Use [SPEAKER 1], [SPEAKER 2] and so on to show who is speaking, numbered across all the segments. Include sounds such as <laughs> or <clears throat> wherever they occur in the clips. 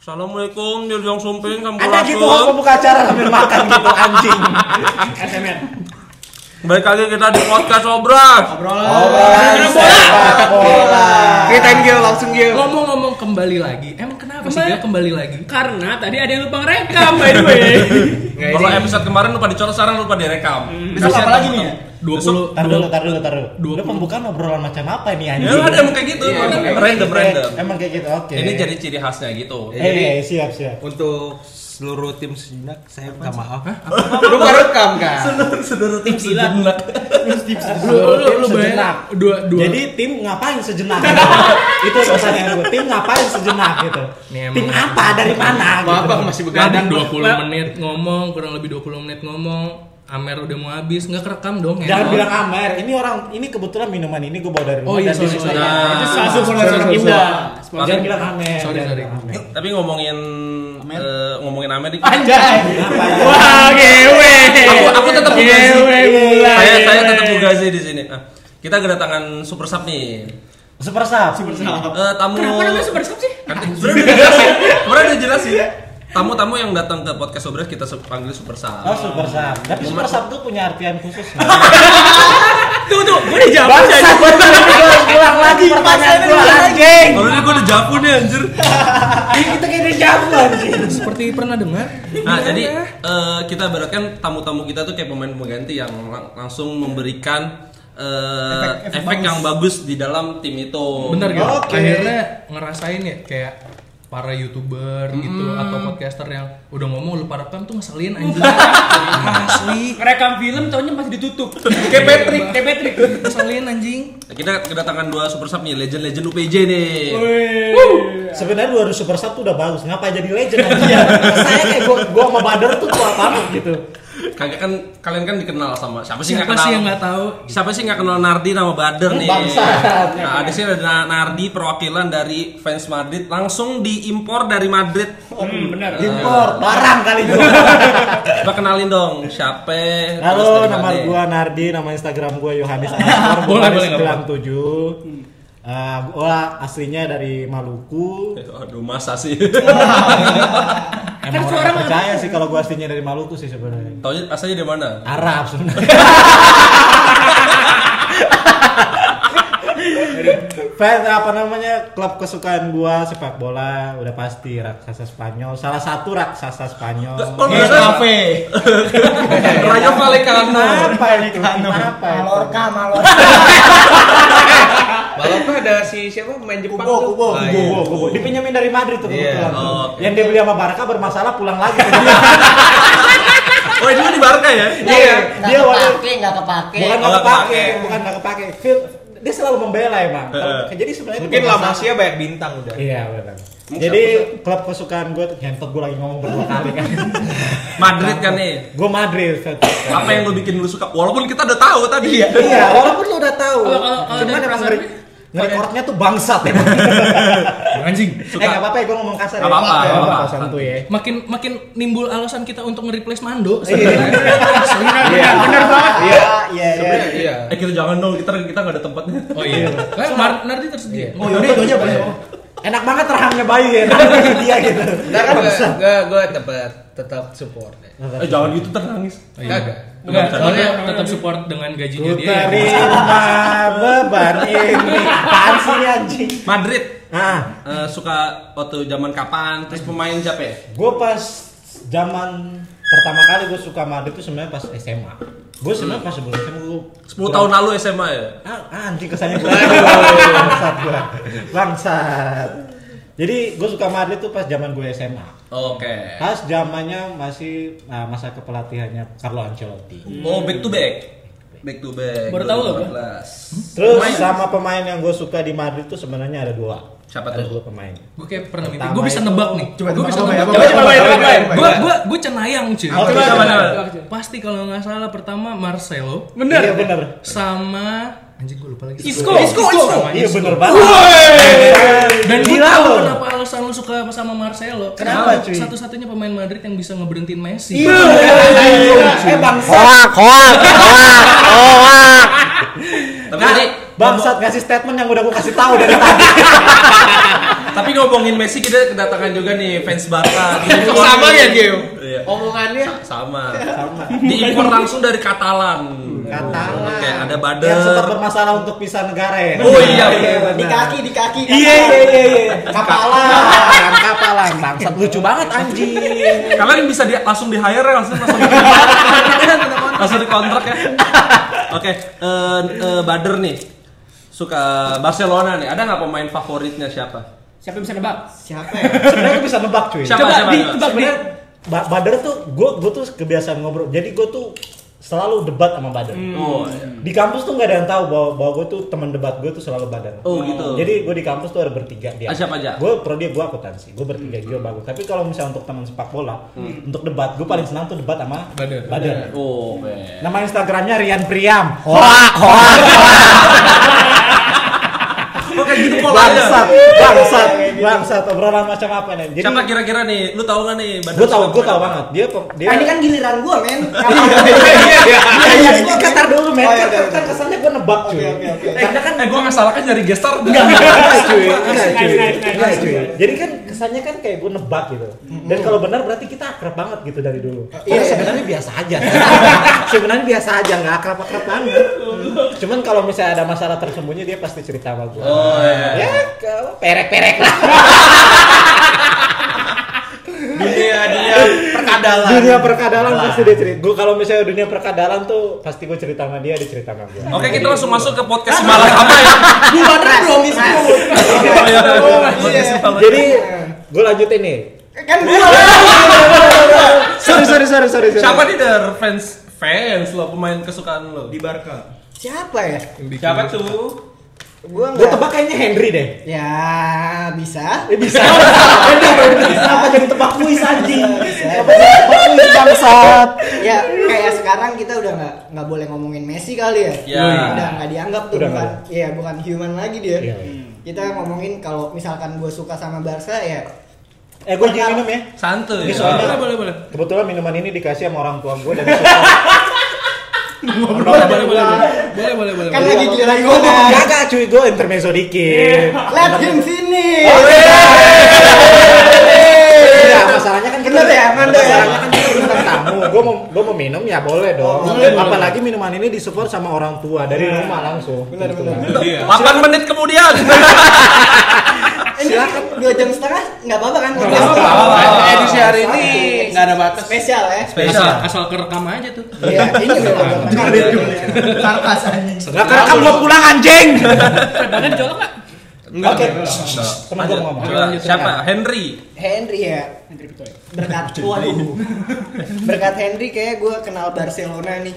[SPEAKER 1] Assalamualaikum, Yuliang Sumping,
[SPEAKER 2] Ada
[SPEAKER 1] Sampurasun.
[SPEAKER 2] gitu kok pembuka acara sambil makan gitu anjing.
[SPEAKER 3] SMN.
[SPEAKER 1] Baik lagi kita di podcast Obras.
[SPEAKER 2] Obrolan
[SPEAKER 3] Obrolan. Obrolan
[SPEAKER 2] sepak bola.
[SPEAKER 4] Ceritain Gil langsung Gil.
[SPEAKER 5] Ngomong-ngomong kembali lagi. Emang kenapa sih
[SPEAKER 3] Kembali-
[SPEAKER 5] dia kembali lagi?
[SPEAKER 3] Karena tadi ada yang lupa ngerekam by the way.
[SPEAKER 4] Nggak
[SPEAKER 1] Kalau
[SPEAKER 4] ini. Hmm.
[SPEAKER 1] episode kemarin lupa dicoret, sekarang lupa direkam.
[SPEAKER 3] Besok
[SPEAKER 1] Kasihan
[SPEAKER 3] apa lagi nih? ya?
[SPEAKER 1] teman-teman. Besok-
[SPEAKER 5] 20
[SPEAKER 2] Tar dulu, tar dulu, tar dulu.
[SPEAKER 5] Dua
[SPEAKER 2] Lu
[SPEAKER 5] puluh.
[SPEAKER 2] pembukaan obrolan macam apa ini anjing?
[SPEAKER 1] Ya ada emang kayak gitu,
[SPEAKER 4] Iya,
[SPEAKER 1] emang
[SPEAKER 4] emang kayak
[SPEAKER 1] random random.
[SPEAKER 2] Emang kayak gitu, oke.
[SPEAKER 1] Ini jadi ciri khasnya gitu.
[SPEAKER 4] Ya, jadi
[SPEAKER 2] Eh, siap, siap.
[SPEAKER 4] untuk seluruh tim sejenak saya minta maaf. eh? Lu nggak rekam kan?
[SPEAKER 1] Seluruh tim silat.
[SPEAKER 5] Lu lu
[SPEAKER 2] Tim
[SPEAKER 5] lu bayangin
[SPEAKER 2] sejenak.
[SPEAKER 5] dua dua.
[SPEAKER 2] Jadi tim ngapain sejenak? <laughs> itu pertanyaan gue. Tim ngapain sejenak gitu?
[SPEAKER 5] Nih, emang-
[SPEAKER 2] Tim apa dari mana? gitu?
[SPEAKER 4] Maaf bang masih begadang.
[SPEAKER 5] kadang 20
[SPEAKER 4] Bang.
[SPEAKER 5] menit ngomong, kurang lebih 20 menit ngomong. Amer udah mau habis, nggak kerekam dong ya.
[SPEAKER 2] Jangan bilang Amer. Ini orang ini kebetulan minuman ini gue bawa dari rumah
[SPEAKER 5] Oh iya,
[SPEAKER 2] dan dia
[SPEAKER 5] sorry,
[SPEAKER 2] suka
[SPEAKER 5] sorry.
[SPEAKER 2] ya.
[SPEAKER 1] Nah.
[SPEAKER 3] Itu salah satu sponsor
[SPEAKER 5] Sorry,
[SPEAKER 3] kita.
[SPEAKER 1] sorry.
[SPEAKER 2] Jangan bilang Amer.
[SPEAKER 5] Sorry,
[SPEAKER 2] jangan
[SPEAKER 5] sorry.
[SPEAKER 2] bilang Amer.
[SPEAKER 1] Tapi ngomongin eh, ngomongin Amerika.
[SPEAKER 3] Anjay.
[SPEAKER 2] Kenapa?
[SPEAKER 3] Wah, gewe.
[SPEAKER 1] Aku aku tetap Fugazi.
[SPEAKER 3] Gewe mulai.
[SPEAKER 1] Saya saya tetap Fugazi di sini. Ah, Kita kedatangan Super Sub nih.
[SPEAKER 2] Super Sub. Iya.
[SPEAKER 1] Eh, tamu
[SPEAKER 3] Kenapa namanya super sub sih?
[SPEAKER 1] Kan sebenarnya udah jelasin. Sebenarnya udah jelasin. Tamu-tamu yang datang ke podcast Sobres kita se- panggil Super Sub.
[SPEAKER 2] Oh Super Sub.
[SPEAKER 3] Iya.
[SPEAKER 2] Tapi Super Sub tuh punya artian khusus.
[SPEAKER 3] <laughs>
[SPEAKER 2] nggak?
[SPEAKER 3] Tuh tuh, gue dijawab
[SPEAKER 2] Bangsa
[SPEAKER 3] aja.
[SPEAKER 2] gue harus ulang lagi pertanyaan gue anjing.
[SPEAKER 1] Kalau ini gue udah japu nih anjir.
[SPEAKER 2] Ini kita kayak dijawab anjing.
[SPEAKER 5] Seperti pernah dengar.
[SPEAKER 1] Nah, jadi eh, kita ibaratkan tamu-tamu kita tuh kayak pemain pengganti yang lang- langsung memberikan eh, efek, yang bagus di dalam tim itu.
[SPEAKER 5] Bentar gitu.
[SPEAKER 2] Oke.
[SPEAKER 5] Akhirnya ngerasain ya kayak para youtuber gitu atau podcaster yang udah ngomong lu para rekam tuh <laughs> ngeselin anjing. Asli.
[SPEAKER 3] Rekam film tahunnya masih
[SPEAKER 2] <laughs>
[SPEAKER 3] ditutup.
[SPEAKER 1] Kayak Patrick.
[SPEAKER 3] Kayak Patrick.
[SPEAKER 5] Ngeselin anjing.
[SPEAKER 1] Nah, Kita kedatangan dua super sub nih, legend-legend UPJ nih.
[SPEAKER 2] Sebenarnya dua ratus super sub tuh udah bagus. Ngapa jadi legend anjing? Saya kayak gue gue sama Badar tuh tua banget gitu.
[SPEAKER 1] Kagak kan kalian kan dikenal sama siapa sih nggak
[SPEAKER 5] Siapa
[SPEAKER 1] kenal?
[SPEAKER 5] sih yang nggak tahu?
[SPEAKER 1] Siapa sih nggak kenal Nardi nama Bader nih?
[SPEAKER 2] Bangsat.
[SPEAKER 1] Nah, ada sih ada Nardi perwakilan dari fans Madrid langsung diimpor dari Madrid.
[SPEAKER 3] Hmm, benar.
[SPEAKER 2] Import barang kali gue.
[SPEAKER 1] Coba kenalin dong siapa. terus
[SPEAKER 2] Halo,
[SPEAKER 1] dari
[SPEAKER 2] nama
[SPEAKER 1] mana.
[SPEAKER 2] gue Nardi, nama Instagram gue Yohanes Alaskor,
[SPEAKER 5] Boleh, boleh, nggak
[SPEAKER 2] sembilan tujuh. gue aslinya dari Maluku.
[SPEAKER 1] Aduh masa sih.
[SPEAKER 2] Emang
[SPEAKER 3] suara
[SPEAKER 2] orang
[SPEAKER 3] mah-
[SPEAKER 2] percaya sih kalau gue aslinya dari Maluku sih sebenarnya.
[SPEAKER 1] Taunya asalnya dari mana?
[SPEAKER 2] Arab sebenarnya. Fans apa namanya klub kesukaan gua sepak bola udah pasti raksasa Spanyol salah satu raksasa Spanyol
[SPEAKER 1] Kok
[SPEAKER 3] Kayak
[SPEAKER 1] beneran?
[SPEAKER 3] kafe.
[SPEAKER 1] Rayo Vallecano.
[SPEAKER 2] apa itu apa
[SPEAKER 3] Malorka,
[SPEAKER 4] Malam tuh ada si siapa pemain Jepang
[SPEAKER 2] Kubo,
[SPEAKER 4] tuh?
[SPEAKER 2] Kubo,
[SPEAKER 4] Ah,
[SPEAKER 2] Kubo,
[SPEAKER 4] iya.
[SPEAKER 2] Kubo. Dipinjemin dari Madrid tuh
[SPEAKER 4] Iya.
[SPEAKER 2] kebetulan. tuh.
[SPEAKER 1] Oh, oke.
[SPEAKER 2] Yang dia beli sama Barca bermasalah pulang lagi.
[SPEAKER 1] Oh, ini mah di Barca ya?
[SPEAKER 4] Iya.
[SPEAKER 2] dia walau
[SPEAKER 6] kepake, nggak kepake.
[SPEAKER 2] bukan
[SPEAKER 1] Oh, nggak
[SPEAKER 2] nggak kepake,
[SPEAKER 1] kepake.
[SPEAKER 2] bukan nggak kepake. Feel- dia selalu membela emang. Kalau- Jadi sebenarnya itu
[SPEAKER 4] Mungkin
[SPEAKER 2] bermasalah.
[SPEAKER 4] Lamasnya banyak bintang udah.
[SPEAKER 2] Iya benar. Jadi klub kesukaan gue tuh ngentot gue lagi ngomong berdua kali <laughs> kan.
[SPEAKER 1] Madrid kan nih.
[SPEAKER 2] gue Madrid. Fed.
[SPEAKER 1] Apa yang lu bikin lu suka? Walaupun kita udah tahu tadi.
[SPEAKER 2] Iya, walaupun lu udah tahu.
[SPEAKER 3] Kalau- kalau- kalau
[SPEAKER 2] Cuman
[SPEAKER 3] dari
[SPEAKER 2] emang
[SPEAKER 3] perasaan-
[SPEAKER 2] ngeri- ngerekordnya tuh bangsat emang.
[SPEAKER 5] Anjing.
[SPEAKER 2] Eh nggak apa-apa ya gue ngomong kasar.
[SPEAKER 1] Nggak
[SPEAKER 2] ya.
[SPEAKER 1] apa-apa,
[SPEAKER 2] Nggak
[SPEAKER 1] nggak apa-apa.
[SPEAKER 2] santuy <laughs> ya.
[SPEAKER 5] Makin makin nimbul alasan kita untuk nge-replace Mando.
[SPEAKER 2] Iya, benar banget. Iya, iya, iya.
[SPEAKER 4] Sebenarnya iya.
[SPEAKER 1] <laughs> Eh kita jangan dong, kita kita nggak ada tempatnya.
[SPEAKER 5] Oh iya. Kan Mar- Nardi tersedia.
[SPEAKER 2] Oh yaudah itu aja boleh. Enak banget rahangnya bayi ya. dia gitu.
[SPEAKER 4] Ntar kan gue gue tetap tetap support. ya.
[SPEAKER 1] Eh jangan gitu nangis.
[SPEAKER 4] Kagak.
[SPEAKER 5] Enggak, soalnya
[SPEAKER 4] Soalnya
[SPEAKER 5] tetap support dengan gajinya
[SPEAKER 2] Ku
[SPEAKER 5] dia. ya.
[SPEAKER 2] terima beban ini. Apaan sih ini anjing?
[SPEAKER 1] Madrid
[SPEAKER 2] Nah,
[SPEAKER 1] eh, suka waktu zaman kapan? Terus pemain siapa ya?
[SPEAKER 2] gue pas zaman pertama kali gue suka Madrid itu sebenarnya pas SMA. Gue sebenarnya pas sebelum SMA gue
[SPEAKER 1] 10 tahun lalu SMA ya.
[SPEAKER 2] ah, ah, anjing kesannya gue bangsat gue bangsat. Jadi gue suka Madrid tuh pas zaman gue SMA.
[SPEAKER 1] Oke.
[SPEAKER 2] Pas zamannya masih ah, masa kepelatihannya Carlo Ancelotti.
[SPEAKER 1] Oh back to back. Back to back.
[SPEAKER 3] Baru tahu loh,
[SPEAKER 1] 2014.
[SPEAKER 2] Terus
[SPEAKER 1] Pemain.
[SPEAKER 2] sama pemain yang gue suka di Madrid tuh sebenarnya ada dua.
[SPEAKER 1] Siapa
[SPEAKER 2] ada
[SPEAKER 1] tuh?
[SPEAKER 2] Dua pemain.
[SPEAKER 5] Gue kayak pernah mimpi.
[SPEAKER 2] Pertama
[SPEAKER 5] Gue bisa
[SPEAKER 2] itu-
[SPEAKER 5] nebak nih. Coba gue bisa nebak.
[SPEAKER 3] Coba coba main, coba main.
[SPEAKER 5] Gue gue gue cenayang cuy.
[SPEAKER 2] Oke,
[SPEAKER 1] Coba,
[SPEAKER 2] siapa?
[SPEAKER 1] coba, coba.
[SPEAKER 5] Pasti kalau nggak salah pertama Marcelo
[SPEAKER 3] Bener.
[SPEAKER 2] Iya bener.
[SPEAKER 5] sama anjing gue lupa lagi.
[SPEAKER 3] Isco,
[SPEAKER 5] Isco,
[SPEAKER 3] Isco.
[SPEAKER 5] Isco.
[SPEAKER 2] Iya
[SPEAKER 5] Isco.
[SPEAKER 2] bener banget.
[SPEAKER 5] Dan gue
[SPEAKER 2] Gila
[SPEAKER 5] tahu
[SPEAKER 2] lo.
[SPEAKER 5] kenapa alasan lu suka sama Marcelo.
[SPEAKER 2] Kenapa,
[SPEAKER 5] Karena
[SPEAKER 2] cuy?
[SPEAKER 5] Satu-satunya pemain Madrid yang bisa ngeberhentiin Messi.
[SPEAKER 2] Iya. Eh bangsa.
[SPEAKER 1] Nah, Tapi tadi
[SPEAKER 2] Bangsat ngasih statement yang udah gue kasih tahu dari tadi.
[SPEAKER 1] Tapi ngomongin Messi kita kedatangan juga nih fans <laughs> Barca. Di-
[SPEAKER 5] sama ya Gio?
[SPEAKER 1] Iya.
[SPEAKER 5] Omongannya
[SPEAKER 1] Sama. Diimpor langsung dari Katalan.
[SPEAKER 2] Katalan.
[SPEAKER 1] Oke, ada
[SPEAKER 2] Yang sempat
[SPEAKER 1] Bader.
[SPEAKER 2] bermasalah untuk pisah negara ya.
[SPEAKER 1] Oh iya, bener.
[SPEAKER 6] Di kaki, di kaki.
[SPEAKER 2] Iya iya iya iya. Kapalan, kapalan. Bangsat lucu banget anjing.
[SPEAKER 1] Kalian bisa di, langsung di hire ya, langsung langsung di, langsung di kontrak ya. Oke, eh, eh, Bader nih suka Barcelona nih. Ada nggak pemain favoritnya siapa?
[SPEAKER 3] Siapa yang bisa nebak?
[SPEAKER 6] Siapa ya?
[SPEAKER 2] Sebenarnya gue bisa nebak cuy.
[SPEAKER 1] Siapa,
[SPEAKER 3] Coba
[SPEAKER 1] siapa,
[SPEAKER 3] di
[SPEAKER 1] siapa?
[SPEAKER 3] tebak di.
[SPEAKER 2] Ba- Badar tuh gue gue tuh kebiasaan ngobrol. Jadi gue tuh selalu debat sama Badar.
[SPEAKER 1] Oh,
[SPEAKER 2] Di kampus tuh nggak ada yang tahu bahwa, bahwa gue tuh teman debat gue tuh selalu Badar.
[SPEAKER 1] oh gitu.
[SPEAKER 2] Jadi gue di kampus tuh ada bertiga dia.
[SPEAKER 1] Ah, siapa aja? Hmm.
[SPEAKER 2] Gue prodi gue akuntansi, gue bertiga gue bagus. Tapi kalau misalnya untuk teman sepak bola, untuk debat gue paling senang tuh debat sama
[SPEAKER 5] Badar.
[SPEAKER 2] Badar.
[SPEAKER 1] oh, oke.
[SPEAKER 2] Nama Instagramnya Rian Priam. Hoa, hoa,
[SPEAKER 1] Oke, gitu pola
[SPEAKER 2] bangsat,
[SPEAKER 1] aja.
[SPEAKER 2] bangsat, bangsat. Obrolan macam apa nih? Jadi
[SPEAKER 1] Siapa kira-kira nih? Lu tahu nggak nih? Bader
[SPEAKER 2] gue tau,
[SPEAKER 1] suka
[SPEAKER 2] gue tau
[SPEAKER 1] pemain apa?
[SPEAKER 2] banget. Dia, pem- dia
[SPEAKER 6] Ah,
[SPEAKER 2] <laughs>
[SPEAKER 6] ini kan giliran gua, men. Kapan?
[SPEAKER 2] Iya, ini Qatar dulu men.
[SPEAKER 6] Oh, iya,
[SPEAKER 2] Kan
[SPEAKER 6] iya,
[SPEAKER 2] kan
[SPEAKER 6] iya.
[SPEAKER 2] kesannya gue nebak cuy.
[SPEAKER 6] Oke, oke, oke.
[SPEAKER 2] Karena kan
[SPEAKER 1] Eh, gue nggak salah kan nyari gestar.
[SPEAKER 2] Enggak, cuy. Enggak,
[SPEAKER 3] Nice,
[SPEAKER 2] cuy.
[SPEAKER 3] nice, nice, nice,
[SPEAKER 2] Enggak,
[SPEAKER 3] nice.
[SPEAKER 2] cuy. Jadi kan kesannya kan kayak gue nebak gitu. Dan kalau benar berarti kita akrab banget gitu dari dulu. Iya, sebenarnya biasa <laughs> aja. sebenarnya biasa aja, nggak akrab-akrab banget. Cuman kalau misalnya ada masalah tersembunyi dia pasti cerita sama gue.
[SPEAKER 1] Oh, iya.
[SPEAKER 2] Ya, kalau perek-perek lah.
[SPEAKER 4] Dunia dia perkadalan.
[SPEAKER 2] Dunia perkadalan pasti dia cerita. Gue kalau misalnya dunia perkadalan tuh pasti gue cerita sama dia, dia cerita sama gue.
[SPEAKER 1] Oke, kita langsung masuk ke podcast
[SPEAKER 2] <laughs>
[SPEAKER 1] malam apa
[SPEAKER 2] Iya,
[SPEAKER 1] ya?
[SPEAKER 6] Di Badar belum disebut.
[SPEAKER 2] iya.
[SPEAKER 1] Podcast semalam.
[SPEAKER 2] Jadi gue lanjutin nih.
[SPEAKER 6] Kan gua.
[SPEAKER 2] <laughs> Sorry sorry sorry sorry. sorry.
[SPEAKER 1] Siapa nih der fans fans lo pemain kesukaan lo?
[SPEAKER 4] Di Barca.
[SPEAKER 6] Siapa ya?
[SPEAKER 1] Siapa tuh?
[SPEAKER 6] Gua
[SPEAKER 2] Gue
[SPEAKER 6] enggak.
[SPEAKER 2] tebak kayaknya Henry deh.
[SPEAKER 6] Ya, bisa.
[SPEAKER 2] Eh, bisa. Henry Kenapa jadi tebak kuis anjing?
[SPEAKER 6] Bisa.
[SPEAKER 2] Kenapa jadi tebak kuis bangsat?
[SPEAKER 6] Ya, kayak sekarang kita udah nggak nggak boleh ngomongin Messi kali ya.
[SPEAKER 1] Ya.
[SPEAKER 6] Udah nggak dianggap tuh
[SPEAKER 2] Udah
[SPEAKER 6] bukan.
[SPEAKER 2] nggak
[SPEAKER 6] Iya, bukan human lagi dia.
[SPEAKER 2] Iya.
[SPEAKER 6] Kita ngomongin kalau misalkan gue suka sama Barca ya
[SPEAKER 2] Eh gue jadi minum ya.
[SPEAKER 1] Santuy.
[SPEAKER 2] Ini soalnya-
[SPEAKER 1] Boleh, boleh boleh.
[SPEAKER 2] Kebetulan minuman ini dikasih sama orang tua gue dan disuruh-
[SPEAKER 5] boleh boleh boleh boleh boleh boleh
[SPEAKER 6] kan
[SPEAKER 5] boleh.
[SPEAKER 6] lagi giliran gue
[SPEAKER 2] Enggak enggak cuy gue intermezzo dikit.
[SPEAKER 6] Let him finish.
[SPEAKER 2] Iya masalahnya kan
[SPEAKER 6] Bener ya, Amanda ya?
[SPEAKER 2] Masalahnya kan kita bintang tamu. Gue mau gue mau minum ya boleh dong.
[SPEAKER 6] Oh,
[SPEAKER 5] Boleh, boleh.
[SPEAKER 2] Apalagi minuman ini disupport sama orang tua dari rumah langsung.
[SPEAKER 6] Iya.
[SPEAKER 2] Gitu.
[SPEAKER 6] Bener, bener.
[SPEAKER 5] Iya.
[SPEAKER 1] 8 menit kemudian.
[SPEAKER 6] Silakan dua jam setengah nggak apa-apa kan? Nggak
[SPEAKER 1] apa-apa.
[SPEAKER 4] Edisi hari ini nggak ada batas.
[SPEAKER 6] Spesial ya.
[SPEAKER 5] Asal
[SPEAKER 1] Spesial.
[SPEAKER 5] asal kerekam aja tuh.
[SPEAKER 6] Iya, ini udah
[SPEAKER 1] menit
[SPEAKER 6] lama. Sarkas anjing.
[SPEAKER 2] Gak kerekam gue pulang anjing.
[SPEAKER 3] Badan jolok nggak?
[SPEAKER 2] Oke. Temen gue
[SPEAKER 1] Lanjut. Iya.
[SPEAKER 2] ngomong.
[SPEAKER 1] Coba, Siapa? Henry.
[SPEAKER 6] Henry ya
[SPEAKER 3] Henry Pitoy. <laughs>
[SPEAKER 6] berkat waduh berkat Henry kayak gue kenal Barcelona nih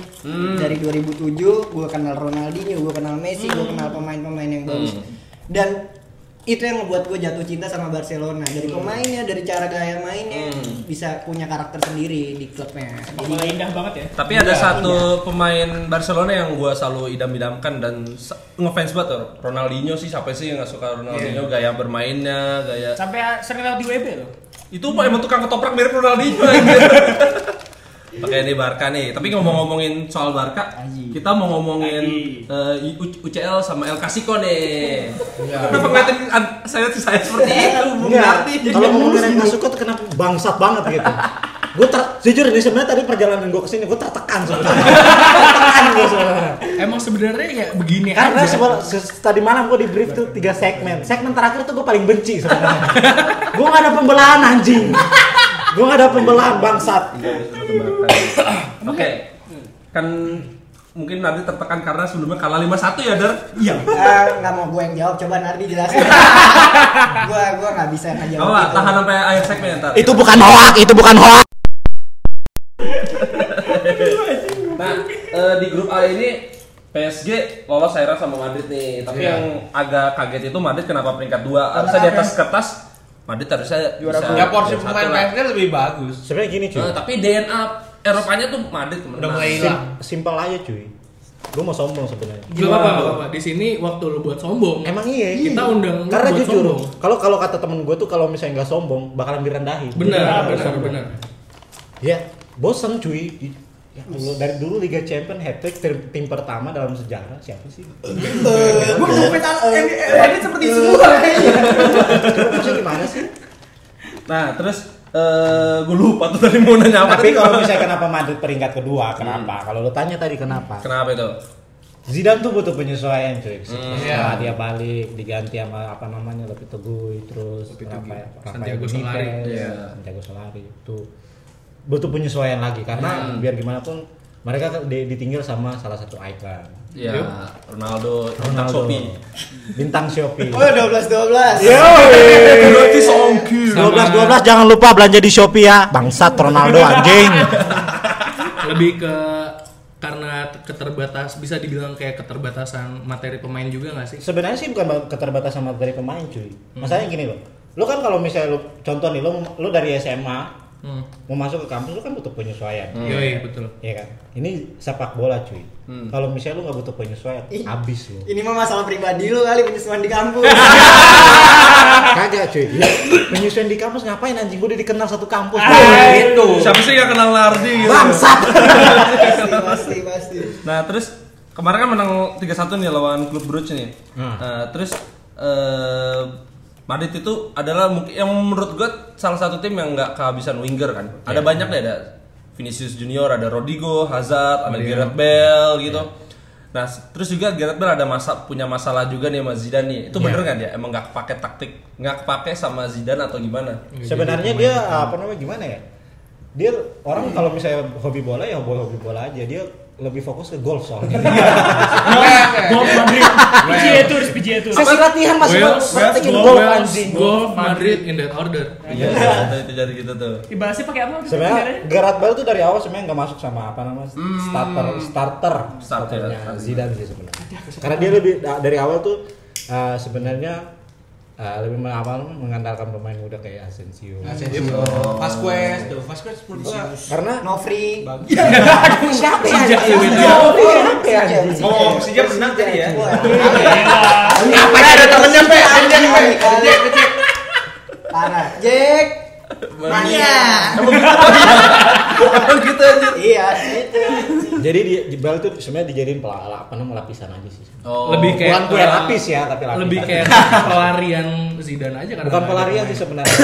[SPEAKER 6] dari 2007 gue kenal Ronaldinho gue kenal Messi gue kenal pemain-pemain yang bagus dan itu yang ngebuat gue jatuh cinta sama Barcelona dari pemainnya dari cara gaya mainnya bisa punya karakter sendiri di klubnya jadi
[SPEAKER 3] Bola indah banget ya.
[SPEAKER 1] Tapi ada satu pemain Barcelona yang gua selalu idam-idamkan dan se- ngefans banget tuh. Ronaldinho sih siapa sih yang gak suka Ronaldinho gaya bermainnya, gaya
[SPEAKER 3] Sampai sering lewat di WB loh.
[SPEAKER 1] itu mah emang tukang ketoprak mirip
[SPEAKER 2] <laughs>
[SPEAKER 1] Ronaldinho aja. Oke ini Barca nih, tapi ngomong-ngomongin soal Barca, kita mau ngomongin eh, U- UCL sama El Clasico nih.
[SPEAKER 2] Iya.
[SPEAKER 1] Kenapa ngeliatin an- saya saya seperti itu? Iya. Bung
[SPEAKER 2] Enggak,
[SPEAKER 1] Nardi?
[SPEAKER 2] Iya. kalau ngomongin yang gak suka tuh kenapa bangsat banget gitu. Gue ter, jujur ini sebenarnya tadi perjalanan gue kesini gue tertekan sebenarnya. tertekan gue sebenarnya.
[SPEAKER 5] Emang sebenarnya ya begini
[SPEAKER 2] Karena
[SPEAKER 5] aja.
[SPEAKER 2] sebel- se- tadi malam gue di brief tuh tiga segmen. Segmen terakhir tuh gue paling benci sebenarnya. gue gak ada pembelaan anjing. Gue gak ada pembelaan bangsat.
[SPEAKER 1] Oke, kan mungkin nanti tertekan karena sebelumnya kalah 5-1 ya Dar? Iya.
[SPEAKER 6] eh, nggak mau gue yang jawab coba Nardi jelasin <laughs> gue gue nggak bisa gitu. ngajak
[SPEAKER 1] Apa?
[SPEAKER 2] Iya.
[SPEAKER 1] Tahan sampai akhir segmen ntar.
[SPEAKER 2] Itu bukan hoak, itu bukan hoak.
[SPEAKER 1] Nah, eh, di grup A ini PSG lolos akhirnya sama Madrid nih. Tapi
[SPEAKER 4] Iya.
[SPEAKER 1] yang agak kaget itu Madrid kenapa peringkat 2? Harusnya di atas kertas Madrid harusnya juara
[SPEAKER 4] Ya porsi pemain PSG lebih bagus.
[SPEAKER 2] Sebenarnya gini cuy,
[SPEAKER 1] Eh, tapi DNA Eropanya tuh Madrid teman.
[SPEAKER 4] Udah mulai hilang.
[SPEAKER 2] simpel aja cuy. Gue mau sombong sebenarnya.
[SPEAKER 5] Gak apa-apa, gak apa-apa. Di sini waktu lu buat sombong.
[SPEAKER 2] Emang iya.
[SPEAKER 5] Kita undang lu
[SPEAKER 2] Karena
[SPEAKER 5] buat
[SPEAKER 2] jujur,
[SPEAKER 5] sombong.
[SPEAKER 2] kalau kalau kata temen gue tuh kalau misalnya nggak sombong bakalan direndahin.
[SPEAKER 5] Benar, benar, benar.
[SPEAKER 2] Ya, bosen cuy. dulu dari dulu Liga Champions hat trick tim, tim pertama dalam sejarah siapa sih?
[SPEAKER 1] <laughs>
[SPEAKER 6] Gue mau petan Madrid seperti
[SPEAKER 1] Eh,
[SPEAKER 6] semua kayaknya.
[SPEAKER 2] Maksudnya gimana sih?
[SPEAKER 1] Nah, terus eh gue lupa tuh tadi mau nanya apa.
[SPEAKER 2] Tapi
[SPEAKER 1] tadi.
[SPEAKER 2] kalau misalnya kenapa Madrid peringkat kedua,
[SPEAKER 1] Hmm.
[SPEAKER 2] kenapa? Kalau lu tanya tadi kenapa?
[SPEAKER 1] Kenapa itu?
[SPEAKER 2] Zidane tuh butuh penyesuaian cuy.
[SPEAKER 1] Hmm.
[SPEAKER 2] Setelah dia balik diganti sama apa namanya lebih teguh terus apa ya, Rafael
[SPEAKER 5] Santiago
[SPEAKER 2] Benitez,
[SPEAKER 5] Solari.
[SPEAKER 1] Iya.
[SPEAKER 2] Santiago Solari itu butuh penyesuaian lagi karena
[SPEAKER 1] Hmm.
[SPEAKER 2] biar gimana pun mereka kan di- ditinggal sama salah satu icon
[SPEAKER 1] Ya, Ronaldo, Ronaldo.
[SPEAKER 2] Ronaldo.
[SPEAKER 1] Shopee.
[SPEAKER 2] Bintang
[SPEAKER 1] <laughs>
[SPEAKER 2] Shopee.
[SPEAKER 6] Oh 12 12.
[SPEAKER 3] Iya.
[SPEAKER 1] Berarti songki.
[SPEAKER 2] 12 12 jangan lupa belanja di Shopee ya. Bangsat Ronaldo anjing.
[SPEAKER 5] lebih ke karena keterbatas bisa dibilang kayak keterbatasan materi pemain juga nggak sih?
[SPEAKER 2] Sebenarnya sih bukan keterbatasan materi pemain cuy. Masalahnya gini loh. Lu kan kalau misalnya lu contoh nih lu lu dari SMA
[SPEAKER 5] Hmm.
[SPEAKER 2] mau masuk ke kampus lu kan butuh penyesuaian.
[SPEAKER 3] Hmm.
[SPEAKER 5] Yoi, betul.
[SPEAKER 2] Iya kan? Ini sepak bola cuy. Kalau misalnya lu nggak butuh penyesuaian,
[SPEAKER 6] Hmm. Ih.
[SPEAKER 2] habis lu.
[SPEAKER 6] Ini mah masalah pribadi lu kali penyesuaian di kampus.
[SPEAKER 5] <laughs>
[SPEAKER 2] Kagak cuy. Ya, penyesuaian di kampus ngapain anjing gua udah dikenal satu kampus. Iya.
[SPEAKER 1] Gitu. Siapa sih yang kenal Lardi gitu? <laughs>
[SPEAKER 6] pasti pasti pasti.
[SPEAKER 1] Nah, terus kemarin kan menang 3-1 nih lawan klub Brugge nih. Eh, terus eh Madrid itu adalah mungkin yang menurut gue salah satu tim yang nggak kehabisan winger kan. Ada banyak deh ada Vinicius Junior, ada Rodrigo, Hazard, ada Gareth Bale gitu. Nah, s- terus juga Gareth Bale ada masa punya masalah juga nih sama Zidane nih. Itu bener kan ya? Emang nggak kepake taktik, nggak kepake sama Zidane atau gimana?
[SPEAKER 2] Sebenarnya dia apa namanya gimana ya? Dia orang kalau misalnya hobi bola ya hobi hobi bola aja. Dia lebih fokus ke golf soalnya.
[SPEAKER 3] Golf Madrid. PGA Tour, PGA Tour.
[SPEAKER 2] Sesi latihan mas
[SPEAKER 5] Well,
[SPEAKER 2] praktekin
[SPEAKER 5] Wales,
[SPEAKER 2] golf
[SPEAKER 5] Wales,
[SPEAKER 2] anjing.
[SPEAKER 5] Golf, Madrid in that order.
[SPEAKER 1] Iya, itu, itu jadi gitu tuh.
[SPEAKER 3] Dibahasnya pakai apa?
[SPEAKER 2] Sebenarnya Gareth Bale tuh dari awal sebenarnya nggak masuk sama apa namanya
[SPEAKER 5] Hmm.
[SPEAKER 2] starter starter starternya
[SPEAKER 1] starter.
[SPEAKER 2] Zidane sih sebenarnya. Karena dia lebih da- dari awal tuh eh, sebenarnya eh, lebih men- apa namanya, mengandalkan pemain muda kayak Hmm. Asensio.
[SPEAKER 4] Asensio, Iya, Vasquez, tuh Vasquez menurut gua
[SPEAKER 2] Karena
[SPEAKER 6] Novri. <laughs>
[SPEAKER 2] siapa ya?
[SPEAKER 5] Sejak
[SPEAKER 2] anjing?
[SPEAKER 5] itu.
[SPEAKER 2] Siapa ya? anjing?
[SPEAKER 4] Ngomong Persija menang tadi ya.
[SPEAKER 6] Wah.
[SPEAKER 4] Apa ya? ada temennya pe? Anjing pe. Jack, Jack.
[SPEAKER 6] Parah. Jack. Mania.
[SPEAKER 1] Emang gitu aja.
[SPEAKER 6] Iya, itu.
[SPEAKER 2] Jadi di, di Bale tuh sebenarnya dijadiin pelala apa namanya lapisan aja sih.
[SPEAKER 1] Oh.
[SPEAKER 5] Lebih
[SPEAKER 2] Bukan
[SPEAKER 5] kayak
[SPEAKER 2] kue
[SPEAKER 5] eh,
[SPEAKER 2] lapis ya, tapi lapis.
[SPEAKER 5] Lebih kayak pelarian Zidane aja
[SPEAKER 2] bukan
[SPEAKER 5] karena nggak ada
[SPEAKER 2] pelarian
[SPEAKER 5] pemain.
[SPEAKER 2] sih
[SPEAKER 5] <laughs>
[SPEAKER 2] sebenarnya.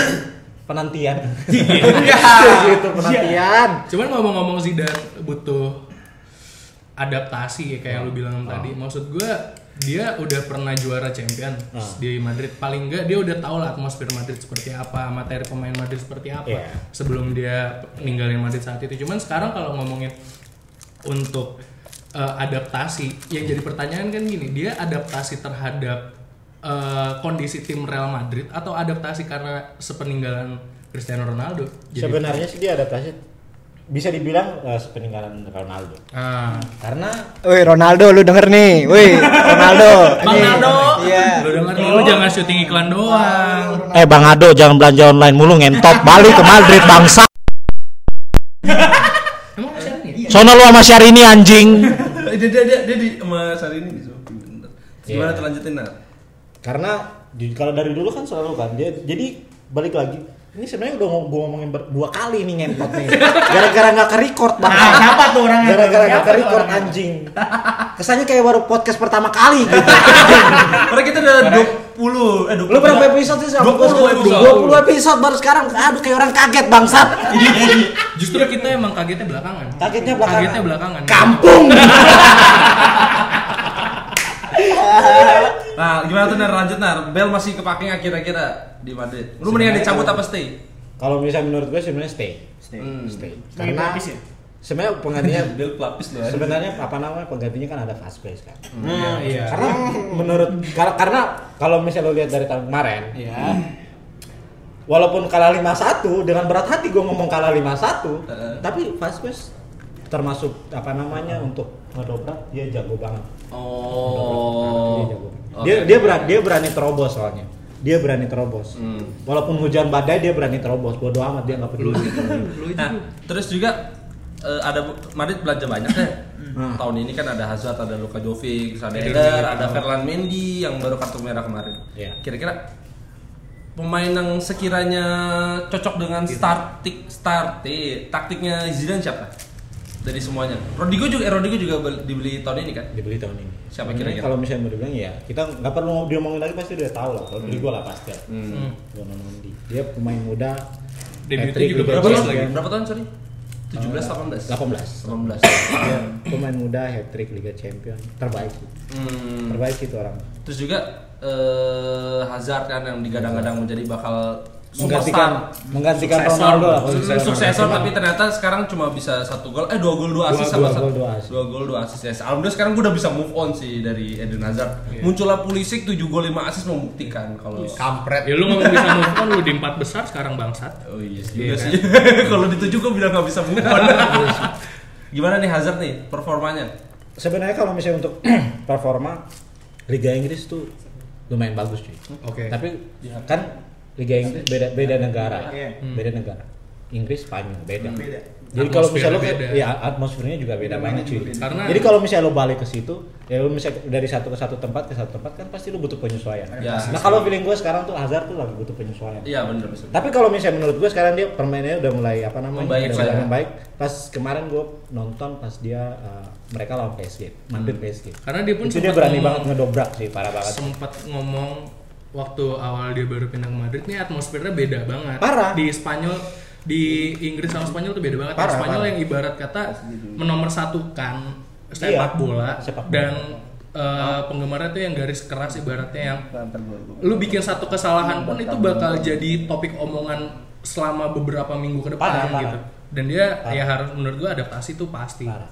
[SPEAKER 2] Penantian. Iya. <laughs> gitu penantian.
[SPEAKER 5] Cuman ngomong-ngomong Zidane butuh adaptasi ya kayak lu bilang tadi. Maksud gua dia udah pernah juara champion di Madrid. Paling enggak dia udah tahu lah atmosfer Madrid seperti apa, materi pemain Madrid seperti apa
[SPEAKER 2] Iya.
[SPEAKER 5] sebelum dia ninggalin Madrid saat itu. Cuman sekarang kalau ngomongin untuk eh, adaptasi, yang jadi pertanyaan kan gini, dia adaptasi terhadap eh, kondisi tim Real Madrid atau adaptasi karena sepeninggalan Cristiano Ronaldo? Jadi-
[SPEAKER 2] Sebenarnya sih dia adaptasi bisa dibilang eh, peninggalan Ronaldo.
[SPEAKER 5] Ah.
[SPEAKER 2] Karena
[SPEAKER 6] Woi Ronaldo lu denger nih. Woi Ronaldo.
[SPEAKER 5] Bang Nado.
[SPEAKER 6] Iya.
[SPEAKER 5] Lu denger nih, lu jangan syuting iklan doang.
[SPEAKER 2] eh Bang Ado jangan belanja online mulu ngentot balik ke Madrid bangsa.
[SPEAKER 5] Emang masih ada nih?
[SPEAKER 2] Sono lu sama Syahrini anjing.
[SPEAKER 1] Eh, dia dia dia, dia di sama Sari ini gitu. Gimana
[SPEAKER 2] Iya.
[SPEAKER 1] terlanjutin <laughs> Nat?
[SPEAKER 2] Karena di- kalau dari dulu kan selalu kan dia jadi balik lagi ini sebenarnya udah ngom- gua ngomongin ber- dua kali nih ngentot nih gara-gara nggak ke record bang
[SPEAKER 3] Nah, siapa tuh orangnya?
[SPEAKER 2] gara-gara nggak
[SPEAKER 3] Siapa
[SPEAKER 2] ke
[SPEAKER 3] tuh
[SPEAKER 2] record
[SPEAKER 3] orangnya?
[SPEAKER 2] anjing kesannya kayak baru podcast pertama kali gitu
[SPEAKER 1] Padahal kita udah 20 eh 20.
[SPEAKER 2] Lu berapa episode sih sama
[SPEAKER 1] 20
[SPEAKER 2] gua?
[SPEAKER 1] episode.
[SPEAKER 2] 20 episode baru sekarang. Aduh kayak orang kaget bangsat.
[SPEAKER 5] Justru kita emang kagetnya belakangan.
[SPEAKER 2] Kagetnya belakangan.
[SPEAKER 5] Kagetnya belakangan.
[SPEAKER 2] Kampung.
[SPEAKER 1] Nah, gimana tuh Nar lanjut Nar? Bel masih kepake nggak kira-kira di Madrid? Lu mendingan dicabut apa stay?
[SPEAKER 2] Kalau misalnya menurut gue sebenarnya stay.
[SPEAKER 1] Hmm.
[SPEAKER 2] Stay.
[SPEAKER 3] Sebagai
[SPEAKER 2] Karena
[SPEAKER 3] pelapis ya?
[SPEAKER 2] sebenarnya penggantinya
[SPEAKER 1] Bel pelapis loh. anjing.
[SPEAKER 2] sebenarnya apa namanya penggantinya kan ada fast pace kan.
[SPEAKER 4] Nah, iya.
[SPEAKER 2] Karena menurut kar- karena kalau misalnya lo lihat dari tahun kemarin,
[SPEAKER 4] Iya.
[SPEAKER 2] walaupun kalah 5-1 dengan berat hati gue ngomong kalah 5-1,
[SPEAKER 1] Heeh.
[SPEAKER 2] tapi fast pace termasuk apa namanya untuk ngedobrak dia jago banget.
[SPEAKER 1] Oh.
[SPEAKER 2] Dia
[SPEAKER 1] Oke.
[SPEAKER 2] dia berani dia berani terobos soalnya. Dia berani terobos.
[SPEAKER 1] Hmm.
[SPEAKER 2] Walaupun hujan badai dia berani terobos. Bodoh amat dia nggak peduli.
[SPEAKER 1] Nah, terus juga eh, ada Madrid belanja banyak deh. Tahun ini kan ada Hazard, ada Luka Jovic, ada Eder, ada Ferland Mendy yang baru kartu merah kemarin.
[SPEAKER 2] Iya.
[SPEAKER 1] Kira-kira pemain yang sekiranya cocok dengan startik starti taktiknya Zidane siapa? dari semuanya. Rodrigo juga eh, Rodrigo juga bel- dibeli tahun ini kan?
[SPEAKER 2] <laughs> dibeli tahun ini.
[SPEAKER 1] Siapa
[SPEAKER 2] Ini
[SPEAKER 1] kira-kira?
[SPEAKER 2] Kalau misalnya mau dibilang ya, kita nggak perlu diomongin lagi pasti udah tahu lah. Kalau beli gue lah pasti.
[SPEAKER 1] Hmm.
[SPEAKER 2] Bono Nondi. Dia pemain muda.
[SPEAKER 5] Debutnya
[SPEAKER 2] hat-trick
[SPEAKER 5] juga
[SPEAKER 2] Liga
[SPEAKER 1] Berapa
[SPEAKER 5] bagus
[SPEAKER 1] tahun?
[SPEAKER 2] Champions.
[SPEAKER 5] lagi.
[SPEAKER 1] Berapa tahun sorry? 17 18.
[SPEAKER 2] 18.
[SPEAKER 1] 18.
[SPEAKER 2] Dia pemain muda hat trick Liga Champion terbaik.
[SPEAKER 1] Hmm.
[SPEAKER 2] Terbaik itu orang.
[SPEAKER 1] Terus juga eh, Hazard kan yang digadang-gadang menjadi bakal
[SPEAKER 2] Iya. Menggantikan Oh,
[SPEAKER 1] superstar.
[SPEAKER 2] menggantikan
[SPEAKER 5] Suksesor.
[SPEAKER 2] Ronaldo lah. kalau
[SPEAKER 1] Hmm, Sukses-
[SPEAKER 2] misalnya
[SPEAKER 1] Suksesor
[SPEAKER 2] Ronaldo.
[SPEAKER 1] tapi ternyata sekarang cuma bisa satu gol eh dua gol dua
[SPEAKER 2] Dua
[SPEAKER 1] asis
[SPEAKER 2] gol,
[SPEAKER 1] sama satu
[SPEAKER 2] gol, dua asis.
[SPEAKER 1] dua gol dua asis ya. Alhamdulillah sekarang gue udah bisa move on sih dari Eden Hazard.
[SPEAKER 2] Iya.
[SPEAKER 1] Muncullah Pulisic 7 gol 5 asis membuktikan kalau
[SPEAKER 4] kampret
[SPEAKER 5] Ya lu ngomong bisa move on lu di empat besar sekarang bangsat.
[SPEAKER 1] Oh iya sih. <laughs> Iya
[SPEAKER 5] Iya kan?
[SPEAKER 1] sih. Kalau dituju gue bilang nggak bisa move on. Gimana nih Hazard nih performanya?
[SPEAKER 2] Sebenarnya kalau misalnya untuk <clears throat> performa Liga Inggris tuh lumayan bagus cuy.
[SPEAKER 5] Oke.
[SPEAKER 2] Tapi kan Liga Inggris beda beda negara,
[SPEAKER 6] Iya.
[SPEAKER 2] Hmm. beda negara. Inggris Spanyol beda.
[SPEAKER 6] Beda.
[SPEAKER 2] Jadi kalau misalnya lo
[SPEAKER 5] Atmosfernya beda.
[SPEAKER 2] ya atmosfernya juga beda banget cuy.
[SPEAKER 5] Karena-
[SPEAKER 2] Jadi kalau misalnya lo balik ke situ, ya lo misalnya dari satu ke satu tempat ke satu tempat kan pasti lo butuh penyesuaian.
[SPEAKER 1] Ya.
[SPEAKER 2] Nah kalau feeling gue sekarang tuh Hazard tuh lagi butuh penyesuaian.
[SPEAKER 1] Iya bener bener.
[SPEAKER 2] Tapi kalau misalnya menurut gue sekarang dia permainannya udah mulai apa namanya?
[SPEAKER 1] Membaik
[SPEAKER 2] udah
[SPEAKER 1] lah
[SPEAKER 2] mulai
[SPEAKER 1] ya.
[SPEAKER 2] membaik. Pas kemarin gue nonton pas dia uh, mereka lawan PSG, Madrid PSG.
[SPEAKER 5] Karena Hmm. dia pun
[SPEAKER 2] Itu dia
[SPEAKER 5] sempat
[SPEAKER 2] berani
[SPEAKER 5] ngomong-
[SPEAKER 2] banget ngedobrak sih, parah banget.
[SPEAKER 5] Sempat ngomong waktu awal dia baru pindah ke Madrid nih atmosfernya beda banget.
[SPEAKER 2] Parah.
[SPEAKER 5] Di Spanyol di Inggris sama Spanyol tuh beda banget.
[SPEAKER 2] Parah,
[SPEAKER 5] Spanyol
[SPEAKER 2] parah.
[SPEAKER 5] yang ibarat kata menomorsatukan
[SPEAKER 2] Iya,
[SPEAKER 5] sepak bola
[SPEAKER 2] sepak bola.
[SPEAKER 5] dan eh, penggemarnya tuh yang garis keras ibaratnya yang lu bikin satu kesalahan pun itu bakal jadi topik omongan selama beberapa minggu ke
[SPEAKER 2] Parah,
[SPEAKER 5] depan
[SPEAKER 2] parah.
[SPEAKER 5] gitu. Dan dia
[SPEAKER 2] Parah.
[SPEAKER 5] ya harus menurut gua adaptasi tuh pasti.
[SPEAKER 2] Parah.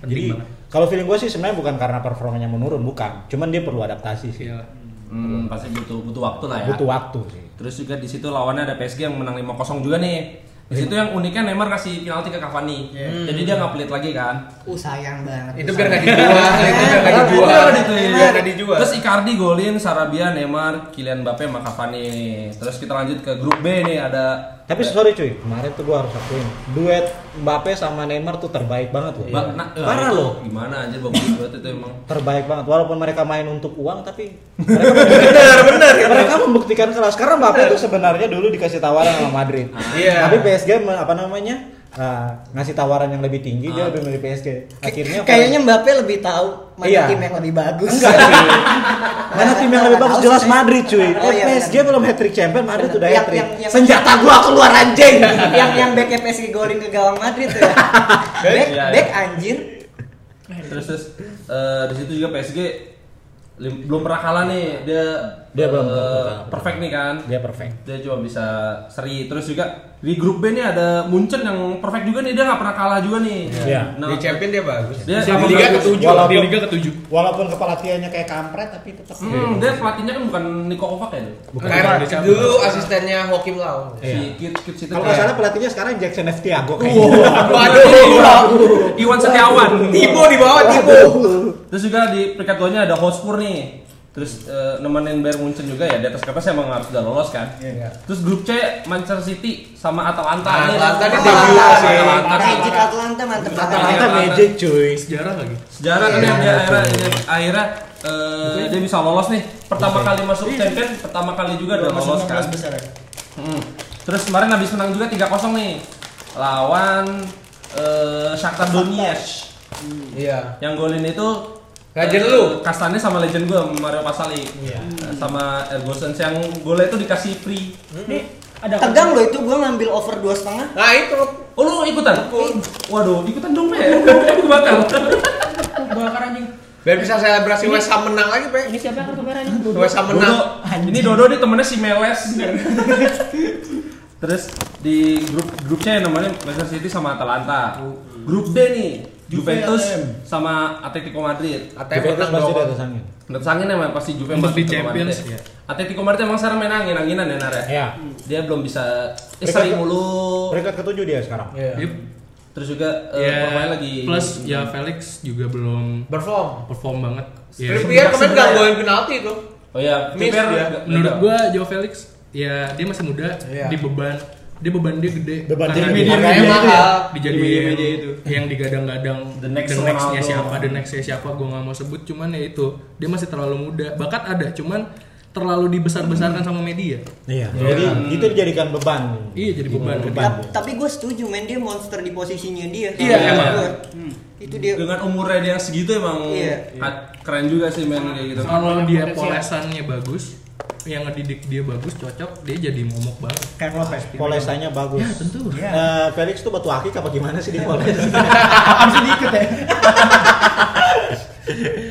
[SPEAKER 5] Penting
[SPEAKER 2] Jadi
[SPEAKER 5] banget.
[SPEAKER 2] kalau feeling gue sih sebenarnya bukan karena performanya menurun, bukan. Cuman dia perlu adaptasi sih.
[SPEAKER 5] Gila.
[SPEAKER 1] Hmm, pasti butuh butuh waktu lah ya.
[SPEAKER 2] Butuh waktu sih.
[SPEAKER 1] Terus juga di situ lawannya ada PSG yang menang 5-0 juga nih. Di situ yang uniknya Neymar kasih penalti ke Cavani.
[SPEAKER 2] Hmm.
[SPEAKER 1] Jadi dia nggak pelit lagi kan.
[SPEAKER 6] Uh sayang banget.
[SPEAKER 4] itu biar nggak dijual itu biar
[SPEAKER 1] Itu
[SPEAKER 4] nggak dijual
[SPEAKER 1] kan itu ya.
[SPEAKER 4] biar nggak dijual
[SPEAKER 1] Terus Icardi golin, Sarabia, Neymar, Kylian Mbappe, sama Cavani. Terus kita lanjut ke grup B nih ada
[SPEAKER 2] Tapi sorry cuy, kemarin tuh gue harus akuin duet Mbappe sama Neymar tuh terbaik banget loh.
[SPEAKER 5] Iya.
[SPEAKER 1] Ba- na-
[SPEAKER 2] Iya. Parah
[SPEAKER 1] itu
[SPEAKER 2] loh.
[SPEAKER 1] eh, Gimana aja bagus banget itu emang.
[SPEAKER 2] terbaik banget walaupun mereka main untuk uang tapi <laughs> mereka benar benar mereka membuktikan kelas karena Mbappe itu sebenarnya dulu dikasih tawaran sama Madrid
[SPEAKER 4] Iya.
[SPEAKER 2] tapi PSG me- apa namanya uh, ngasih tawaran yang lebih tinggi dia lebih milih PSG akhirnya
[SPEAKER 6] Kayaknya Mbappe lebih tahu mana
[SPEAKER 2] Iya.
[SPEAKER 6] tim yang lebih bagus.
[SPEAKER 2] enggak
[SPEAKER 6] <laughs>
[SPEAKER 2] cuy. mana tim yang lebih bagus
[SPEAKER 6] Tahu
[SPEAKER 2] jelas
[SPEAKER 6] sih.
[SPEAKER 2] Madrid cuy
[SPEAKER 6] Oh,
[SPEAKER 2] eh,
[SPEAKER 6] iya,
[SPEAKER 2] PSG
[SPEAKER 6] benar.
[SPEAKER 2] belum hat trick champion Madrid
[SPEAKER 6] Benar.
[SPEAKER 2] udah
[SPEAKER 6] Yang-
[SPEAKER 2] hat trick
[SPEAKER 6] yang- yang-
[SPEAKER 2] senjata gua keluar anjing
[SPEAKER 6] <laughs> yang yang back PSG golin ke gawang Madrid tuh ya. back
[SPEAKER 1] Iya, iya.
[SPEAKER 6] back anjir.
[SPEAKER 1] Terus terus eh, di situ juga PSG lim- belum pernah kalah nih. Dia
[SPEAKER 2] Dia belum
[SPEAKER 1] eh,
[SPEAKER 2] pernah kalah. Iya.
[SPEAKER 1] perfect nih kan.
[SPEAKER 2] dia perfect
[SPEAKER 1] Dia cuma bisa seri. Terus juga di grup B nih ada Munchen yang perfect juga nih. Dia nggak pernah kalah juga nih.
[SPEAKER 2] Iya.
[SPEAKER 1] Nah,
[SPEAKER 4] di champion dia bagus
[SPEAKER 1] dia
[SPEAKER 5] Ya, Di
[SPEAKER 1] sama
[SPEAKER 5] Liga
[SPEAKER 1] bagus.
[SPEAKER 5] ketujuh, di
[SPEAKER 2] Walaupun-
[SPEAKER 5] Liga ketujuh.
[SPEAKER 2] walaupun kepala tianya kayak kampret tapi tetap
[SPEAKER 1] Hmm, dia pelatihnya kan bukan Niko Kovac ya?
[SPEAKER 5] Bukan
[SPEAKER 4] Kayak
[SPEAKER 5] di Champions.
[SPEAKER 4] dulu asistennya Hokim Lau
[SPEAKER 1] Si kids kids itu.
[SPEAKER 2] kalau nggak salah pelatihnya sekarang Jackson F. Tiago kayaknya
[SPEAKER 1] Waduh, Waduh. Iwan Setiawan.
[SPEAKER 4] Tibo di bawah Tibo
[SPEAKER 1] Terus juga di peringkat 2 nya ada Hotspur nih. Terus eh, nemenin Bayern Munchen juga ya di atas kertas emang harus udah lolos kan.
[SPEAKER 2] Iya.
[SPEAKER 1] Terus grup C Manchester City sama Atalanta. Ini
[SPEAKER 4] Atalanta
[SPEAKER 6] kan
[SPEAKER 1] Atalanta,
[SPEAKER 4] di
[SPEAKER 1] Atalanta,
[SPEAKER 4] debut
[SPEAKER 6] Iya.
[SPEAKER 4] sih.
[SPEAKER 1] Atalanta,
[SPEAKER 6] Magic
[SPEAKER 1] Atalanta.
[SPEAKER 6] eh, Atlanta mantep banget.
[SPEAKER 2] Atalanta magic cuy
[SPEAKER 5] Sejarah lagi.
[SPEAKER 1] Sejarah kan yang dia akhirnya dia- akhirnya eh, dia bisa lolos nih. Pertama kali masuk champion, pertama kali juga udah lolos kan. Mm. Terus kemarin habis menang juga 3-0 nih lawan eh, Shakhtar Donetsk.
[SPEAKER 4] iya
[SPEAKER 1] Yang golin itu
[SPEAKER 4] Legend
[SPEAKER 1] eh,
[SPEAKER 4] lu.
[SPEAKER 1] Kastanya sama legend gue Mario Pasali. Eh, Sama Ergosens yang golnya itu dikasih free.
[SPEAKER 6] Nih, ada tegang loh itu gua ngambil over dua setengah.
[SPEAKER 4] nah itu
[SPEAKER 1] Oh lu ikutan? Waduh, ikutan dong, <laughs> men. Gue bakal.
[SPEAKER 3] Bakar anjing.
[SPEAKER 4] biar bisa selebrasi West Ham menang lagi pe
[SPEAKER 3] Ini siapa yang kartu merah ini?
[SPEAKER 4] West Ham
[SPEAKER 1] Dodo.
[SPEAKER 4] menang
[SPEAKER 1] Ini Dodo nih temennya si Meles. <laughs> Terus di grup grup C yang namanya Manchester City sama Atalanta. Grup D nih Juventus sama Atletico Madrid.
[SPEAKER 4] ATM
[SPEAKER 2] Juventus
[SPEAKER 4] menang
[SPEAKER 2] pasti
[SPEAKER 4] dong
[SPEAKER 2] udah kesangin
[SPEAKER 1] Menurut sangin emang pasti Juve
[SPEAKER 5] Untuk
[SPEAKER 1] masuk
[SPEAKER 5] di
[SPEAKER 1] ke
[SPEAKER 5] Champions,
[SPEAKER 1] Madrid.
[SPEAKER 5] ya.
[SPEAKER 1] Atletico Madrid emang sekarang main angin-anginan ya Nara.
[SPEAKER 2] Iya.
[SPEAKER 1] Dia belum bisa eh,
[SPEAKER 2] Mereka-
[SPEAKER 1] seri mulu.
[SPEAKER 2] peringkat ketujuh dia sekarang
[SPEAKER 4] Iya.
[SPEAKER 5] Dia
[SPEAKER 1] Terus juga eh,
[SPEAKER 5] Ya,
[SPEAKER 1] pemain lagi
[SPEAKER 5] plus ya Felix juga belum
[SPEAKER 4] perform
[SPEAKER 5] perform banget. Ya,
[SPEAKER 4] Trippier kemarin nggak golin penalti tuh
[SPEAKER 1] Oh iya,
[SPEAKER 4] Miss
[SPEAKER 1] Trippier
[SPEAKER 4] dia.
[SPEAKER 1] nggak-
[SPEAKER 5] menurut
[SPEAKER 1] nggak-
[SPEAKER 5] gua Joe Felix ya dia masih muda,
[SPEAKER 4] Iya.
[SPEAKER 5] di beban dia beban dia gede.
[SPEAKER 2] Beban dia
[SPEAKER 5] Karena
[SPEAKER 2] gede.
[SPEAKER 5] dia
[SPEAKER 4] Makanya
[SPEAKER 5] dia-
[SPEAKER 4] mahal.
[SPEAKER 5] dijadiin
[SPEAKER 1] Media-media itu.
[SPEAKER 5] yang digadang-gadang
[SPEAKER 1] Iya, The next
[SPEAKER 5] nya
[SPEAKER 1] Ronaldo.
[SPEAKER 5] siapa, the next nya siapa gua nggak mau sebut cuman ya itu dia masih terlalu muda. Bakat ada cuman terlalu dibesar-besarkan sama media.
[SPEAKER 2] Iya. Jadi itu dijadikan beban.
[SPEAKER 5] Iya jadi beban.
[SPEAKER 6] Ta- tapi gue setuju men dia monster di posisinya dia
[SPEAKER 5] Iya,
[SPEAKER 6] Kalau
[SPEAKER 5] emang.
[SPEAKER 6] gua, itu dia
[SPEAKER 1] dengan umurnya dia yang segitu emang
[SPEAKER 6] Iya.
[SPEAKER 1] a- keren juga sih men kayak gitu
[SPEAKER 5] Kalau dia polesannya bagus, yang ngedidik dia bagus, cocok, dia jadi momok banget.
[SPEAKER 3] Kayak Klopp ya?
[SPEAKER 2] Polesannya bagus.
[SPEAKER 5] Tentu.
[SPEAKER 2] Eh, Felix tuh batu akik apa gimana sih di poles? <laughs>
[SPEAKER 3] Apaan sih diikat ya?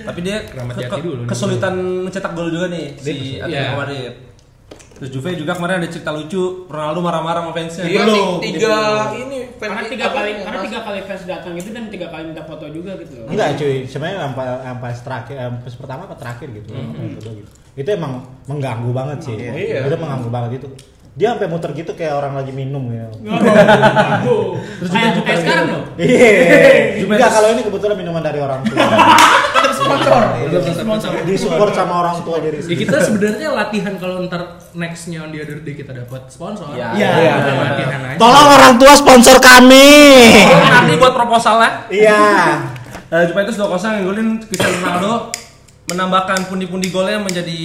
[SPEAKER 1] tapi dia
[SPEAKER 5] Keramat
[SPEAKER 1] ke-
[SPEAKER 5] Jati dulu nih.
[SPEAKER 1] kesulitan mencetak gol juga nih si
[SPEAKER 5] Iya.
[SPEAKER 1] Atletico Madrid terus Juve juga kemarin ada cerita lucu Ronaldo marah-marah sama fansnya
[SPEAKER 4] Iya,
[SPEAKER 1] Belum.
[SPEAKER 4] tiga ini fan-
[SPEAKER 7] karena tiga kali
[SPEAKER 4] apa,
[SPEAKER 7] karena
[SPEAKER 4] mas-
[SPEAKER 7] tiga kali fans datang itu dan tiga kali minta foto juga gitu loh
[SPEAKER 2] Enggak cuy, sebenarnya sampai sampai terakhir eh, pas pertama apa terakhir gitu. sampai kedua gitu. Itu emang mengganggu banget sih.
[SPEAKER 4] Iya.
[SPEAKER 2] Itu mengganggu banget itu. Dia sampai muter gitu kayak orang lagi minum ya.
[SPEAKER 7] terus kayak kayak sekarang
[SPEAKER 5] gitu.
[SPEAKER 7] loh
[SPEAKER 2] <laughs> Iya. Enggak kalau ini kebetulan minuman dari orang tua. Iya.
[SPEAKER 3] Tetap sponsor.
[SPEAKER 4] Tetap sponsor.
[SPEAKER 2] Disupport sama orang tua dari
[SPEAKER 5] Ya
[SPEAKER 2] sini.
[SPEAKER 5] kita sebenarnya latihan kalau ntar nextnya on the other day kita dapat sponsor.
[SPEAKER 1] Iya.
[SPEAKER 5] kita
[SPEAKER 3] Iya.
[SPEAKER 5] Latihan aja.
[SPEAKER 2] Tolong orang tua sponsor kami.
[SPEAKER 1] Oh, nanti buat proposalnya
[SPEAKER 2] Iya.
[SPEAKER 1] Eh, Juventus 2-0 golin Cristiano Ronaldo menambahkan pundi-pundi golnya menjadi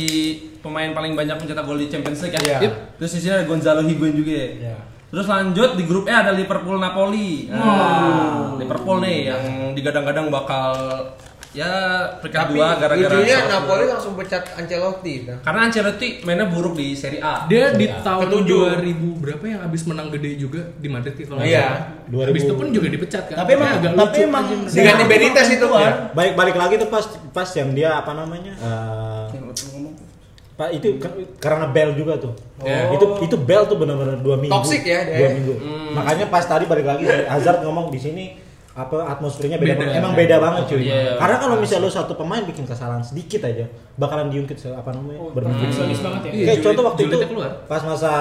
[SPEAKER 1] pemain paling banyak mencetak gol di Champions League ya.
[SPEAKER 2] Iya.
[SPEAKER 1] Terus di sini ada Gonzalo Higuain juga. ya.
[SPEAKER 5] Iya.
[SPEAKER 1] Terus lanjut di grup E ada Liverpool Napoli. Nah, Liverpool nih yang digadang-gadang bakal ya peringkat dua gara-gara
[SPEAKER 4] Lucunya
[SPEAKER 1] Salzburg.
[SPEAKER 4] Napoli langsung pecat Ancelotti. Nah.
[SPEAKER 1] Karena Ancelotti mainnya buruk di Serie A.
[SPEAKER 5] Dia di tahun
[SPEAKER 4] Ketujuh.
[SPEAKER 5] 2000 berapa yang abis menang gede juga di Madrid kalau nggak
[SPEAKER 4] Iya.
[SPEAKER 5] salah. Abis
[SPEAKER 2] 2000.
[SPEAKER 5] itu pun juga dipecat kan.
[SPEAKER 3] Tapi emang
[SPEAKER 5] Makanya agak
[SPEAKER 3] tapi
[SPEAKER 5] lucu.
[SPEAKER 3] emang
[SPEAKER 4] Dengan Benitez itu kan.
[SPEAKER 2] Baik balik lagi tuh pas pas yang dia apa namanya? eh, Pak itu ke- karena bel juga tuh.
[SPEAKER 5] Iya.
[SPEAKER 2] Itu itu bel tuh benar-benar dua minggu.
[SPEAKER 4] Toxic ya dia.
[SPEAKER 2] Dua minggu. Makanya pas tadi balik lagi si Hazard ngomong di sini apa atmosfernya beda,
[SPEAKER 5] Beda.
[SPEAKER 2] banget. emang beda banget cuy.
[SPEAKER 1] Iya.
[SPEAKER 2] Karena kalau misalnya lu satu pemain bikin kesalahan sedikit aja bakalan diungkit se- apa namanya? berminggu.
[SPEAKER 7] Bagus banget ya
[SPEAKER 5] Iya,
[SPEAKER 2] Kayak
[SPEAKER 5] Juli-
[SPEAKER 2] contoh waktu itu
[SPEAKER 5] Julitnya keluar.
[SPEAKER 2] pas masa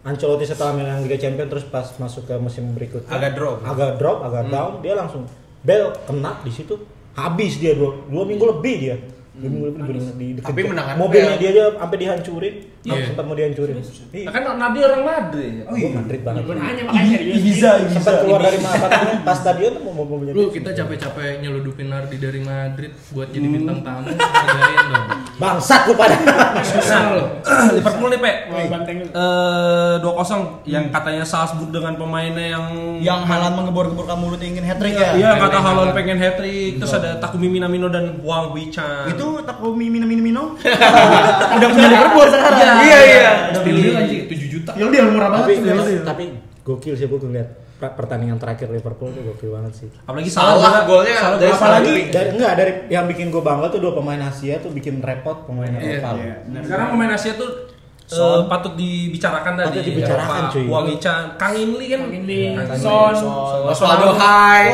[SPEAKER 2] Ancelotti setelah menang Liga Champions terus pas masuk ke musim berikutnya
[SPEAKER 4] Agak drop. Hmm.
[SPEAKER 2] agak drop, agak down, dia langsung bel kena di situ, habis dia dua, dua minggu lebih dia. Dua minggu lebih bener-bener di, dikejar.
[SPEAKER 4] Tapi menangan
[SPEAKER 2] mobilnya
[SPEAKER 4] Bel.
[SPEAKER 2] dia aja sampai dihancurin,
[SPEAKER 5] Iya.
[SPEAKER 2] sempat mau dihancurin. Iya.
[SPEAKER 1] Nah, kan Ronaldo orang Madrid. Iya.
[SPEAKER 2] Gua Madrid banget.
[SPEAKER 7] gue nanya makanya serius
[SPEAKER 2] Sempat keluar dari ma- apa namanya, pas stadion tuh mau mau- mau
[SPEAKER 5] Lu kita capek-capek nyeludupin Nardi dari Madrid buat
[SPEAKER 1] Hmm.
[SPEAKER 5] jadi bintang tamu, hargain dong.
[SPEAKER 2] bangsat lu pada.
[SPEAKER 1] Nah, <clears throat> Liverpool nih, Pe. Eh,
[SPEAKER 7] Wah, banteng lu.
[SPEAKER 1] dua 2-0 yang katanya Salzburg dengan pemainnya yang
[SPEAKER 3] yang halan mengebor-geborkan mulut ingin hat trick ya.
[SPEAKER 1] Iya kata Halon pengen hat trick, terus ada Takumi Minamino dan Wang Wichan.
[SPEAKER 3] Itu Takumi Mina Mina Mino. Udah punya Liverpool sekarang.
[SPEAKER 4] Iya iya.
[SPEAKER 5] Still deal anjing 7 juta.
[SPEAKER 3] Ya udah murah
[SPEAKER 2] tapi,
[SPEAKER 3] banget. sih, deal, deal.
[SPEAKER 2] tapi gokil sih gua ngeliat pra- pertandingan terakhir Liverpool tuh gokil banget sih.
[SPEAKER 1] apalagi salah
[SPEAKER 4] Salah golnya dari
[SPEAKER 2] Apalagi
[SPEAKER 4] apalagi
[SPEAKER 2] dari enggak dari yang bikin gue bangga tuh dua pemain Asia tuh bikin repot pemain Eropa.
[SPEAKER 3] Iya, benar.
[SPEAKER 1] Sekarang pemain Asia tuh eh, patut dibicarakan tadi.
[SPEAKER 2] Patut dibicarakan, cuy.
[SPEAKER 1] Wang Wichan, Kang In Lee kan.
[SPEAKER 7] Kang In Lee,
[SPEAKER 1] Kang In Lee.
[SPEAKER 7] Son,
[SPEAKER 4] Osvaldo Hai.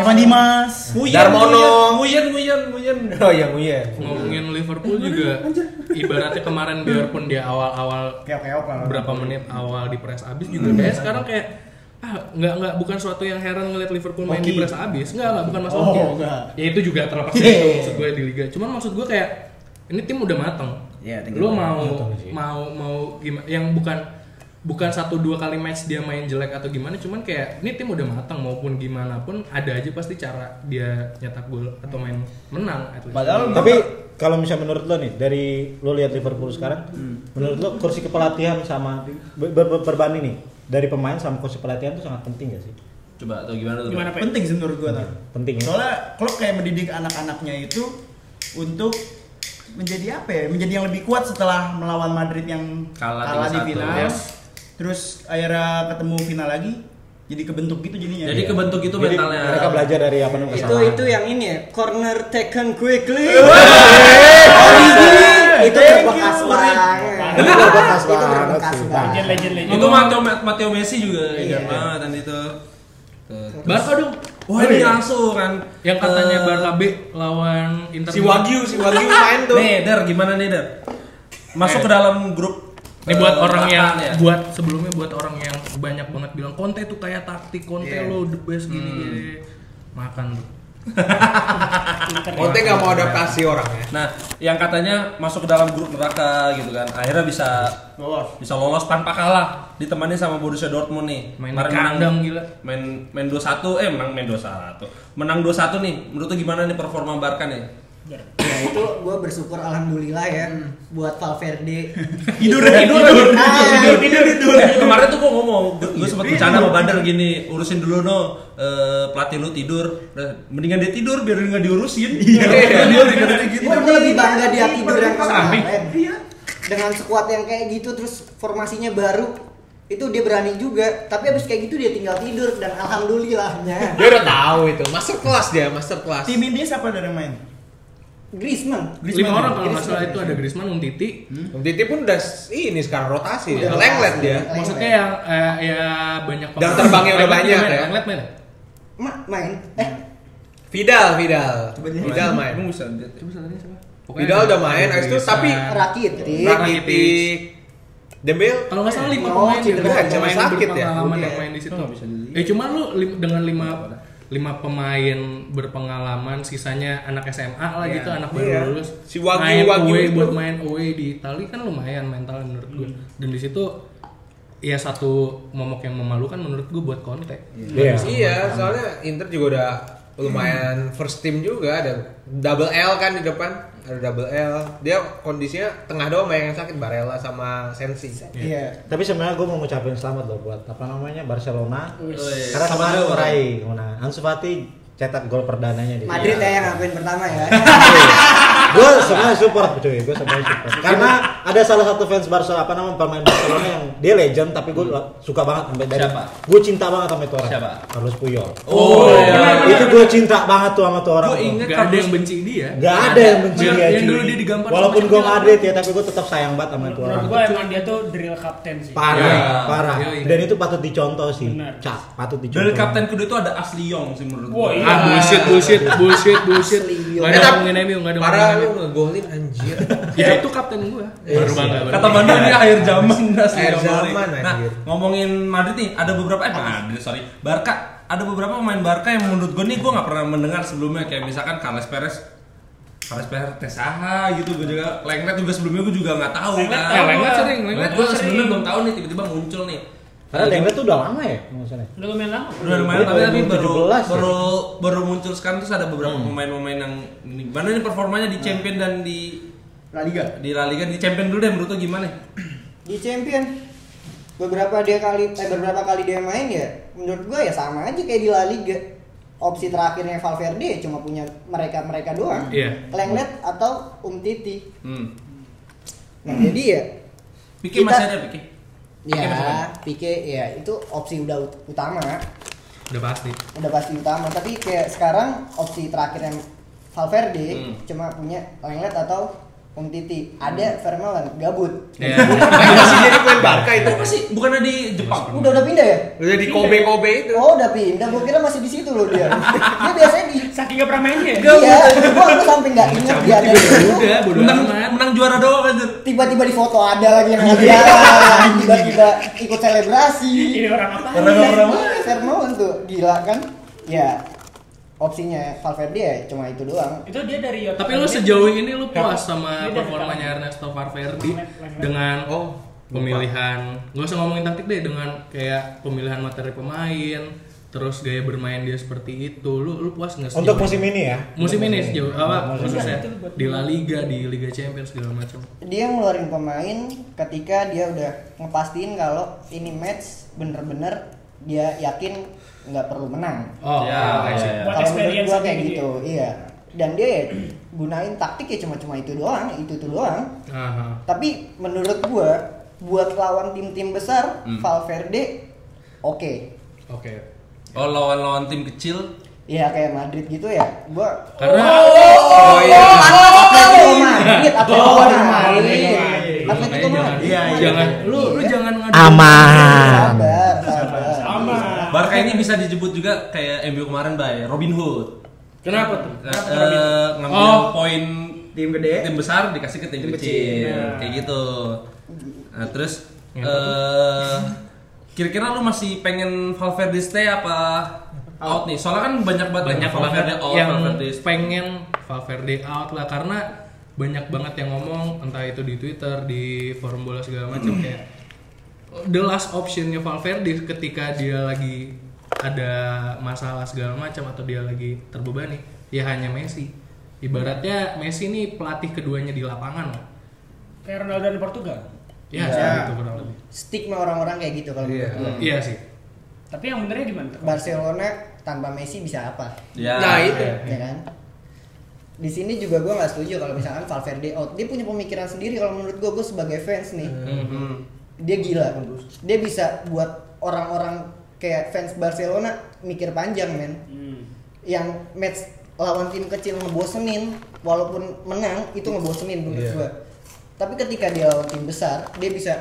[SPEAKER 3] Evan Dimas.
[SPEAKER 4] Oh,
[SPEAKER 1] Nguyen,
[SPEAKER 4] iya, Darmono.
[SPEAKER 1] Nguyen, Nguyen, Nguyen. Nguyen.
[SPEAKER 4] Oh yang iya.
[SPEAKER 5] Ngomongin Liverpool
[SPEAKER 3] Eh,
[SPEAKER 5] juga ibaratnya
[SPEAKER 3] <laughs>
[SPEAKER 5] kemarin biarpun dia awal-awal
[SPEAKER 3] Kayak kayak apa?
[SPEAKER 5] berapa menit awal di press abis juga
[SPEAKER 3] Hmm.
[SPEAKER 5] kayak sekarang kayak ah nggak nggak bukan suatu yang heran ngeliat Liverpool main di
[SPEAKER 3] Hoki.
[SPEAKER 5] press abis nggak nggak bukan masalah
[SPEAKER 3] Oh,
[SPEAKER 5] hoki.
[SPEAKER 3] nggak.
[SPEAKER 5] ya
[SPEAKER 3] Iya,
[SPEAKER 5] itu juga terlepas dari itu maksud gue di liga cuman maksud gue kayak ini tim udah mateng
[SPEAKER 3] Iya, tinggal
[SPEAKER 5] lo mau mau mau gimana yang bukan bukan satu dua kali match dia main jelek atau gimana cuman kayak ini tim udah matang maupun gimana pun ada aja pasti cara dia nyetak gol atau main menang at least.
[SPEAKER 3] Padahal
[SPEAKER 2] Tapi kalau misalnya menurut lo nih dari lo lihat Liverpool sekarang,
[SPEAKER 6] Hmm.
[SPEAKER 2] menurut lo kursi kepelatihan sama ber- ber- berbanding nih dari pemain sama kursi pelatihan itu sangat penting gak sih?
[SPEAKER 1] Coba atau gimana tuh?
[SPEAKER 7] gimana pak
[SPEAKER 3] penting sih menurut gua tuh.
[SPEAKER 2] Penting ya.
[SPEAKER 3] Soalnya klub kayak mendidik anak-anaknya Nah, itu untuk menjadi apa ya? Menjadi yang lebih kuat setelah melawan Madrid yang
[SPEAKER 1] Kalah
[SPEAKER 3] kalah,
[SPEAKER 1] 3-1,
[SPEAKER 3] di final.
[SPEAKER 1] yes.
[SPEAKER 3] Terus akhirnya ketemu final lagi, jadi kebentuk gitu jadinya.
[SPEAKER 1] Jadi kebentuk itu
[SPEAKER 2] Jadi
[SPEAKER 1] mentalnya.
[SPEAKER 2] mereka belajar dari apa namanya
[SPEAKER 6] itu
[SPEAKER 2] kesalahan.
[SPEAKER 6] itu yang ini ya corner taken quickly
[SPEAKER 2] itu
[SPEAKER 6] itu
[SPEAKER 2] bekas
[SPEAKER 6] bekas banget
[SPEAKER 2] Itu berbekas
[SPEAKER 6] Itu
[SPEAKER 2] banget
[SPEAKER 6] berbekas
[SPEAKER 2] sih.
[SPEAKER 6] banget. Nah,
[SPEAKER 7] legend legend legend
[SPEAKER 1] Itu Mateo, Mateo Messi juga iya. banget dan itu. Tuh.
[SPEAKER 5] Barca dong
[SPEAKER 1] Wah ini langsung kan
[SPEAKER 5] yang katanya
[SPEAKER 1] Eh,
[SPEAKER 5] Barca B lawan Inter
[SPEAKER 4] iya. Si Wagyu, si Wagyu main tuh.
[SPEAKER 1] Nih, Der, gimana nih, Der? Masuk
[SPEAKER 5] Eh.
[SPEAKER 1] ke dalam grup
[SPEAKER 5] Ini
[SPEAKER 1] eh,
[SPEAKER 5] buat orang yang
[SPEAKER 1] belakang ya.
[SPEAKER 5] buat sebelumnya buat orang yang banyak banget bilang Conte tuh kayak taktik Conte
[SPEAKER 4] Iya.
[SPEAKER 5] lo the best gini
[SPEAKER 4] Hmm.
[SPEAKER 5] gini makan tuh.
[SPEAKER 4] Conte nggak mau adaptasi ya. orangnya.
[SPEAKER 1] Nah, yang katanya masuk ke dalam grup neraka gitu kan. Akhirnya bisa
[SPEAKER 3] Lolos.
[SPEAKER 1] bisa lolos tanpa kalah ditemani sama Borussia Dortmund nih.
[SPEAKER 5] Main
[SPEAKER 1] Kemarin
[SPEAKER 5] di kandang, gila.
[SPEAKER 1] Main main 2-1 eh menang main 2-1. Menang 2-1 nih. Menurut lu gimana nih performa Barca nih?
[SPEAKER 6] Ya itu gue bersyukur alhamdulillah ya
[SPEAKER 3] Hmm.
[SPEAKER 6] buat
[SPEAKER 3] <laughs>
[SPEAKER 6] Valverde.
[SPEAKER 3] Tidur Ah,
[SPEAKER 1] tidur tidur tidur Iya.
[SPEAKER 3] tidur tidur.
[SPEAKER 1] Eh, kemarin tuh gua ngomong gue sempet bercanda sama Bandar gini urusin dulu no eh, pelatih lu tidur Nah, mendingan dia tidur biar dia nggak diurusin iya dia dikatakan gitu
[SPEAKER 6] Gue lebih bangga dia tidur yang
[SPEAKER 5] Samping.
[SPEAKER 6] kemarin. Iya. Dengan skuad yang kayak gitu terus formasinya baru itu dia berani juga tapi abis kayak gitu dia tinggal tidur dan alhamdulillahnya
[SPEAKER 4] Dia udah tahu itu, master class dia, master class.
[SPEAKER 3] Tim ini siapa dari yang main?
[SPEAKER 6] Griezmann
[SPEAKER 4] ya?
[SPEAKER 5] lima orang kalau nggak salah itu ada Griezmann, Umtiti,
[SPEAKER 4] Hmm. Titi pun udah s- ini sekarang rotasi,
[SPEAKER 6] Udah
[SPEAKER 4] udah lenglet
[SPEAKER 6] rotasi.
[SPEAKER 4] dia.
[SPEAKER 5] maksudnya yang eh, ya banyak
[SPEAKER 4] Dan Iya, terbangnya udah
[SPEAKER 5] Lenglet
[SPEAKER 4] banyak
[SPEAKER 5] main,
[SPEAKER 4] ya.
[SPEAKER 5] Lenglet main.
[SPEAKER 6] Ma- main eh
[SPEAKER 4] Vidal, Vidal.
[SPEAKER 3] Coba dia-
[SPEAKER 4] Vidal main.
[SPEAKER 1] Emang bisa lihat ya?
[SPEAKER 5] Coba salah siapa?
[SPEAKER 4] Vidal udah main, abis itu
[SPEAKER 5] Griezmann.
[SPEAKER 4] tapi
[SPEAKER 5] Iya.
[SPEAKER 6] Rakitic
[SPEAKER 4] Rakitic, Dembele,
[SPEAKER 5] kalau nggak salah lima
[SPEAKER 6] Oh,
[SPEAKER 5] pemain
[SPEAKER 6] cedera.
[SPEAKER 5] ya,
[SPEAKER 4] Cuma
[SPEAKER 5] pemain
[SPEAKER 4] sakit ya?
[SPEAKER 5] berpengalaman
[SPEAKER 4] Iya.
[SPEAKER 5] yang main di situ.
[SPEAKER 1] Nggak bisa dilihat.
[SPEAKER 5] Eh cuman lu lim- dengan lima lima pemain berpengalaman sisanya anak SMA lah
[SPEAKER 4] Iya.
[SPEAKER 5] gitu anak
[SPEAKER 4] Iya.
[SPEAKER 5] baru lulus
[SPEAKER 4] Si Wagyu-
[SPEAKER 5] main
[SPEAKER 4] Wagyu
[SPEAKER 5] away
[SPEAKER 4] itu.
[SPEAKER 5] buat main away di Itali kan lumayan mental menurut gue dan di situ ya satu momok yang memalukan menurut gue buat konten
[SPEAKER 2] Iya.
[SPEAKER 4] Iya, soalnya Inter juga udah lumayan first team juga ada double L kan di depan ada double L dia kondisinya tengah doang banyak yang sakit Barella sama Sensi
[SPEAKER 3] Iya.
[SPEAKER 2] Tapi sebenarnya gue mau ngucapin selamat loh buat apa namanya Barcelona.
[SPEAKER 1] Wih.
[SPEAKER 2] Karena
[SPEAKER 1] Sama
[SPEAKER 2] kemarin
[SPEAKER 1] juga.
[SPEAKER 2] meraih kemenangan. Ansu Fati cetak gol perdananya di
[SPEAKER 6] Madrid ya yang ngakuin pertama ya
[SPEAKER 2] gue sebenarnya support cuy gue sebenarnya support karena ada salah satu fans Barcelona apa namanya pemain Barcelona yang dia legend tapi gue suka banget sampai dari
[SPEAKER 1] Siapa?
[SPEAKER 2] gue cinta banget sama itu orang
[SPEAKER 1] Siapa?
[SPEAKER 2] Carlos Puyol
[SPEAKER 1] oh iya
[SPEAKER 2] itu gue cinta banget tuh sama tuh orang
[SPEAKER 1] gue
[SPEAKER 2] tuh.
[SPEAKER 1] inget
[SPEAKER 5] nggak ada yang benci dia
[SPEAKER 2] Gak ada yang benci
[SPEAKER 5] Yang-
[SPEAKER 2] dia
[SPEAKER 5] yang
[SPEAKER 2] cuy.
[SPEAKER 5] dulu dia digampar sama
[SPEAKER 2] walaupun
[SPEAKER 5] siapa
[SPEAKER 2] gue
[SPEAKER 5] dia
[SPEAKER 2] Madrid ya tapi gue tetap sayang banget sama itu orang
[SPEAKER 7] Menurut gua emang dia tuh drill kapten sih.
[SPEAKER 2] parah
[SPEAKER 1] Iya,
[SPEAKER 2] parah
[SPEAKER 5] iya, iya.
[SPEAKER 2] dan itu patut dicontoh sih
[SPEAKER 7] Benar.
[SPEAKER 2] cak patut dicontoh
[SPEAKER 1] dari kapten kuda itu ada Asli Yong sih menurut gue
[SPEAKER 4] Oh,
[SPEAKER 7] Wah, iya.
[SPEAKER 5] ah bullshit bullshit bullshit bullshit
[SPEAKER 6] Asli,
[SPEAKER 5] nggak
[SPEAKER 4] Eh,
[SPEAKER 5] ada
[SPEAKER 4] tapi- Iya.
[SPEAKER 5] ngomongin MU nggak ada
[SPEAKER 4] parah
[SPEAKER 5] ngomongin
[SPEAKER 4] lu
[SPEAKER 5] MU.
[SPEAKER 4] ngegolin
[SPEAKER 5] <laughs>
[SPEAKER 4] anjir
[SPEAKER 5] ya itu kapten gua
[SPEAKER 4] Iya.
[SPEAKER 5] baru bangga baru
[SPEAKER 1] Kata
[SPEAKER 5] bangga.
[SPEAKER 1] Bandar dia akhir zaman asli
[SPEAKER 4] Akhir
[SPEAKER 1] Yong balik.
[SPEAKER 4] zaman,
[SPEAKER 1] Nah,
[SPEAKER 4] anjir.
[SPEAKER 1] ngomongin Madrid nih, ada beberapa eh Madrid sorry, Barca ada beberapa pemain Barca yang menurut gue nih gue nggak pernah mendengar sebelumnya kayak misalkan Carles Perez Carles Perez Tesaha gitu gue juga Lenglet juga sebelumnya gue juga nggak tahu
[SPEAKER 7] Lenglet
[SPEAKER 1] kan
[SPEAKER 7] tahu.
[SPEAKER 5] Eh, lenglet sering lenglet
[SPEAKER 1] gue
[SPEAKER 5] gua sering
[SPEAKER 1] sebelumnya belum tahu nih tiba-tiba muncul nih
[SPEAKER 2] karena Lenglet tuh udah lama ya nggak salah ya?
[SPEAKER 7] Udah lumayan lama.
[SPEAKER 1] udah lumayan tapi tapi baru
[SPEAKER 2] 2017 ya?
[SPEAKER 1] baru baru muncul sekarang terus ada beberapa pemain-pemain yang ini. gimana nih performanya di Champion dan di
[SPEAKER 3] La Liga.
[SPEAKER 1] di La Liga di Champion dulu deh menurut lo gimana?
[SPEAKER 6] di champion beberapa dia kali eh, beberapa kali dia main ya menurut gua ya sama aja kayak di La Liga opsi terakhirnya Valverde ya cuma punya mereka mereka doang
[SPEAKER 5] Iya.
[SPEAKER 6] Lenglet atau Umtiti
[SPEAKER 1] Hmm.
[SPEAKER 6] nah
[SPEAKER 5] Hmm.
[SPEAKER 6] jadi ya
[SPEAKER 1] Pikir
[SPEAKER 6] Kita-
[SPEAKER 1] masih ada pikir.
[SPEAKER 6] ya
[SPEAKER 1] Pique
[SPEAKER 5] kan?
[SPEAKER 1] masuk
[SPEAKER 6] Pique ya itu opsi udah ut- utama
[SPEAKER 5] udah pasti
[SPEAKER 6] udah pasti utama tapi kayak sekarang opsi terakhirnya Valverde
[SPEAKER 1] Hmm.
[SPEAKER 6] cuma punya Lenglet atau Umtiti ada Vermaelen gabut
[SPEAKER 5] Iya.
[SPEAKER 4] <laughs> masih jadi pemain Barca itu
[SPEAKER 1] Apa sih? Bukannya di Jepang?
[SPEAKER 6] udah udah pindah ya
[SPEAKER 4] udah
[SPEAKER 5] Iya.
[SPEAKER 4] di Kobe Kobe itu
[SPEAKER 6] Oh udah pindah, gue kira masih di situ loh dia. dia biasanya di
[SPEAKER 7] Saking gak pernah mainnya.
[SPEAKER 6] Iya, gue gue sampai nggak ingat dia ada di situ.
[SPEAKER 5] udah bodo
[SPEAKER 1] menang,
[SPEAKER 5] amat
[SPEAKER 1] menang juara doang anjir.
[SPEAKER 6] Tiba-tiba di foto ada lagi yang nggak jalan, tiba-tiba ikut selebrasi.
[SPEAKER 7] Ini orang apa?
[SPEAKER 6] Orang-orang Vermaelen tuh gila kan? Ya opsinya Valverde ya cuma itu doang.
[SPEAKER 7] Itu dia dari
[SPEAKER 5] tapi lu sejauh ini lu puas
[SPEAKER 7] Dia
[SPEAKER 5] sama
[SPEAKER 7] Iya, dari Iya,
[SPEAKER 5] performanya
[SPEAKER 7] Thailand.
[SPEAKER 5] Ernesto Valverde
[SPEAKER 7] Lenglet, lenglet.
[SPEAKER 5] dengan oh pemilihan nggak usah ngomongin taktik deh dengan kayak pemilihan materi pemain terus gaya bermain dia seperti itu lu lu puas nggak sejauh
[SPEAKER 2] untuk musim ini ya
[SPEAKER 5] musim ini sejauh apa
[SPEAKER 2] Musim
[SPEAKER 5] khususnya
[SPEAKER 7] ini. Itu buat-
[SPEAKER 5] di La Liga di Liga Champions segala macam
[SPEAKER 6] Dia ngeluarin pemain ketika dia udah ngepastiin kalau ini match bener-bener dia yakin nggak perlu menang.
[SPEAKER 5] oh
[SPEAKER 1] Ya,
[SPEAKER 5] oke,
[SPEAKER 1] ya,
[SPEAKER 5] sih.
[SPEAKER 1] ya.
[SPEAKER 7] Buat
[SPEAKER 6] kalau menurut
[SPEAKER 7] experience
[SPEAKER 6] gua
[SPEAKER 7] aja
[SPEAKER 6] kayak
[SPEAKER 7] gitu
[SPEAKER 6] gitu, iya dan dia ya gunain taktik ya cuma cuma itu doang itu itu doang
[SPEAKER 5] Aha.
[SPEAKER 6] tapi menurut gua buat lawan tim-tim besar
[SPEAKER 1] Hmm.
[SPEAKER 6] Valverde oke
[SPEAKER 5] oke
[SPEAKER 1] Oh lawan-lawan tim kecil.
[SPEAKER 6] ya kayak Madrid gitu ya gua
[SPEAKER 5] karena
[SPEAKER 4] oh iya
[SPEAKER 6] Atletico Madrid Atletico
[SPEAKER 7] Oh,
[SPEAKER 6] Madrid
[SPEAKER 5] iya.
[SPEAKER 7] Madrid.
[SPEAKER 6] Atletico
[SPEAKER 5] Makanya
[SPEAKER 6] Madrid
[SPEAKER 5] jangan, Iya, jangan lu lu jangan ngadu
[SPEAKER 2] aman
[SPEAKER 6] sabar sabar
[SPEAKER 7] Sama.
[SPEAKER 1] Barca ini bisa disebut juga kayak MU kemarin by Robin Hood.
[SPEAKER 5] kenapa tuh
[SPEAKER 1] Eh, eh, ngambil
[SPEAKER 5] Oh.
[SPEAKER 1] poin
[SPEAKER 3] Tim gede.
[SPEAKER 1] tim besar dikasih ke tim,
[SPEAKER 3] Tim
[SPEAKER 1] kecil.
[SPEAKER 3] kecil.
[SPEAKER 1] Kayak gitu. Nah, terus
[SPEAKER 5] Ya,
[SPEAKER 1] eh kira-kira lu masih pengen Valverde stay apa out nih? Soalnya kan banyak banget
[SPEAKER 5] banyak banget
[SPEAKER 1] Valverde out,
[SPEAKER 5] yang
[SPEAKER 1] Valverde stay.
[SPEAKER 5] pengen Valverde out lah karena banyak banget yang ngomong entah itu di Twitter di forum bola segala macam kayak the last optionnya Valverde ketika dia lagi ada masalah segala macam atau dia lagi terbebani ya hanya Messi Ibaratnya Messi ini pelatih keduanya di lapangan loh.
[SPEAKER 7] Kayak Ronaldo dan Portugal.
[SPEAKER 5] Ya,
[SPEAKER 6] Iya.
[SPEAKER 5] seperti itu kurang lebih.
[SPEAKER 6] stigma orang-orang kayak gitu kalau
[SPEAKER 4] Iya.
[SPEAKER 6] menurut gua.
[SPEAKER 5] Iya sih.
[SPEAKER 7] Tapi yang benernya di mana?
[SPEAKER 6] Barcelona tanpa Messi bisa apa
[SPEAKER 1] Ya.
[SPEAKER 4] Nah, itu.
[SPEAKER 6] ya kan di sini juga gue nggak setuju kalau misalkan Valverde out dia punya pemikiran sendiri kalau menurut gue gue sebagai fans nih
[SPEAKER 4] Hmm.
[SPEAKER 5] Hmm.
[SPEAKER 6] dia gila dia bisa buat orang-orang kayak fans Barcelona mikir panjang men
[SPEAKER 7] Hmm.
[SPEAKER 6] yang match lawan tim kecil ngebosenin walaupun menang itu ngebosenin menurut
[SPEAKER 4] Iya.
[SPEAKER 6] gua. tapi ketika dia lawan tim besar dia bisa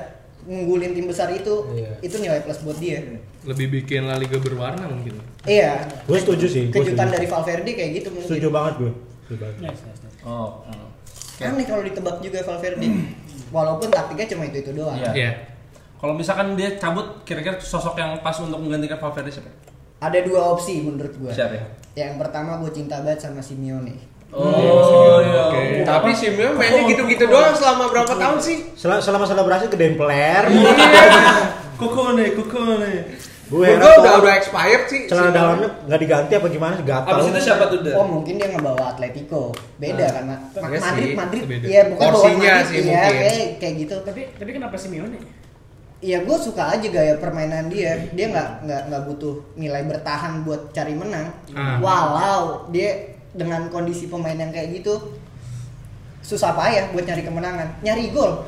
[SPEAKER 6] ngunggulin tim besar itu
[SPEAKER 4] Iya.
[SPEAKER 6] itu nilai plus buat dia
[SPEAKER 5] Lebih bikin La Liga berwarna mungkin.
[SPEAKER 6] iya
[SPEAKER 2] Gue setuju sih. gua
[SPEAKER 6] kejutan
[SPEAKER 2] setuju.
[SPEAKER 6] dari Valverde kayak gitu mungkin
[SPEAKER 2] Setuju banget gue. Setuju banget.
[SPEAKER 7] Nice, nice, nice.
[SPEAKER 1] Oh.
[SPEAKER 6] aneh kalau ditebak juga
[SPEAKER 4] <clears throat>
[SPEAKER 6] Valverde walaupun taktiknya cuma itu itu doang
[SPEAKER 1] Iya.
[SPEAKER 5] Iya.
[SPEAKER 1] Kalau misalkan dia cabut, kira-kira sosok yang pas untuk menggantikan Valverde siapa?
[SPEAKER 6] ada dua opsi menurut gua
[SPEAKER 1] Siapa ya?
[SPEAKER 6] yang pertama gue cinta banget sama Simeone
[SPEAKER 1] Oh, iya.
[SPEAKER 4] Tapi Simeon mainnya gitu-gitu doang selama berapa tahun sih?
[SPEAKER 2] Sel- Selama selebrasi ke Dempler,
[SPEAKER 1] Iya.
[SPEAKER 3] Kokone, kokone.
[SPEAKER 2] gue heran
[SPEAKER 4] Menurut gua udah kan?
[SPEAKER 2] tuh
[SPEAKER 4] udah expired sih.
[SPEAKER 2] celana
[SPEAKER 4] Simeone.
[SPEAKER 2] dalamnya nggak diganti apa gimana sih gatal.
[SPEAKER 1] Abis itu siapa tuh? Dan?
[SPEAKER 6] Oh mungkin dia ngebawa Atletico beda
[SPEAKER 2] Nah.
[SPEAKER 6] karena Ma-
[SPEAKER 4] Iya sih,
[SPEAKER 6] Madrid Madrid
[SPEAKER 5] beda.
[SPEAKER 6] iya bukan bawa
[SPEAKER 4] Porsinya
[SPEAKER 6] Madrid
[SPEAKER 4] sih
[SPEAKER 6] iya
[SPEAKER 4] mungkin.
[SPEAKER 6] kayak kayak gitu
[SPEAKER 7] Tapi tapi kenapa Simeone?
[SPEAKER 6] Iya gue suka aja gaya permainan dia. Dia nggak nggak nggak butuh nilai bertahan buat cari menang.
[SPEAKER 5] Ah.
[SPEAKER 6] Walau dia dengan kondisi pemain yang kayak gitu susah payah buat nyari kemenangan. Nyari gol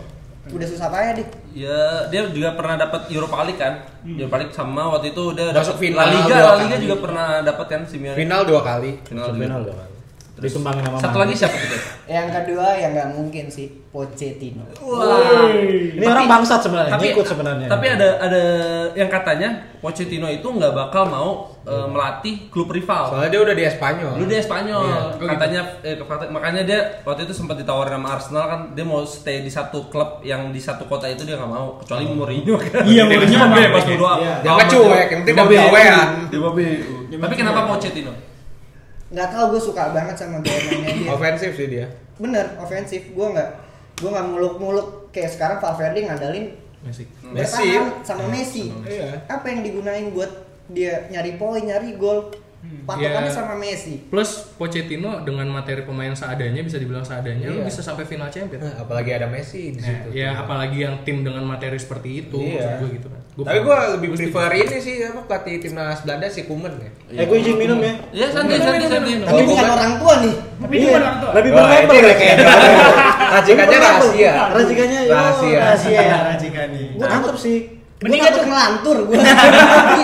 [SPEAKER 6] udah susah payah deh.
[SPEAKER 1] Ya, dia juga pernah dapat Europa League kan? Europa League sama waktu itu dia
[SPEAKER 4] Masuk
[SPEAKER 1] dapat
[SPEAKER 4] final
[SPEAKER 1] La Liga,
[SPEAKER 4] dua
[SPEAKER 1] La Liga
[SPEAKER 4] kali.
[SPEAKER 1] juga pernah dapat kan Simeone.
[SPEAKER 4] Final dua kali.
[SPEAKER 1] Final juga.
[SPEAKER 2] Final dong. Disumbangin sama
[SPEAKER 1] Satu
[SPEAKER 2] Mane.
[SPEAKER 1] lagi siapa gitu?
[SPEAKER 6] Yang kedua yang nggak mungkin sih Pochettino.
[SPEAKER 2] Ini orang bangsat sebenarnya,
[SPEAKER 1] tapi
[SPEAKER 2] ngikut sebenarnya.
[SPEAKER 1] tapi ada ada yang katanya Pochettino itu nggak bakal mau eh, melatih klub rival.
[SPEAKER 4] Soalnya dia udah di Espanyol.
[SPEAKER 1] Dulu dia Spanyol,
[SPEAKER 4] Iya.
[SPEAKER 1] katanya eh, kata- makanya dia waktu itu sempat ditawarin sama Arsenal kan dia mau stay di satu klub yang di satu kota itu dia nggak mau kecuali Mourinho <laughs> kan.
[SPEAKER 7] Iya, Mourinho
[SPEAKER 1] Dia
[SPEAKER 7] mah
[SPEAKER 1] bebas
[SPEAKER 7] bebas.
[SPEAKER 1] berdoa.
[SPEAKER 2] Iya.
[SPEAKER 4] Dia mah cuek, yang penting dapat gawean.
[SPEAKER 1] Tapi kenapa Pochettino?
[SPEAKER 6] Nggak tahu gue suka banget sama gaya mainnya dia.
[SPEAKER 4] Ofensif sih dia.
[SPEAKER 6] Bener ofensif gue nggak gue nggak muluk-muluk kayak sekarang Valverde ngandalin
[SPEAKER 5] Messi.
[SPEAKER 4] Messi.
[SPEAKER 6] bertahan sama Messi.
[SPEAKER 4] Iya.
[SPEAKER 6] Apa yang digunain buat dia nyari poin, nyari gol? Patokannya
[SPEAKER 5] iya.
[SPEAKER 6] sama Messi.
[SPEAKER 5] Plus Pochettino dengan materi pemain seadanya bisa dibilang seadanya lu
[SPEAKER 4] Iya.
[SPEAKER 5] bisa sampai final champion.
[SPEAKER 4] Nah, apalagi ada Messi di
[SPEAKER 5] Nah,
[SPEAKER 4] situ.
[SPEAKER 1] iya,
[SPEAKER 5] ya apalagi yang tim dengan materi seperti itu maksud
[SPEAKER 4] Iya.
[SPEAKER 5] gua gitu kan. Gua
[SPEAKER 4] Tapi
[SPEAKER 5] paham.
[SPEAKER 4] gue lebih prefer ini sih apa pelatih timnas Belanda si Kuman ya.
[SPEAKER 2] Eh gue izin minum ya.
[SPEAKER 1] Ya santai santai santai.
[SPEAKER 6] Tapi
[SPEAKER 4] gua
[SPEAKER 6] bukan
[SPEAKER 4] kan-
[SPEAKER 6] orang tua nih.
[SPEAKER 7] Tapi itu kan orang
[SPEAKER 1] Oh,
[SPEAKER 7] tua.
[SPEAKER 2] Lebih
[SPEAKER 4] Wah,
[SPEAKER 2] berlabel
[SPEAKER 4] oh, ini
[SPEAKER 2] ya <laughs>
[SPEAKER 4] kayaknya.
[SPEAKER 2] kayaknya.
[SPEAKER 4] Racikannya rahasia.
[SPEAKER 2] Racikannya ya.
[SPEAKER 4] Rahasia.
[SPEAKER 2] Rahasia.
[SPEAKER 3] racikan nih.
[SPEAKER 2] Gue mantep sih.
[SPEAKER 6] Gue
[SPEAKER 7] Mendingan
[SPEAKER 6] takut
[SPEAKER 7] tuh-
[SPEAKER 6] ngelantur gue.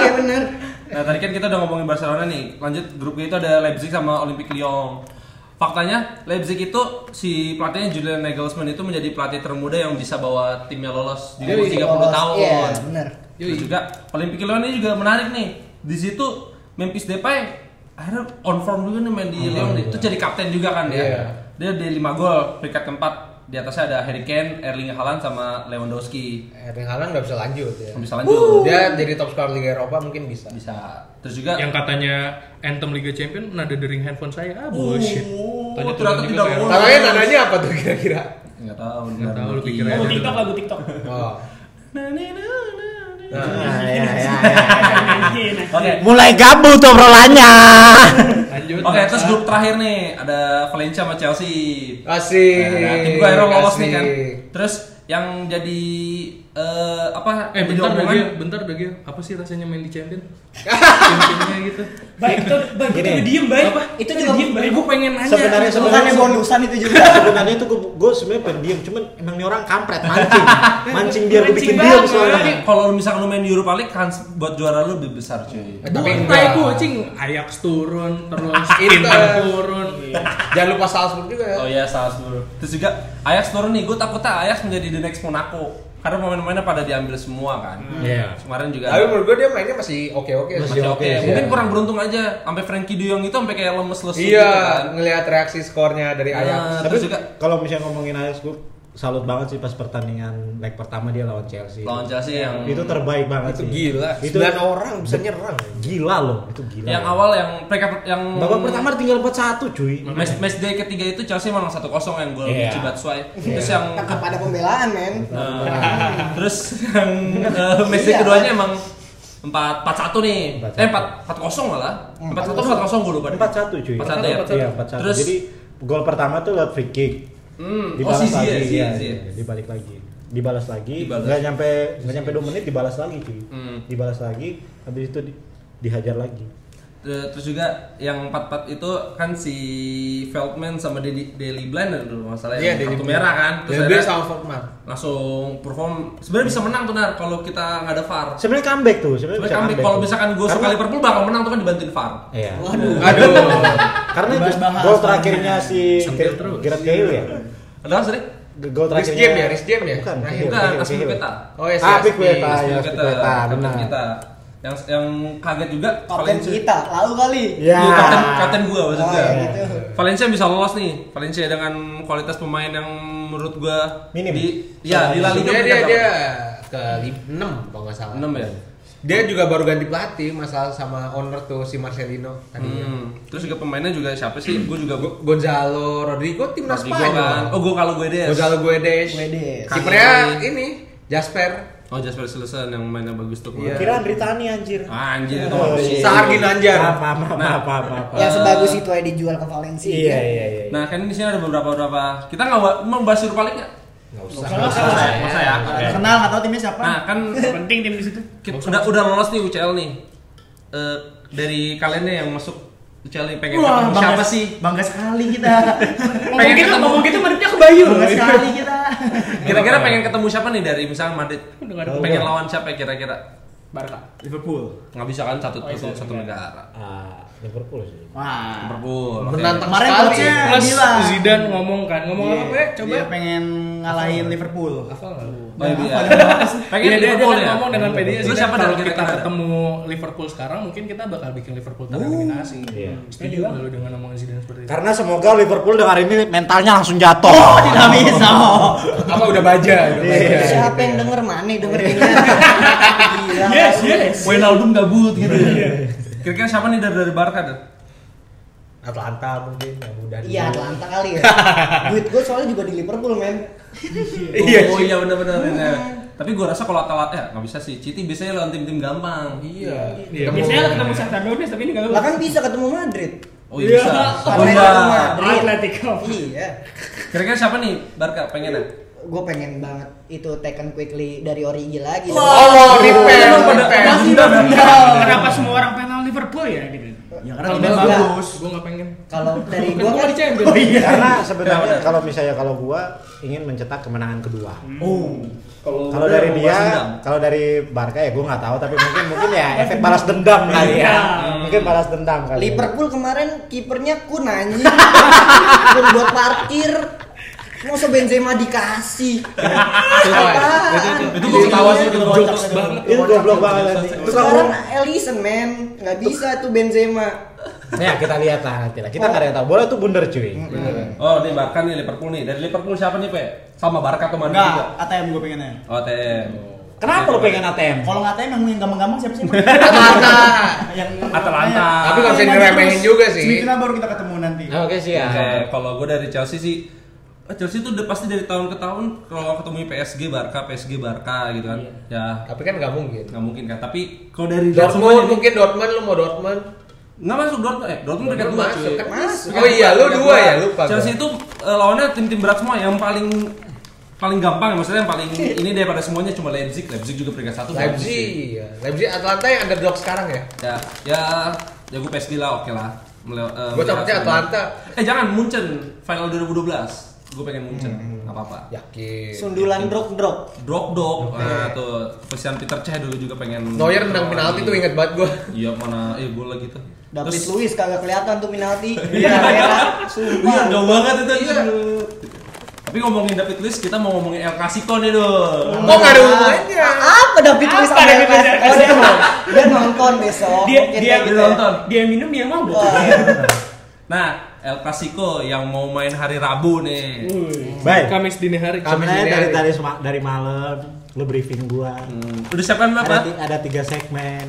[SPEAKER 6] Iya bener.
[SPEAKER 1] Nah tadi kan kita udah ngomongin Barcelona nih. Lanjut grup G itu ada Leipzig sama Olympique Lyon. Faktanya Leipzig itu si pelatihnya Julian Nagelsmann itu menjadi pelatih termuda yang bisa bawa timnya lolos di umur 30 tahun.
[SPEAKER 6] Iya bener.
[SPEAKER 1] Terus juga Olympique Lyon ini juga menarik nih. Di situ Memphis Depay akhirnya on form juga nih main di Lyon nih. Itu jadi kapten juga kan dia.
[SPEAKER 4] Iya.
[SPEAKER 1] Dia di 5 gol peringkat keempat. Di atasnya ada Harry Kane, Erling Haaland sama Lewandowski.
[SPEAKER 4] Erling Haaland nggak bisa lanjut ya.
[SPEAKER 1] Bisa lanjut.
[SPEAKER 4] Dia jadi top scorer Liga Eropa mungkin bisa.
[SPEAKER 1] Bisa. Terus juga
[SPEAKER 5] yang katanya anthem Liga Champion nada dering handphone saya ah bullshit
[SPEAKER 1] Oh, ternyata
[SPEAKER 5] Tanya
[SPEAKER 1] tidak
[SPEAKER 5] temen juga saya.
[SPEAKER 1] boleh.
[SPEAKER 4] Tapi nadanya apa tuh kira-kira?
[SPEAKER 1] Enggak tahu,
[SPEAKER 5] Nggak tahu, lu pikirin
[SPEAKER 7] Lagu
[SPEAKER 5] aja.
[SPEAKER 7] TikTok, lagu TikTok.
[SPEAKER 4] Oh.
[SPEAKER 2] Nah, ya, ya,
[SPEAKER 7] Iya, nah.
[SPEAKER 1] Oke.
[SPEAKER 2] Mulai gabut obrolannya.
[SPEAKER 5] lanjut
[SPEAKER 1] Oke, terus grup terakhir nih ada Valencia sama Chelsea.
[SPEAKER 4] Asik.
[SPEAKER 1] Nah, tim gue akhirnya lolos nih kan.
[SPEAKER 4] Asik.
[SPEAKER 1] Terus yang jadi eh, apa?
[SPEAKER 5] eh
[SPEAKER 1] jadi
[SPEAKER 5] bentar
[SPEAKER 1] omongan-
[SPEAKER 5] dagi bentar dagi apa sih rasanya main di Champion Champion-nya gitu
[SPEAKER 4] <laughs>
[SPEAKER 7] Baik, itu baik, itu
[SPEAKER 2] Gini.
[SPEAKER 7] udah diem baik.
[SPEAKER 6] Itu
[SPEAKER 7] Udah
[SPEAKER 6] juga
[SPEAKER 7] diem baik.
[SPEAKER 5] gue pengen nanya
[SPEAKER 2] <laughs>
[SPEAKER 7] Iya,
[SPEAKER 2] Sebenarnya
[SPEAKER 6] Bukannya
[SPEAKER 2] sebenarnya
[SPEAKER 6] bonusan itu juga.
[SPEAKER 2] sebenarnya tuh gue gue sebenarnya pendiam cuman emang nih orang kampret mancing mancing biar gue bikin diam
[SPEAKER 7] Mancing banget.
[SPEAKER 1] Tapi
[SPEAKER 2] soalnya
[SPEAKER 1] Iya, kalau misalkan lu main di Europa League, kans buat juara lu lebih besar cuy.
[SPEAKER 4] Eh, Tapi
[SPEAKER 5] Bukan
[SPEAKER 4] enggak.
[SPEAKER 5] itu cing Ajax turun terus
[SPEAKER 4] <laughs> Inter. Iya.
[SPEAKER 5] Inter turun
[SPEAKER 4] Jangan lupa Salzburg juga ya.
[SPEAKER 1] Oh iya, Salzburg. Terus juga Ajax turun nih, gue takutnya Ajax menjadi the next Monaco. Karena pemain-pemainnya pada diambil semua kan.
[SPEAKER 5] Iya.
[SPEAKER 1] Kemarin juga.
[SPEAKER 4] Tapi menurut gue dia mainnya masih iya. oke-oke sih.
[SPEAKER 1] Masih oke,
[SPEAKER 4] sih. ya.
[SPEAKER 1] mungkin kurang beruntung aja. Sampai Frankie De Jong itu sampai kayak lemes-lesu
[SPEAKER 4] Iya,
[SPEAKER 1] gitu kan.
[SPEAKER 4] ngelihat reaksi skornya dari Ajax.
[SPEAKER 1] Nah,
[SPEAKER 2] tapi
[SPEAKER 1] terus juga
[SPEAKER 2] kalau misalnya ngomongin Ajax gue salut banget sih pas pertandingan leg pertama dia lawan Chelsea
[SPEAKER 1] lawan Chelsea yang
[SPEAKER 2] itu terbaik banget
[SPEAKER 4] Itu
[SPEAKER 2] sih
[SPEAKER 4] gila.
[SPEAKER 2] itu
[SPEAKER 4] Sembilan orang bisa nyerang.
[SPEAKER 2] gila loh itu gila
[SPEAKER 1] yang awal yang mereka yang
[SPEAKER 2] babak pertama tinggal 4-1 cuy
[SPEAKER 1] match, match day ketiga itu Chelsea menang 1-0 yang gol
[SPEAKER 2] Iya.
[SPEAKER 1] Cibat Swai. Terus yang
[SPEAKER 6] Tetap ada pembelaan men.
[SPEAKER 1] eh, terus
[SPEAKER 2] <laughs>
[SPEAKER 1] yang eh, match day
[SPEAKER 6] Iya.
[SPEAKER 1] keduanya emang 4 4-1 nih. Eh 4 4-0 malah. 4-1 4-0 gue lupa.
[SPEAKER 2] 4-1 Hmm.
[SPEAKER 1] 4-1
[SPEAKER 2] cuy
[SPEAKER 1] ya.
[SPEAKER 2] Iya, 4-1
[SPEAKER 1] Terus
[SPEAKER 2] jadi gol pertama tuh lewat free kick.
[SPEAKER 1] Hmm. Oh,
[SPEAKER 2] Dibalas
[SPEAKER 1] Sisi
[SPEAKER 2] lagi,
[SPEAKER 1] ya, Sisi
[SPEAKER 2] iya,
[SPEAKER 1] ya, Sisi ya.
[SPEAKER 2] iya, dibalik lagi. Dibalas lagi,
[SPEAKER 1] Dibalas.
[SPEAKER 2] nggak nyampe nggak nyampe 2 menit dibalas lagi cuy.
[SPEAKER 1] Hmm.
[SPEAKER 2] Dibalas lagi, habis itu di- dihajar lagi.
[SPEAKER 1] Eh, Terus juga yang 4-4 itu kan si Feldman sama Deli Deli Blind dulu masalahnya
[SPEAKER 4] Iya,
[SPEAKER 1] yang
[SPEAKER 4] Deli
[SPEAKER 1] kartu
[SPEAKER 4] Blind.
[SPEAKER 1] merah kan. Terus
[SPEAKER 4] Deli Blind
[SPEAKER 1] akhirnya
[SPEAKER 4] sama Fortman.
[SPEAKER 1] langsung perform. Sebenarnya bisa menang tuh Nar kalau kita nggak ada VAR.
[SPEAKER 2] Sebenarnya comeback tuh, sebenarnya
[SPEAKER 1] Sebenarnya
[SPEAKER 2] bisa
[SPEAKER 1] kami
[SPEAKER 2] comeback.
[SPEAKER 1] kalau
[SPEAKER 2] tuh.
[SPEAKER 1] misalkan gue
[SPEAKER 2] Karena-
[SPEAKER 1] suka Liverpool bakal menang tuh kan dibantuin VAR.
[SPEAKER 2] Iya.
[SPEAKER 4] Aduh.
[SPEAKER 2] Karena itu
[SPEAKER 3] Bahas-bahas
[SPEAKER 2] gol
[SPEAKER 3] soalnya.
[SPEAKER 2] terakhirnya si
[SPEAKER 5] Sambil
[SPEAKER 2] Ger-
[SPEAKER 5] terus.
[SPEAKER 2] Gareth Bale ya.
[SPEAKER 1] Ada apa sih? Rik?
[SPEAKER 2] Gol
[SPEAKER 4] Rich
[SPEAKER 2] terakhirnya.
[SPEAKER 4] Game ya, Rich Game ya?
[SPEAKER 2] Bukan,
[SPEAKER 4] Terakhir.
[SPEAKER 2] Bale,
[SPEAKER 1] Bukan,
[SPEAKER 2] Bale,
[SPEAKER 1] Aspil
[SPEAKER 2] Bale.
[SPEAKER 1] Peta.
[SPEAKER 4] Oh ya, si
[SPEAKER 2] Ah, Aspil
[SPEAKER 4] Aspil.
[SPEAKER 2] Peta, ya,
[SPEAKER 1] Aspil
[SPEAKER 2] Aspil
[SPEAKER 1] Peta,
[SPEAKER 2] Peta,
[SPEAKER 1] Kapten
[SPEAKER 2] benar.
[SPEAKER 1] kita. Yang yang kaget juga
[SPEAKER 6] kapten
[SPEAKER 1] Valencia.
[SPEAKER 6] kita lalu kali
[SPEAKER 2] Ya.
[SPEAKER 1] Iya, kapten kapten gue maksud
[SPEAKER 6] Oh,
[SPEAKER 1] gue.
[SPEAKER 6] ya gitu.
[SPEAKER 1] Valencia bisa lolos nih. Valencia dengan kualitas pemain yang menurut gue
[SPEAKER 2] Minim.
[SPEAKER 1] Di, ya di La Liga
[SPEAKER 4] Dia dia
[SPEAKER 1] mereka
[SPEAKER 4] dia ke 6 kalau nggak salah.
[SPEAKER 1] berapa? enam ya.
[SPEAKER 4] Dia juga baru ganti pelatih masalah sama owner tuh si Marcelino tadinya.
[SPEAKER 1] Hmm. Terus juga pemainnya juga siapa sih? Gue juga gue.
[SPEAKER 4] Go- Gonzalo Rodrigo timnas
[SPEAKER 1] Gue kan.
[SPEAKER 4] Spanyol.
[SPEAKER 1] Oh gue kalau gue deh.
[SPEAKER 4] Gonzalo Guedes.
[SPEAKER 6] Guedes.
[SPEAKER 4] Kipernya ini Jasper.
[SPEAKER 1] Oh Jasper Silesen yang mainnya bagus tuh. Ah,
[SPEAKER 4] Iya.
[SPEAKER 2] Kira Andri Tani anjir.
[SPEAKER 1] Anjir.
[SPEAKER 2] Oh, iya.
[SPEAKER 4] Sahargin Anjar.
[SPEAKER 2] Maaf, maaf, maaf,
[SPEAKER 1] Nah.
[SPEAKER 2] maaf, maaf, maaf.
[SPEAKER 6] yang sebagus itu aja dijual ke Valencia
[SPEAKER 2] Iya, iya, iya.
[SPEAKER 1] Nah kan di sini ada beberapa beberapa. Kita nggak wa- mau bahas Europa League nggak?
[SPEAKER 4] Enggak
[SPEAKER 7] Nggak usah.
[SPEAKER 4] usah.
[SPEAKER 1] Nggak usah ya.
[SPEAKER 3] Nggak kenal nggak tahu timnya siapa
[SPEAKER 1] Nah kan <laughs>
[SPEAKER 7] penting tim di situ
[SPEAKER 1] kita udah udah lolos nih UCL nih. Eh, dari kalian deh yang masuk UCL nih pengen ketemu gitu. siapa sih?
[SPEAKER 3] bangga sekali kita
[SPEAKER 7] ngomong gitu
[SPEAKER 1] ketemu-
[SPEAKER 7] ngomong gitu menurutnya ke Bayu
[SPEAKER 3] bangga sekali kita
[SPEAKER 1] Kira-kira pengen ketemu siapa nih dari misalnya Madrid?
[SPEAKER 7] Udah nggak ada
[SPEAKER 2] Oh,
[SPEAKER 1] Pengen
[SPEAKER 2] iya.
[SPEAKER 1] lawan siapa ya, kira-kira?
[SPEAKER 7] Barca
[SPEAKER 1] Liverpool. Nggak bisa kan
[SPEAKER 7] Oh,
[SPEAKER 1] satu
[SPEAKER 7] iya,
[SPEAKER 1] satu, satu negara.
[SPEAKER 2] Ah, Liverpool sih.
[SPEAKER 3] wah
[SPEAKER 1] Liverpool. oke.
[SPEAKER 4] Menantang
[SPEAKER 3] Kemarin
[SPEAKER 4] sekali.
[SPEAKER 3] coachnya
[SPEAKER 5] Plus
[SPEAKER 3] bilang.
[SPEAKER 5] Zidane ngomong kan, ngomong
[SPEAKER 3] Iya,
[SPEAKER 5] apa Pak? Coba.
[SPEAKER 3] dia pengen ngalahin Liverpool
[SPEAKER 5] Hafal nggak lu?
[SPEAKER 1] Oh, iya. Pengen
[SPEAKER 5] Iya, dia, dia
[SPEAKER 1] Liverpool
[SPEAKER 5] kan
[SPEAKER 1] ya.
[SPEAKER 5] ngomong dengan PD-nya
[SPEAKER 1] Terus
[SPEAKER 5] sih.
[SPEAKER 1] siapa dari
[SPEAKER 5] Kalau kita
[SPEAKER 1] kira-kira?
[SPEAKER 5] ketemu Liverpool sekarang, mungkin kita bakal bikin Liverpool
[SPEAKER 1] Oh.
[SPEAKER 5] tereliminasi.
[SPEAKER 2] Iya.
[SPEAKER 5] Setuju nggak lu dengan omongan Zidane seperti itu?
[SPEAKER 2] Karena semoga Liverpool dengar ini mentalnya langsung jatuh.
[SPEAKER 3] oh tidak bisa
[SPEAKER 4] Apa udah baja? Udah baja.
[SPEAKER 2] Iya,
[SPEAKER 4] <laughs>
[SPEAKER 6] siapa yang denger mana denger ini gila
[SPEAKER 7] yes
[SPEAKER 1] Wijnaldum gabut gitu. Kira-kira siapa nih dari dari Barca? Dan?
[SPEAKER 4] Atlanta mungkin yang mudah.
[SPEAKER 6] iya Atlanta kali ya duit gue soalnya juga di Liverpool men
[SPEAKER 1] <laughs> Iya. Oh iya benar-benar. iya. Tapi gua rasa kalau telat ya nggak bisa sih. Citi biasanya lawan tim-tim gampang.
[SPEAKER 4] Iya.
[SPEAKER 5] Iya.
[SPEAKER 7] biasanya ketemu Shakhtar Donetsk tapi ini nggak
[SPEAKER 6] lah kan bisa ketemu Madrid
[SPEAKER 1] Oh iya. bisa. Oh,
[SPEAKER 6] Karena
[SPEAKER 1] iya.
[SPEAKER 6] itu Madrid
[SPEAKER 7] Atletico.
[SPEAKER 6] iya
[SPEAKER 1] Kira-kira siapa nih Barca pengennya?
[SPEAKER 6] gue pengen banget itu Taken Quickly dari Origi lagi
[SPEAKER 4] Oh, repair,
[SPEAKER 1] Emang pada-
[SPEAKER 4] repair.
[SPEAKER 1] masih pada-
[SPEAKER 7] kenapa semua orang pengen lawan Liverpool ya gitu
[SPEAKER 3] ya karena
[SPEAKER 5] Kalau
[SPEAKER 3] timnya
[SPEAKER 5] gua-
[SPEAKER 3] bagus
[SPEAKER 5] Gua nggak pengen.
[SPEAKER 6] kalau dari
[SPEAKER 5] Kan
[SPEAKER 6] gue
[SPEAKER 5] gua
[SPEAKER 6] kan
[SPEAKER 5] di
[SPEAKER 1] Oh,
[SPEAKER 5] Champions.
[SPEAKER 1] iya.
[SPEAKER 2] Karena
[SPEAKER 1] Kenapa,
[SPEAKER 4] Iya.
[SPEAKER 2] sebenarnya
[SPEAKER 1] Dan?
[SPEAKER 2] kalau misalnya kalau gua ingin mencetak kemenangan kedua.
[SPEAKER 3] oh
[SPEAKER 2] Kalau dari dia, kalau dari Barca ya gua nggak tahu tapi mungkin mungkin ya efek balas dendam kali ya. Mungkin balas dendam kali. ya.
[SPEAKER 6] Liverpool kemarin kipernya kun anjing. kun buat parkir. Masa Benzema dikasih. Apaan?
[SPEAKER 1] Itu gua ketawa sih itu gua
[SPEAKER 5] Jokes banget.
[SPEAKER 2] Itu goblok banget nanti.
[SPEAKER 6] Sekarang Ellison men, nggak bisa tuh Benzema.
[SPEAKER 2] Nah, kita lihat lah nanti lah. Kita nggak ada yang tahu. Bola tuh bundar cuy.
[SPEAKER 1] Oh, nih Barca nih Liverpool nih. Dari Liverpool siapa nih, Pe? Sama Barca atau Madrid
[SPEAKER 3] enggak
[SPEAKER 1] juga?
[SPEAKER 3] ATM gue pengennya
[SPEAKER 1] Oh, TM.
[SPEAKER 2] Kenapa lo pengen ATM?
[SPEAKER 3] kalau nggak ATM yang mungkin gampang-gampang siapa sih
[SPEAKER 4] Atlanta.
[SPEAKER 3] yang
[SPEAKER 1] Atalanta.
[SPEAKER 4] Tapi nggak bisa
[SPEAKER 3] Yang
[SPEAKER 4] diremehin
[SPEAKER 3] terus.
[SPEAKER 4] juga sih.
[SPEAKER 3] semifinal baru kita ketemu nanti
[SPEAKER 2] Oke siap.
[SPEAKER 1] Oke, kalau gue dari Chelsea sih eh, Chelsea tuh udah pasti dari tahun ke tahun kalau ketemu PSG Barca, PSG Barca gitu kan. Ya,
[SPEAKER 4] Tapi kan nggak mungkin.
[SPEAKER 1] nggak mungkin kan. Tapi kalau dari
[SPEAKER 4] Dortmund
[SPEAKER 1] semuanya-
[SPEAKER 4] mungkin Dortmund lu mau Dortmund.
[SPEAKER 1] Nggak masuk Dortmund, eh Dortmund peringkat
[SPEAKER 4] Dortmund
[SPEAKER 1] dua
[SPEAKER 4] masuk
[SPEAKER 1] cuy.
[SPEAKER 4] kan
[SPEAKER 6] Masuk.
[SPEAKER 4] Oh iya lu dua ya lupa. gua.
[SPEAKER 1] Chelsea itu eh, lawannya tim-tim berat semua yang paling paling gampang ya, maksudnya yang
[SPEAKER 4] <laughs>
[SPEAKER 1] paling ini daripada semuanya cuma Leipzig Leipzig juga peringkat satu bagus
[SPEAKER 4] Leipzig.
[SPEAKER 1] sih.
[SPEAKER 4] iya. Leipzig Atlanta yang underdog sekarang ya.
[SPEAKER 1] ya ya ya gue PSG lah oke lah Mele- eh,
[SPEAKER 4] Gua
[SPEAKER 1] melihat-
[SPEAKER 4] takutnya Atlanta.
[SPEAKER 1] eh jangan Munchen final 2012 gue pengen Munchen
[SPEAKER 4] Hmm,
[SPEAKER 1] nggak apa-apa
[SPEAKER 4] Ya. Yakin.
[SPEAKER 6] Sundulan drop drop.
[SPEAKER 1] drop dog nah tuh Christian Peter Cech dulu juga pengen
[SPEAKER 4] Neuer menang penalti tuh inget banget gua.
[SPEAKER 1] iya mana eh gue lagi tuh
[SPEAKER 6] David
[SPEAKER 1] Terus-
[SPEAKER 6] Luiz kagak kelihatan tuh penalti. Iya, ya.
[SPEAKER 1] Iya,
[SPEAKER 6] Sumpah.
[SPEAKER 1] jauh banget itu. Tapi ngomongin David Luiz, kita mau ngomongin El Clasico nih, dong.
[SPEAKER 4] Kok nggak ada hubungannya?
[SPEAKER 6] Apa David Luiz
[SPEAKER 7] Apa
[SPEAKER 6] sama
[SPEAKER 7] David Luiz?
[SPEAKER 6] Ellison? Oh, dia mau. Dia nonton besok.
[SPEAKER 7] dia
[SPEAKER 6] Mungkin
[SPEAKER 7] dia
[SPEAKER 6] kayak
[SPEAKER 1] dia
[SPEAKER 6] gitu.
[SPEAKER 1] nonton.
[SPEAKER 7] dia minum dia mabuk
[SPEAKER 6] Wah.
[SPEAKER 1] Nah, El Clasico yang mau main hari Rabu nih.
[SPEAKER 2] Baik.
[SPEAKER 5] Kamis dini hari.
[SPEAKER 2] Sebenarnya
[SPEAKER 4] dini
[SPEAKER 2] dari
[SPEAKER 4] hari.
[SPEAKER 2] dari sema- dari malam lu briefing gua.
[SPEAKER 1] Hmm. Udah siapkan
[SPEAKER 2] Ada,
[SPEAKER 1] apa?
[SPEAKER 2] ti- ada tiga segmen.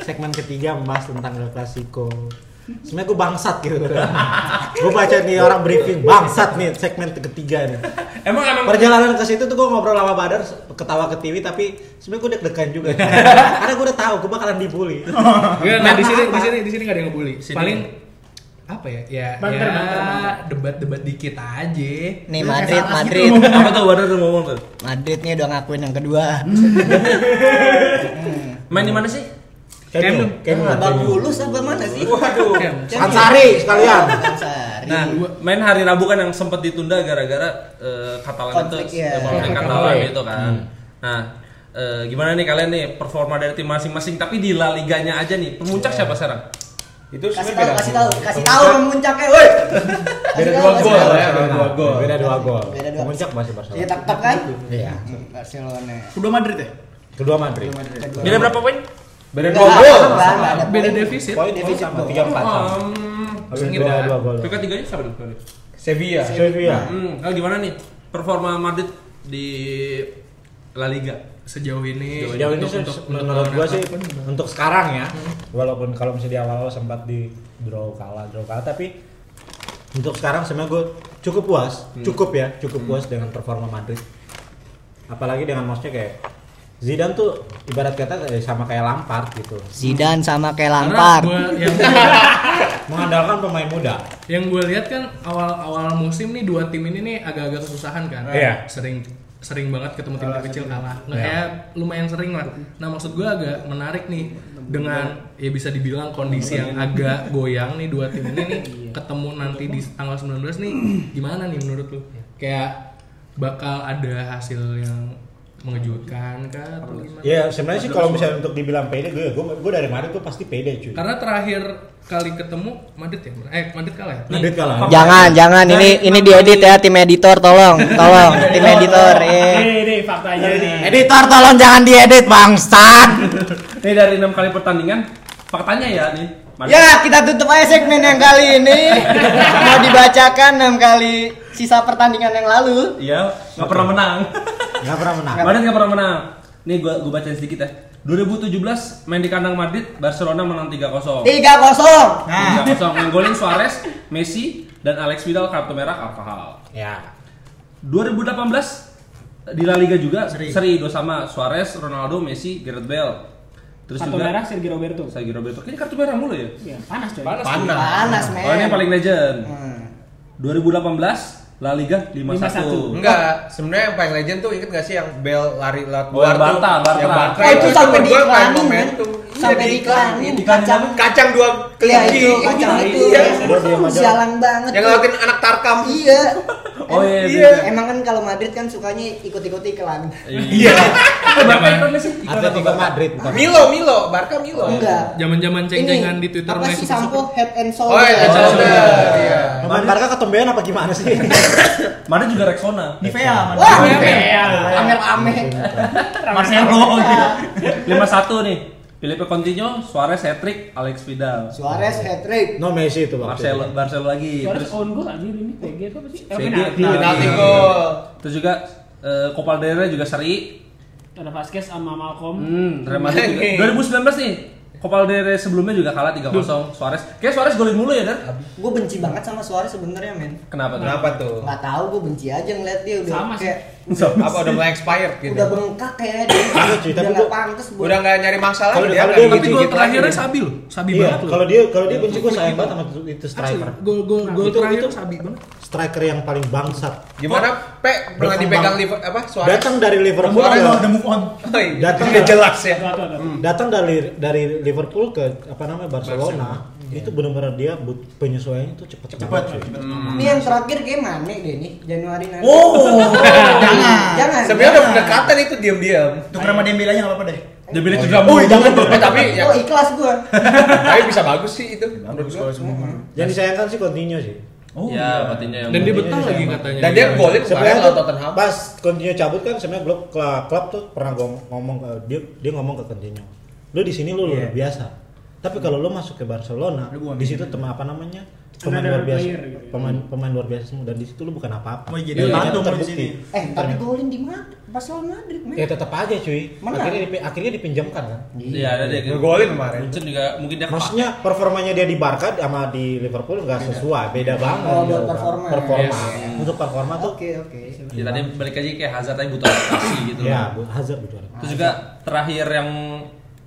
[SPEAKER 2] Segmen ketiga membahas tentang El Clasico. Sebenarnya gue bangsat gitu. <laughs> gue baca nih orang briefing bangsat nih segmen ketiga nih.
[SPEAKER 1] Emang emang
[SPEAKER 2] Perjalanan ke situ tuh gue ngobrol sama Badar ketawa ke TV tapi sebenarnya gue deg-degan juga. Karena gue udah tahu gue bakalan dibully.
[SPEAKER 5] Enggak, nah di sini
[SPEAKER 2] Karena
[SPEAKER 5] di
[SPEAKER 2] apa?
[SPEAKER 5] sini di sini nggak ada yang ngebully.
[SPEAKER 1] Sini.
[SPEAKER 5] Paling apa ya ya
[SPEAKER 7] Banter,
[SPEAKER 5] ya,
[SPEAKER 7] banter, banter.
[SPEAKER 5] debat-debat dikit aja
[SPEAKER 6] Nih
[SPEAKER 5] Lu kayak
[SPEAKER 6] Madrid,
[SPEAKER 5] salah gitu.
[SPEAKER 6] Madrid.
[SPEAKER 1] Apa tuh Wadah tuh ngomong tuh?
[SPEAKER 6] Madrid nih udah ngakuin yang kedua.
[SPEAKER 1] Main di mana sih?
[SPEAKER 2] Kayaknya kayaknya
[SPEAKER 6] Abang Bulus apa mana sih?
[SPEAKER 1] Waduh.
[SPEAKER 5] Kem.
[SPEAKER 2] Ansari sekalian.
[SPEAKER 6] Ansari.
[SPEAKER 1] Nah, main hari Rabu kan yang sempat ditunda gara-gara eh, Katalan itu,
[SPEAKER 6] Konflik, ya.
[SPEAKER 1] eh, konflik
[SPEAKER 2] Ya,
[SPEAKER 1] Katalan
[SPEAKER 2] konflik.
[SPEAKER 1] itu kan. Nah, eh, gimana nih kalian nih performa dari tim masing-masing tapi di La Liganya aja nih. Pemuncak
[SPEAKER 5] Iya.
[SPEAKER 1] siapa sekarang?
[SPEAKER 4] Itu
[SPEAKER 6] kasih
[SPEAKER 4] sebenarnya
[SPEAKER 6] tahu,
[SPEAKER 4] beda.
[SPEAKER 6] kasih tahu, kasih tahu memuncaknya, woi.
[SPEAKER 2] Beda
[SPEAKER 6] Kasih tahu,
[SPEAKER 2] dua
[SPEAKER 6] kasih
[SPEAKER 2] gol
[SPEAKER 6] tahu.
[SPEAKER 2] ya, beda dua gol. Beda dua gol.
[SPEAKER 6] Beda dua.
[SPEAKER 2] Puncak masih
[SPEAKER 6] Iya
[SPEAKER 2] Barcelona.
[SPEAKER 6] tak tak kan?
[SPEAKER 2] Iya.
[SPEAKER 6] Barcelona.
[SPEAKER 3] Kedua Madrid ya?
[SPEAKER 2] Kedua Madrid.
[SPEAKER 6] Kedua.
[SPEAKER 1] Beda berapa poin?
[SPEAKER 4] Beda
[SPEAKER 6] Nggak,
[SPEAKER 4] dua gol.
[SPEAKER 6] nggak, nggak ada
[SPEAKER 5] beda
[SPEAKER 6] poin.
[SPEAKER 5] defisit
[SPEAKER 2] Poin defisit sama tiga
[SPEAKER 1] Oh,
[SPEAKER 2] empat. sama.
[SPEAKER 1] um,
[SPEAKER 2] Habis dua
[SPEAKER 1] ya.
[SPEAKER 2] dua gol.
[SPEAKER 1] PK tiganya siapa dulu?
[SPEAKER 4] Sevilla.
[SPEAKER 2] Sevilla.
[SPEAKER 1] Hmm, kalau gimana nih performa Madrid di La Liga?
[SPEAKER 5] sejauh Iya, ini
[SPEAKER 2] Sejauh ini
[SPEAKER 5] untuk-
[SPEAKER 2] sih
[SPEAKER 5] untuk-
[SPEAKER 2] menurut
[SPEAKER 5] untuk
[SPEAKER 2] gua sih
[SPEAKER 5] lawan apa?
[SPEAKER 2] untuk sekarang ya. Walaupun kalau misalnya di awal-awal sempat di draw kalah, draw kalah tapi untuk sekarang sebenarnya gue cukup puas, cukup ya, cukup puas dengan performa Madrid. Apalagi dengan maksudnya kayak Zidane tuh ibarat kata eh, sama kayak Lampard gitu.
[SPEAKER 6] Zidane sama kayak
[SPEAKER 5] Karena
[SPEAKER 6] Lampard.
[SPEAKER 5] gua yang
[SPEAKER 2] Mengandalkan pemain muda.
[SPEAKER 5] yang gue lihat kan awal-awal musim nih dua tim ini nih agak-agak kesusahan kan
[SPEAKER 2] Iya.
[SPEAKER 5] sering sering banget ketemu tim kecil kalah nah, ya lumayan sering lah nah maksud gue agak menarik nih dengan ya bisa dibilang kondisi yang agak goyang nih dua tim ini nih
[SPEAKER 6] Iya.
[SPEAKER 5] ketemu nanti di tanggal 19 nih gimana nih menurut lu kayak bakal ada hasil yang mengejutkan kah atau gimana
[SPEAKER 2] Ya sebenarnya sih kalau misalnya untuk dibilang pede gue gue gue dari Madrid tuh pasti pede cuy.
[SPEAKER 5] karena terakhir kali ketemu Madrid ya eh Madrid kalah ya
[SPEAKER 2] Madrid kalah.
[SPEAKER 6] Jangan, jangan ini ini diedit ya tim editor tolong, tolong tim editor. iya.
[SPEAKER 7] Nih, nih faktanya nih.
[SPEAKER 6] Editor tolong jangan diedit bangsat.
[SPEAKER 1] <laughs> Nih dari enam kali pertandingan, faktanya ya nih. Madrid.
[SPEAKER 6] Ya, kita tutup aja segmen yang kali ini. Mau dibacakan 6 kali sisa pertandingan yang lalu.
[SPEAKER 1] Iya, nggak pernah menang.
[SPEAKER 2] Gak pernah menang.
[SPEAKER 1] Madrid nggak pernah menang. Nih gua gua bacain sedikit ya. 2017 main di kandang Madrid, Barcelona menang 3-0.
[SPEAKER 6] 3-0.
[SPEAKER 1] 3-0 yang golin Suarez, Messi dan Alex Vidal kartu merah Carvajal.
[SPEAKER 2] Ya.
[SPEAKER 1] 2018 di La Liga juga seri, dua sama Suarez, Ronaldo, Messi, Gareth Bale. Terus
[SPEAKER 7] Kartu
[SPEAKER 1] juga
[SPEAKER 7] merah Sergio Roberto.
[SPEAKER 1] Sergio Roberto. Kayaknya kartu merah mulu ya.
[SPEAKER 7] Iya, panas coy.
[SPEAKER 6] Panas, men.
[SPEAKER 1] Oh, ini yang paling legend.
[SPEAKER 6] Hmm.
[SPEAKER 1] 2018 La Liga
[SPEAKER 7] 5-1.
[SPEAKER 1] 5-1.
[SPEAKER 4] Enggak, sebenarnya yang paling legend tuh inget gak sih yang Bel lari lewat
[SPEAKER 1] Oh, yang
[SPEAKER 4] luar tuh?
[SPEAKER 1] Barta, Barta.
[SPEAKER 4] Yang Barta.
[SPEAKER 6] Eh, itu sampai
[SPEAKER 4] menurut gua paling
[SPEAKER 6] diiklanin kan?
[SPEAKER 4] momentum. Iya,
[SPEAKER 6] Sampai diiklanin kacang.
[SPEAKER 4] Kacang dua
[SPEAKER 6] Iya,
[SPEAKER 4] kelinci.
[SPEAKER 6] itu kacang
[SPEAKER 4] Iya.
[SPEAKER 6] itu.
[SPEAKER 4] Iya.
[SPEAKER 6] Sialan banget.
[SPEAKER 4] Yang
[SPEAKER 6] tuh.
[SPEAKER 4] ngelakuin anak tarkam.
[SPEAKER 6] Iya.
[SPEAKER 1] Oh iya,
[SPEAKER 6] Em-
[SPEAKER 1] iya.
[SPEAKER 6] Emang kan kalau Madrid kan sukanya ikut-ikut iklan.
[SPEAKER 1] Iya. Ah, Berapa iklannya sih? Iklan apa?
[SPEAKER 2] Atletico Madrid bukan.
[SPEAKER 4] Milo, Milo, Barca Milo.
[SPEAKER 6] Enggak.
[SPEAKER 5] Zaman-zaman ceng-cengan di Twitter
[SPEAKER 6] apa
[SPEAKER 5] mulai
[SPEAKER 6] sih
[SPEAKER 5] suka-suka.
[SPEAKER 6] sampo head and
[SPEAKER 4] Oh,
[SPEAKER 6] shoulder?
[SPEAKER 4] iya,
[SPEAKER 1] Oh,
[SPEAKER 4] Manchester. Iya.
[SPEAKER 2] Pemain Barca ketombean apa gimana sih?
[SPEAKER 3] Iya,
[SPEAKER 1] Madrid juga Rexona.
[SPEAKER 3] Nivea Madrid.
[SPEAKER 6] Wah,
[SPEAKER 7] Iya.
[SPEAKER 6] ame-ame.
[SPEAKER 3] oh,
[SPEAKER 7] Marcelo.
[SPEAKER 3] iya.
[SPEAKER 1] lima satu nih Felipe Coutinho, Suarez hat-trick, Alex Vidal,
[SPEAKER 6] Suarez hat trick.
[SPEAKER 2] no Messi itu waktu
[SPEAKER 1] Marcelo,
[SPEAKER 2] itu.
[SPEAKER 1] Marcelo lagi,
[SPEAKER 7] Suarez
[SPEAKER 1] terus
[SPEAKER 7] own goal anjir ini PG apa sih? Eh,
[SPEAKER 1] VG,
[SPEAKER 7] penalti.
[SPEAKER 1] penalti.
[SPEAKER 4] Penalti gol.
[SPEAKER 1] terus juga eh, Copa del Rey juga seri.
[SPEAKER 7] Ada Vasquez sama Malcolm.
[SPEAKER 1] Hmm, Real Madrid
[SPEAKER 4] Oke.
[SPEAKER 1] juga. 2019 nih, Copa del Rey sebelumnya juga kalah 3-0 Suarez. Kayak Suarez golin mulu ya, Dan?
[SPEAKER 6] Gue benci banget sama Suarez sebenarnya, men.
[SPEAKER 1] Kenapa tuh?
[SPEAKER 4] Kenapa tuh?
[SPEAKER 6] Gak tau, gue benci aja ngeliat dia udah
[SPEAKER 7] Sama sih.
[SPEAKER 6] kayak
[SPEAKER 4] Apa udah mulai expired gitu?
[SPEAKER 6] udah bengkak kayaknya dia.
[SPEAKER 2] cuy,
[SPEAKER 6] udah
[SPEAKER 2] tapi
[SPEAKER 6] nggak
[SPEAKER 2] gua-
[SPEAKER 6] pantas buat.
[SPEAKER 4] Udah nggak nyari masalah
[SPEAKER 2] Kalau-
[SPEAKER 4] dia
[SPEAKER 2] kalau
[SPEAKER 4] kan
[SPEAKER 2] dia-
[SPEAKER 5] Tapi
[SPEAKER 4] gitu-gitu
[SPEAKER 5] gol
[SPEAKER 4] lagi
[SPEAKER 5] terakhirnya
[SPEAKER 4] dia.
[SPEAKER 5] sabi loh, sabi
[SPEAKER 2] Gitu, Iya,
[SPEAKER 5] banget loh.
[SPEAKER 2] kalau dia kalau dia benci gue sayang banget sama itu striker.
[SPEAKER 5] Asli, Gol gol gol
[SPEAKER 2] Itu
[SPEAKER 5] terakhir
[SPEAKER 2] itu
[SPEAKER 5] itu sabi banget.
[SPEAKER 2] striker yang paling bangsat.
[SPEAKER 4] Gimana? Pe pernah
[SPEAKER 2] Berkembang.
[SPEAKER 4] dipegang liver apa suara?
[SPEAKER 2] Datang dari Liverpool
[SPEAKER 4] Suarez
[SPEAKER 2] ke
[SPEAKER 4] move on.
[SPEAKER 2] Datang.
[SPEAKER 4] Udah jelas ya.
[SPEAKER 7] Tuh, tuh, tuh.
[SPEAKER 2] datang dari dari Liverpool ke apa namanya Barcelona, itu benar-benar dia but- penyesuaiannya tuh cepet
[SPEAKER 3] Cepat.
[SPEAKER 2] banget. cuy.
[SPEAKER 6] Ini yang terakhir kayak Mane deh nih, Januari nanti.
[SPEAKER 3] Oh, jangan.
[SPEAKER 6] <laughs> Jangan.
[SPEAKER 4] Sebenarnya udah pendekatan itu diam-diam.
[SPEAKER 3] Tuker sama Dembele aja enggak apa-apa deh.
[SPEAKER 1] Dia pilih cedera
[SPEAKER 4] Oh,
[SPEAKER 1] mulu.
[SPEAKER 4] jangan dong. Eh, tapi ya
[SPEAKER 6] Oh ikhlas gue.
[SPEAKER 4] tapi bisa bagus sih itu. Iya, menurut gua.
[SPEAKER 2] Yang disayangkan sih Coutinho sih.
[SPEAKER 1] Ya, Coutinho yang
[SPEAKER 5] Dan dia
[SPEAKER 1] golin.
[SPEAKER 2] Iya,
[SPEAKER 5] betah lagi katanya.
[SPEAKER 4] Dan dia golin kemarin
[SPEAKER 2] Sebenarnya
[SPEAKER 4] lawan
[SPEAKER 2] tuh
[SPEAKER 4] Tottenham.
[SPEAKER 2] pas Coutinho cabut kan sebenarnya klub klub, klub tuh pernah gua ngomong ke dia dia ngomong ke Coutinho. Lu di sini lu luar biasa. Tapi kalau lu masuk ke Barcelona,
[SPEAKER 3] Lu gua
[SPEAKER 2] di situ teman apa namanya? pemain
[SPEAKER 7] Another
[SPEAKER 2] luar biasa
[SPEAKER 7] player gitu.
[SPEAKER 2] pemain pemain luar biasa semua dan di situ lu bukan apa-apa.
[SPEAKER 3] Mau
[SPEAKER 2] Dan
[SPEAKER 3] jadi orang
[SPEAKER 2] itu
[SPEAKER 3] tua di
[SPEAKER 2] terbukti.
[SPEAKER 6] Eh tapi golin di mana? Barcelona Madrid, men.
[SPEAKER 2] Ya tetap aja cuy.
[SPEAKER 6] Menang.
[SPEAKER 2] Akhirnya dipi- akhirnya dipinjamkan kan.
[SPEAKER 1] Iya, ada dia.
[SPEAKER 4] Ngegolin kemarin.
[SPEAKER 1] Munchen juga mungkin
[SPEAKER 5] Ya,
[SPEAKER 1] dia kepas.
[SPEAKER 2] Maksudnya performanya dia di Barca sama di Liverpool nggak sesuai, beda banget.
[SPEAKER 6] Oh, buat
[SPEAKER 2] gitu kan.
[SPEAKER 6] performa.
[SPEAKER 2] Performa.
[SPEAKER 6] Iya.
[SPEAKER 2] Untuk performa tuh
[SPEAKER 6] Oke oke.
[SPEAKER 5] Iya.
[SPEAKER 1] Ya, tadi balik aja kayak Hazard tadi butuh adaptasi gitu. loh.
[SPEAKER 2] ya buat Hazard betul.
[SPEAKER 1] Terus juga terakhir yang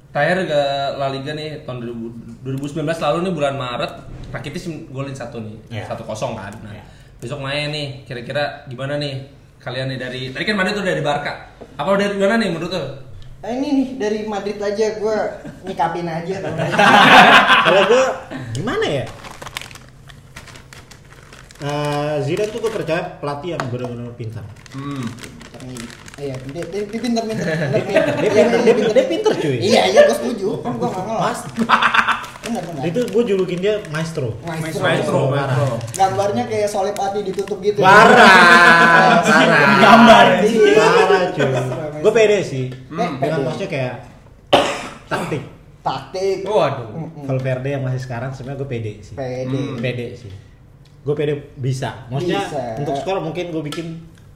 [SPEAKER 1] terakhir ke La Liga nih tahun 2000 2019 lalu nih bulan Maret Rakitic golin satu nih,
[SPEAKER 2] Iya.
[SPEAKER 1] satu kosong kan. Nah,
[SPEAKER 2] Iya.
[SPEAKER 1] besok main nih, kira-kira gimana nih kalian nih dari tadi kan Madrid tuh dari Barca. Apa dari mana nih menurut lo?
[SPEAKER 6] Ah, ini nih dari Madrid aja gue nyikapin aja kalau dari-
[SPEAKER 2] kalau gue gimana ya Eh, Zidane tuh gue percaya pelatih yang benar-benar pintar.
[SPEAKER 1] Hmm.
[SPEAKER 6] Iya, dia, dia, dia pinter pinter.
[SPEAKER 2] Dia pintar, dia pintar, dia pintar cuy.
[SPEAKER 6] Iya, iya, gue setuju. Kan gue nggak ngelak.
[SPEAKER 2] Mas,
[SPEAKER 6] Bener bener.
[SPEAKER 2] itu gue julukin dia maestro.
[SPEAKER 6] Maestro.
[SPEAKER 1] Maestro, maestro.
[SPEAKER 6] Gambarnya kayak solid hati ditutup gitu.
[SPEAKER 2] Parah,
[SPEAKER 4] Ah,
[SPEAKER 2] parah.
[SPEAKER 3] Gambar.
[SPEAKER 6] Iya.
[SPEAKER 2] Parah cuy. Gue pede sih.
[SPEAKER 6] Hmm.
[SPEAKER 2] Dengan maksudnya kayak taktik.
[SPEAKER 6] Taktik.
[SPEAKER 4] Waduh.
[SPEAKER 6] Mm-mm.
[SPEAKER 2] Kalau Verde yang masih sekarang sebenarnya gue pede sih. Hmm.
[SPEAKER 6] Pede.
[SPEAKER 2] Pede sih. Gue pede bisa. Maksudnya
[SPEAKER 6] Bisa.
[SPEAKER 2] untuk skor mungkin gue bikin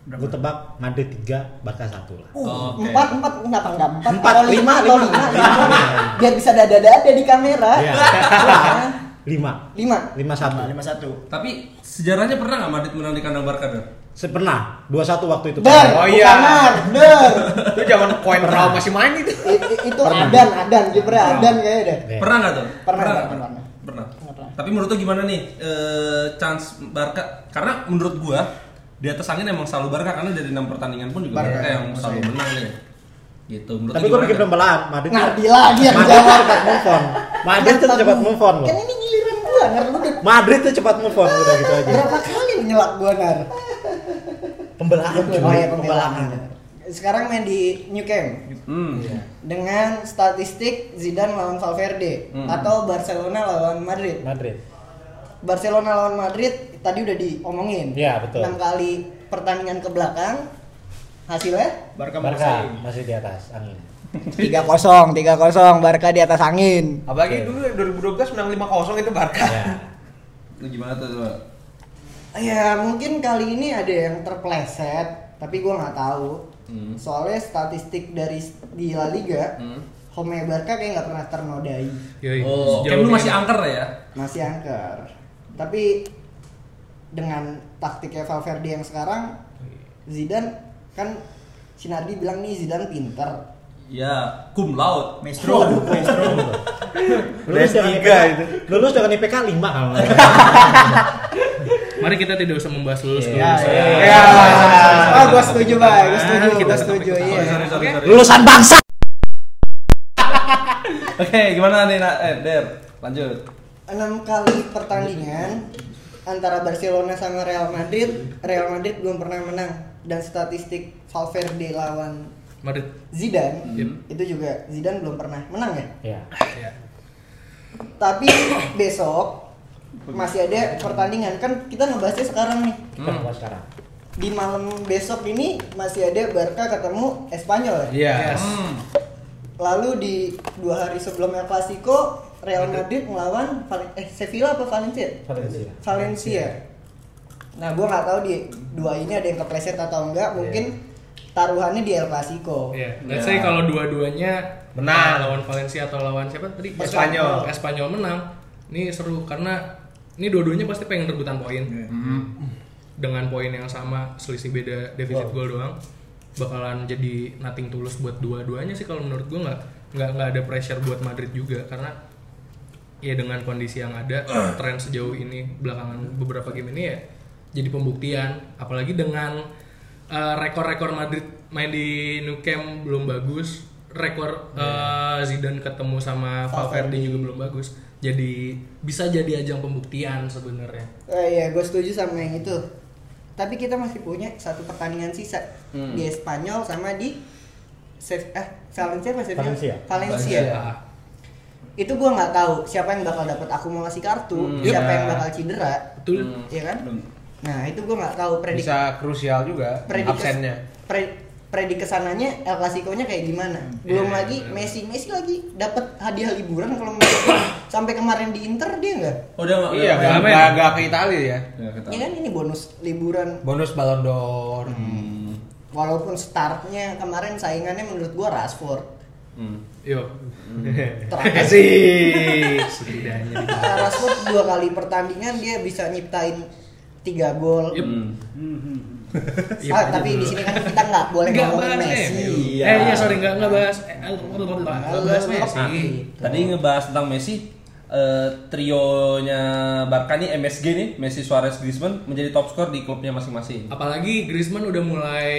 [SPEAKER 2] gue tebak Madrid 3 Barca 1
[SPEAKER 6] <laughs>
[SPEAKER 2] lah.
[SPEAKER 6] Uh,
[SPEAKER 1] Oke.
[SPEAKER 6] Empat, empat, kenapa enggak? Empat,
[SPEAKER 2] Empat,
[SPEAKER 6] atau lima,
[SPEAKER 2] lima,
[SPEAKER 6] atau
[SPEAKER 2] lima.
[SPEAKER 6] lima, lima. Biar bisa dada-dada di kamera.
[SPEAKER 2] Iya.
[SPEAKER 6] Wah,
[SPEAKER 2] 5.
[SPEAKER 6] Lima.
[SPEAKER 2] 5-1.
[SPEAKER 3] lima satu
[SPEAKER 1] Tapi sejarahnya pernah nggak Madrid menang di kandang Barca? Dar?
[SPEAKER 2] Pernah 2-1 waktu itu.
[SPEAKER 6] Ber,
[SPEAKER 4] Oh,
[SPEAKER 6] oh,
[SPEAKER 4] iya.
[SPEAKER 6] ber.
[SPEAKER 4] Itu zaman koin raw masih main itu.
[SPEAKER 6] I- i- itu adan, adan, kipernya adan kayaknya deh.
[SPEAKER 2] Iya.
[SPEAKER 1] Pernah nggak tuh?
[SPEAKER 6] Pernah,
[SPEAKER 1] nggak?
[SPEAKER 6] pernah, pernah.
[SPEAKER 1] Pernah.
[SPEAKER 6] Nggak pernah.
[SPEAKER 1] Tapi menurut lo gimana nih eh, chance Barca? Karena menurut gua di atas angin emang selalu Barca karena dari enam pertandingan pun juga
[SPEAKER 3] Barca,
[SPEAKER 1] Barca yang
[SPEAKER 3] maksudnya.
[SPEAKER 6] iya.
[SPEAKER 1] selalu menang nih. Gitu. Menurut
[SPEAKER 2] Tapi
[SPEAKER 1] lo
[SPEAKER 2] gue
[SPEAKER 1] gimana,
[SPEAKER 2] bikin
[SPEAKER 1] Dar?
[SPEAKER 2] pembelaan Madrid.
[SPEAKER 6] Ngardi lagi yang
[SPEAKER 2] Madrid tuh
[SPEAKER 6] jawab.
[SPEAKER 2] cepat move on. Madrid tuh cepat move on loh. Iya,
[SPEAKER 6] Kan ini giliran gua, nger lu udah
[SPEAKER 2] Madrid tuh cepat move on udah gitu aja.
[SPEAKER 6] berapa kali lu nyelak gua nar?
[SPEAKER 2] Pembelaan
[SPEAKER 6] Oh,
[SPEAKER 2] cuy,
[SPEAKER 6] iya, pembelaan. Sekarang main di New Camp
[SPEAKER 1] Hmm.
[SPEAKER 6] dengan statistik Zidane lawan Valverde
[SPEAKER 1] Hmm.
[SPEAKER 6] atau Barcelona lawan Madrid.
[SPEAKER 2] Madrid.
[SPEAKER 6] Barcelona lawan Madrid tadi udah diomongin.
[SPEAKER 2] Iya, betul.
[SPEAKER 6] 6 kali pertandingan ke belakang hasilnya
[SPEAKER 3] Barca
[SPEAKER 2] Barca
[SPEAKER 3] Marseille
[SPEAKER 2] masih di atas angin.
[SPEAKER 6] 3-0, 3-0 Barca di atas angin.
[SPEAKER 4] Apalagi dulu yang 2012 menang 5-0 itu Barca.
[SPEAKER 2] Ya.
[SPEAKER 1] Lu gimana tuh? Dar?
[SPEAKER 6] Ya mungkin kali ini ada yang terpleset, tapi gue nggak tahu.
[SPEAKER 1] Hmm.
[SPEAKER 6] Soalnya statistik dari s- di La Liga,
[SPEAKER 1] Hmm.
[SPEAKER 6] home Barca kayak nggak pernah ternodai,
[SPEAKER 5] Yoi,
[SPEAKER 1] Oh,
[SPEAKER 5] sejauh
[SPEAKER 1] Camp lu
[SPEAKER 5] ini.
[SPEAKER 1] masih angker ya?
[SPEAKER 6] masih angker. Tapi dengan taktiknya Valverde yang sekarang, Zidane kan Sinardi bilang nih Zidane pinter.
[SPEAKER 1] Ya, cum laude.
[SPEAKER 3] Maestro Maestro
[SPEAKER 2] Lulus dengan
[SPEAKER 4] tiga
[SPEAKER 2] IPK,
[SPEAKER 4] itu.
[SPEAKER 2] lulus dengan IPK 5 kalau nggak salah.
[SPEAKER 5] Mari kita tidak usah membahas lulus dulu.
[SPEAKER 2] Iya,
[SPEAKER 5] saya.
[SPEAKER 2] iya.
[SPEAKER 4] Ya.
[SPEAKER 6] Oh, gue setuju Bay, gue setuju,
[SPEAKER 5] Kita
[SPEAKER 6] gue setuju. Iya.
[SPEAKER 1] Sorry, sorry, sorry.
[SPEAKER 2] Lulusan bangsa.
[SPEAKER 1] Oke, gimana nih, Nak? Eh, Der, lanjut.
[SPEAKER 6] 6 kali pertandingan antara Barcelona sama Real Madrid, Real Madrid belum pernah menang dan statistik Valverde lawan
[SPEAKER 5] Madrid.
[SPEAKER 6] Zidane
[SPEAKER 5] Yep.
[SPEAKER 6] itu juga Zidane belum pernah menang
[SPEAKER 2] Ya.
[SPEAKER 6] ya. Tapi besok masih ada pertandingan kan kita ngebahasnya sekarang nih.
[SPEAKER 2] Kita buat sekarang.
[SPEAKER 6] Di malam besok ini masih ada Barca ketemu Espanyol. ya?
[SPEAKER 4] Yes.
[SPEAKER 6] Lalu di dua hari sebelum El Clasico Real Madrid melawan Valen- eh Sevilla apa Valencia?
[SPEAKER 2] Valencia.
[SPEAKER 6] Valencia. Nah, gue nggak tahu di dua ini ada yang kepleset atau enggak. Mungkin taruhannya di El Clasico.
[SPEAKER 5] Iya. Let's say kalau dua-duanya
[SPEAKER 4] Menang.
[SPEAKER 5] uh, lawan Valencia atau lawan siapa tadi?
[SPEAKER 4] Espanyol.
[SPEAKER 5] Espanyol menang. Ini seru karena ini dua-duanya pasti pengen rebutan poin. Dengan poin yang sama, selisih beda defisit gol doang bakalan jadi nothing tulus buat dua-duanya sih kalau menurut gue nggak nggak nggak ada pressure buat Madrid juga karena ya dengan kondisi yang ada tren sejauh ini belakangan beberapa game ini ya jadi pembuktian apalagi dengan eh, rekor-rekor Madrid main di Nou Camp belum bagus rekor eh, Zidane ketemu sama Valverde juga belum bagus jadi bisa jadi ajang pembuktian sebenarnya
[SPEAKER 6] Eh, iya, gue setuju sama yang itu. Tapi kita masih punya satu pertandingan sisa
[SPEAKER 1] Hmm.
[SPEAKER 6] di Espanyol sama di Sev eh Valencia apa Sevilla?
[SPEAKER 2] Valencia.
[SPEAKER 6] Valencia.
[SPEAKER 5] Ah,
[SPEAKER 6] Itu gue nggak tahu siapa yang bakal dapat akumulasi kartu,
[SPEAKER 1] Hmm,
[SPEAKER 6] siapa
[SPEAKER 4] iya.
[SPEAKER 6] yang bakal cedera,
[SPEAKER 5] betul
[SPEAKER 6] ya kan?
[SPEAKER 3] Belum.
[SPEAKER 6] Nah, itu gue nggak tahu prediksi
[SPEAKER 4] Bisa krusial juga absennya.
[SPEAKER 6] pre predik kesananya El Clasico-nya kayak gimana. Belum
[SPEAKER 5] Iya,
[SPEAKER 6] lagi
[SPEAKER 5] bener.
[SPEAKER 6] Messi, Messi lagi dapat hadiah liburan kalau menurut sampai kemarin di Inter dia enggak.
[SPEAKER 1] Oh, dia nggak-
[SPEAKER 4] Iya,
[SPEAKER 1] nggak-
[SPEAKER 4] gak,
[SPEAKER 5] main.
[SPEAKER 4] gak, gak ke Italia ya.
[SPEAKER 1] nggak ketahuan.
[SPEAKER 6] Ya kan ini bonus liburan
[SPEAKER 4] Bonus Ballon d'Or.
[SPEAKER 1] Hmm.
[SPEAKER 6] walaupun startnya kemarin saingannya menurut gua Rashford.
[SPEAKER 1] Hmm.
[SPEAKER 5] yuk
[SPEAKER 6] Terakhir
[SPEAKER 4] Asik.
[SPEAKER 5] <laughs> setidaknya di-
[SPEAKER 6] Rashford dua kali pertandingan dia bisa nyiptain tiga gol.
[SPEAKER 5] Yup.
[SPEAKER 1] Hmm.
[SPEAKER 5] Iya,
[SPEAKER 6] Ah,
[SPEAKER 5] betul.
[SPEAKER 6] tapi di sini kan kita nggak boleh
[SPEAKER 5] Nggak
[SPEAKER 6] ngomongin
[SPEAKER 5] bahas
[SPEAKER 6] Messi.
[SPEAKER 5] MU.
[SPEAKER 1] Iya.
[SPEAKER 5] Eh iya sorry nggak nggak bahas. Eh, nggak bahas eh, Messi.
[SPEAKER 6] Oh.
[SPEAKER 1] Tadi ngebahas tentang Messi, eh, trionya Barca nih MSG nih Messi Suarez Griezmann menjadi top skor di klubnya masing-masing.
[SPEAKER 5] Apalagi Griezmann udah mulai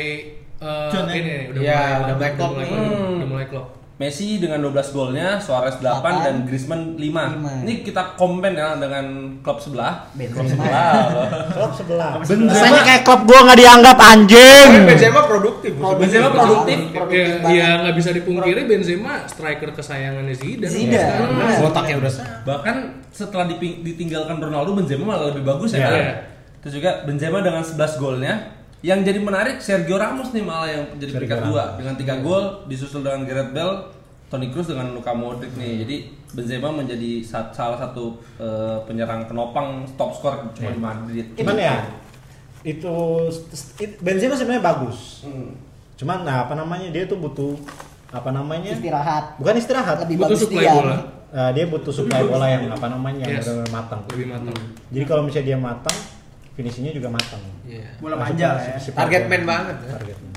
[SPEAKER 5] eh
[SPEAKER 3] Cun, ya?
[SPEAKER 5] ini nih, udah
[SPEAKER 4] Iya,
[SPEAKER 5] mulai
[SPEAKER 4] udah
[SPEAKER 5] mulai
[SPEAKER 4] mulai klop
[SPEAKER 5] mulai
[SPEAKER 4] nih.
[SPEAKER 5] klop, udah mulai klop.
[SPEAKER 1] Messi dengan 12 golnya, Suarez 8, dan Griezmann 5.
[SPEAKER 6] Lima.
[SPEAKER 1] Ini kita komen ya dengan klub sebelah. Klub
[SPEAKER 6] Benzema.
[SPEAKER 1] sebelah. loh.
[SPEAKER 6] <laughs>
[SPEAKER 2] Klub sebelah.
[SPEAKER 1] Benzema,
[SPEAKER 2] kayak klub gua nggak dianggap anjing.
[SPEAKER 4] Tapi Benzema produktif.
[SPEAKER 6] Produktif.
[SPEAKER 1] Benzema produktif.
[SPEAKER 5] Ya,
[SPEAKER 6] Produktif
[SPEAKER 5] ya
[SPEAKER 6] banget.
[SPEAKER 5] nggak bisa dipungkiri Benzema striker kesayangannya Zidane.
[SPEAKER 6] Zidane.
[SPEAKER 5] Ya,
[SPEAKER 6] Benar.
[SPEAKER 4] Botaknya udah
[SPEAKER 1] Bahkan setelah diping- ditinggalkan Ronaldo, Benzema malah lebih bagus ya.
[SPEAKER 5] Iya.
[SPEAKER 1] kan? Terus juga Benzema dengan 11 golnya. Yang jadi menarik Sergio Ramos nih malah yang jadi peringkat 2 dengan
[SPEAKER 5] Iya.
[SPEAKER 1] 3 gol disusul dengan Gareth Bale, Toni Kroos dengan Luka Modric nih. Jadi Benzema menjadi sa- salah satu eh, penyerang penopang top skor
[SPEAKER 5] Iya.
[SPEAKER 1] cuma di Madrid.
[SPEAKER 2] Cuman ya itu it- Benzema sebenarnya bagus. Cuman nah, apa namanya dia tuh butuh apa namanya?
[SPEAKER 6] Istirahat.
[SPEAKER 2] Bukan istirahat.
[SPEAKER 6] Lebih
[SPEAKER 5] Butuh
[SPEAKER 6] bagus
[SPEAKER 5] suplai
[SPEAKER 6] dia.
[SPEAKER 5] bola.
[SPEAKER 2] Eh, dia butuh supply bola yang apa namanya yang
[SPEAKER 5] Yes.
[SPEAKER 2] benar-benar matang.
[SPEAKER 5] Lebih matang.
[SPEAKER 2] Jadi kalau misalnya dia matang, finishingnya juga matang.
[SPEAKER 4] Iya.
[SPEAKER 3] Bola manja lah ya.
[SPEAKER 4] Target man banget. ya.
[SPEAKER 2] Target man.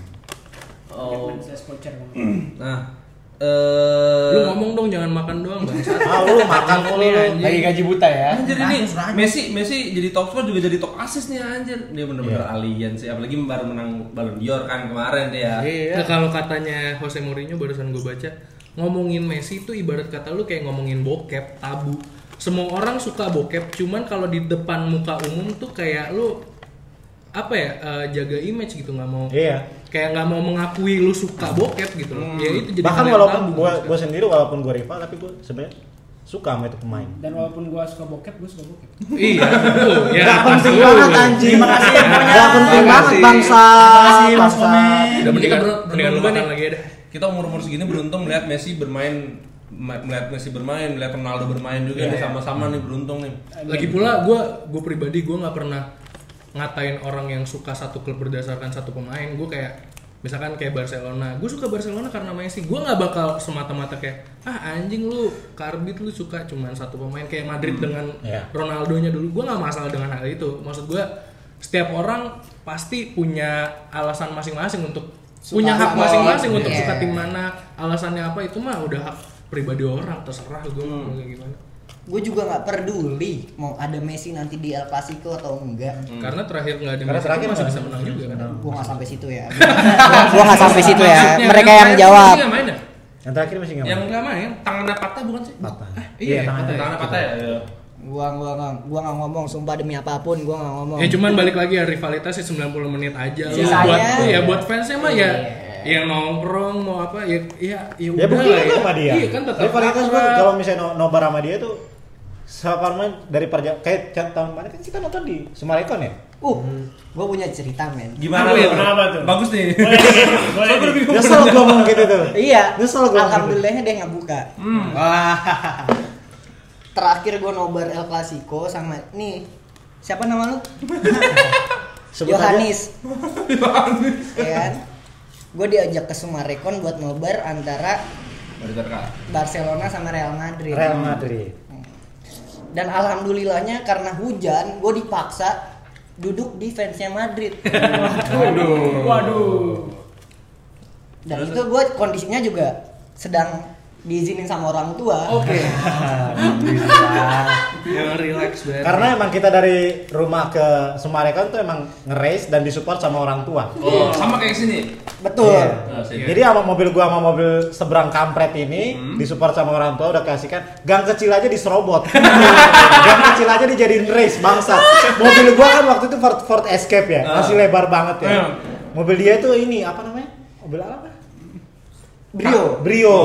[SPEAKER 1] Oh.
[SPEAKER 7] Slash voucher.
[SPEAKER 1] Nah, eh
[SPEAKER 5] Lu ngomong dong jangan makan doang, Bang.
[SPEAKER 2] Ah, lu makan mulu lu.
[SPEAKER 4] Lagi
[SPEAKER 1] Iya.
[SPEAKER 4] gaji buta ya.
[SPEAKER 1] Anjir ini
[SPEAKER 3] Rakus, rakus.
[SPEAKER 1] Messi Messi jadi top scorer juga jadi top assist nih anjir. Dia bener-bener alien sih apalagi baru menang Ballon d'Or kan kemarin dia.
[SPEAKER 2] Iya.
[SPEAKER 5] Nah, kalau katanya Jose Mourinho barusan gue baca ngomongin Messi itu ibarat kata lu kayak ngomongin bokep tabu. Semua orang suka bokep, cuman kalau di depan muka umum tuh kayak lu apa ya eh, jaga image gitu nggak mau
[SPEAKER 2] Iya. Hmm.
[SPEAKER 5] kayak nggak mau mengakui lu suka bokep gitu loh. Ya itu jadi
[SPEAKER 2] Bahkan
[SPEAKER 5] hal yang
[SPEAKER 2] walaupun
[SPEAKER 5] tabu.
[SPEAKER 2] gua gua sendiri walaupun gua rival tapi gua sebenarnya suka sama itu pemain.
[SPEAKER 7] Dan walaupun gua suka bokep, gua suka bokep.
[SPEAKER 2] <laughs>
[SPEAKER 5] Iya, betul. Ya,
[SPEAKER 2] Gak penting
[SPEAKER 5] pasti.
[SPEAKER 2] banget anjing.
[SPEAKER 3] Terima kasih semuanya.
[SPEAKER 2] Gak penting
[SPEAKER 4] Terima
[SPEAKER 2] banget
[SPEAKER 4] kasih.
[SPEAKER 2] bangsa.
[SPEAKER 3] Terima kasih, Mas
[SPEAKER 2] Bangsa.
[SPEAKER 3] Komen.
[SPEAKER 5] Udah mendingan,
[SPEAKER 1] Kita ber-
[SPEAKER 5] mendingan lu
[SPEAKER 1] berubah
[SPEAKER 5] makan
[SPEAKER 1] nih.
[SPEAKER 5] lagi ya dah.
[SPEAKER 1] Kita umur-umur segini beruntung melihat Messi bermain ma- melihat Messi bermain, melihat Ronaldo bermain juga nih sama-sama nih beruntung nih.
[SPEAKER 5] Lagi pula gue gue pribadi gue nggak pernah ngatain orang yang suka satu klub berdasarkan satu pemain. Gue kayak misalkan kayak Barcelona, gue suka Barcelona karena Messi. Gue nggak bakal semata-mata kayak ah anjing lu karbit lu suka cuman satu pemain kayak Madrid dengan
[SPEAKER 2] Iya.
[SPEAKER 5] Ronaldonya dulu. Gue nggak masalah dengan hal itu. Maksud gue setiap orang pasti punya alasan masing-masing untuk punya hak
[SPEAKER 6] lawan.
[SPEAKER 5] masing-masing untuk
[SPEAKER 6] Iya.
[SPEAKER 5] suka tim mana, alasannya apa itu mah udah hak pribadi orang terserah gue mau kayak gimana.
[SPEAKER 6] Gue juga nggak peduli mau ada Messi nanti di El Clasico atau enggak.
[SPEAKER 5] Karena terakhir nggak ada
[SPEAKER 2] Hmm. Karena
[SPEAKER 5] Messi
[SPEAKER 2] terakhir
[SPEAKER 5] kan masih
[SPEAKER 2] nggak
[SPEAKER 5] bisa
[SPEAKER 2] ada.
[SPEAKER 5] menang juga kan.
[SPEAKER 6] Gue nggak sampai situ ya. Gue nggak sampai situ ya.
[SPEAKER 5] Maksudnya
[SPEAKER 6] Mereka yang
[SPEAKER 5] main,
[SPEAKER 6] jawab.
[SPEAKER 5] Yang
[SPEAKER 2] Iya,
[SPEAKER 5] main ya?
[SPEAKER 2] Yang terakhir masih nggak
[SPEAKER 5] Yang
[SPEAKER 2] main.
[SPEAKER 5] nggak main, tangannya patah bukan sih?
[SPEAKER 2] Patah.
[SPEAKER 5] Ah, iya,
[SPEAKER 2] Iya, tangannya
[SPEAKER 5] patah.
[SPEAKER 1] Tangan
[SPEAKER 5] ya.
[SPEAKER 1] patah ya. iya.
[SPEAKER 6] Gua gua nggak gua nggak ngomong sumpah demi apapun gua nggak ngomong.
[SPEAKER 5] Ya cuman balik lagi ya rivalitas sih 90 menit aja lah.
[SPEAKER 6] Sisanya-
[SPEAKER 5] buat ya buat fansnya mah
[SPEAKER 6] Iya.
[SPEAKER 5] ya yang nongkrong mau apa ya ya
[SPEAKER 2] Ya
[SPEAKER 5] ya udah
[SPEAKER 2] bukti
[SPEAKER 5] lah
[SPEAKER 2] itu sama dia.
[SPEAKER 5] Iya kan tetap.
[SPEAKER 2] Rivalitas gua
[SPEAKER 5] akrab.
[SPEAKER 2] kalau misalnya no- nobar sama dia tuh Siapa main dari perja kayak ca- tahun kemarin kan kita nonton di Sumarekon
[SPEAKER 5] <laughs>
[SPEAKER 2] ya.
[SPEAKER 6] Uh, gua punya cerita men.
[SPEAKER 1] Gimana
[SPEAKER 5] Apa
[SPEAKER 1] lu?
[SPEAKER 5] ya?
[SPEAKER 1] Kenapa tuh? Bagus nih. Soalnya gua bingung
[SPEAKER 2] Nyesel gua ngomong gitu tuh.
[SPEAKER 6] Iya,
[SPEAKER 2] Nyesel gua.
[SPEAKER 6] alhamdulillahnya dia nggak buka. Terakhir gua nobar El Clasico sama nih siapa nama lu?
[SPEAKER 2] <laughs> Sebut aja.
[SPEAKER 6] Yohanis. Ya kan? Gue diajak ke Sumarekon buat nobar antara
[SPEAKER 1] Baru terka.
[SPEAKER 6] Barcelona sama Real
[SPEAKER 5] Iya.
[SPEAKER 6] Madrid.
[SPEAKER 2] Real Madrid.
[SPEAKER 6] Dan alhamdulillahnya karena hujan, gue dipaksa duduk di fansnya Madrid.
[SPEAKER 7] Waduh. Waduh.
[SPEAKER 6] Dan itu gue kondisinya juga sedang diizinin sama orang tua.
[SPEAKER 5] Oke. Yang Ya, relax banget.
[SPEAKER 2] Karena emang kita dari rumah ke Sumarekon tuh emang nge-race dan disupport sama orang tua.
[SPEAKER 1] Oh, sama kayak sini.
[SPEAKER 6] Betul.
[SPEAKER 2] Iya.
[SPEAKER 1] Nah, sini.
[SPEAKER 2] Jadi sama mobil gua sama mobil seberang kampret ini
[SPEAKER 1] Hmm.
[SPEAKER 2] disupport sama orang tua udah kasihkan gang kecil aja
[SPEAKER 1] <laughs>
[SPEAKER 2] diserobot. gang kecil aja dijadiin race bangsa. Mobil gua kan waktu itu Ford Ford Escape ya,
[SPEAKER 1] Ah.
[SPEAKER 2] masih lebar banget
[SPEAKER 1] Iya.
[SPEAKER 2] ya. Mobil dia tuh ini apa namanya? Mobil apa?
[SPEAKER 6] Brio.
[SPEAKER 2] Brio.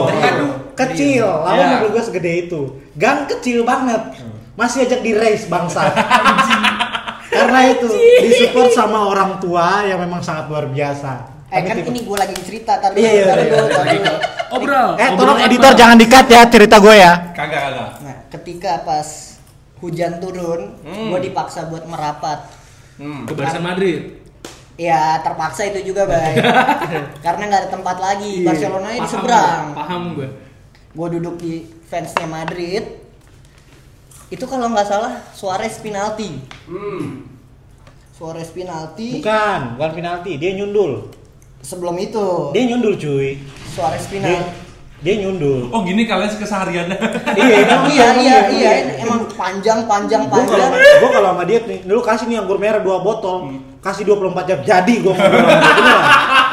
[SPEAKER 2] Kecil,
[SPEAKER 1] Oh.
[SPEAKER 2] lama
[SPEAKER 1] Iya.
[SPEAKER 2] mobil gua segede itu. Gang kecil banget. Masih ajak di race
[SPEAKER 1] <laughs>
[SPEAKER 2] bangsa. Karena itu disupport sama orang tua yang memang sangat luar biasa.
[SPEAKER 6] Eh
[SPEAKER 2] Tapi
[SPEAKER 6] kan
[SPEAKER 2] tipe-
[SPEAKER 6] ini gue lagi cerita tadi.
[SPEAKER 2] Iya, iya, iya, iya.
[SPEAKER 5] Obral.
[SPEAKER 2] Eh
[SPEAKER 5] obral
[SPEAKER 2] tolong
[SPEAKER 5] apa?
[SPEAKER 2] editor jangan dikat ya cerita gue ya.
[SPEAKER 1] Kagak kagak.
[SPEAKER 6] Nah, ketika pas hujan turun,
[SPEAKER 1] Hmm.
[SPEAKER 6] gue dipaksa buat merapat.
[SPEAKER 1] Hmm.
[SPEAKER 5] ke Barca Madrid.
[SPEAKER 6] Ya terpaksa itu
[SPEAKER 2] <laughs>
[SPEAKER 6] juga, Bay. Karena nggak ada tempat lagi.
[SPEAKER 2] Iya,
[SPEAKER 6] Barcelona di
[SPEAKER 5] Paham
[SPEAKER 6] seberang.
[SPEAKER 5] gua, Paham gue.
[SPEAKER 6] Gue duduk di fansnya Madrid. Itu kalau nggak salah Suarez penalti. Suarez penalti.
[SPEAKER 2] Hmm. Bukan, bukan penalti, dia nyundul.
[SPEAKER 6] Sebelum itu
[SPEAKER 2] Dia nyundul cuy.
[SPEAKER 6] Suarez
[SPEAKER 2] Dia,
[SPEAKER 6] penalti.
[SPEAKER 2] Dia nyundul.
[SPEAKER 1] Oh gini kalian <laughs> kesehariannya.
[SPEAKER 2] <laughs> iya, emang
[SPEAKER 6] iya iya iya emang panjang panjang
[SPEAKER 2] Gue kalau
[SPEAKER 6] panjang
[SPEAKER 2] gua kalau sama diet nih, lu kasih nih anggur merah 2 botol,
[SPEAKER 6] Hmm.
[SPEAKER 2] kasih 24 jam jadi gua mau Marlboro. Beneran.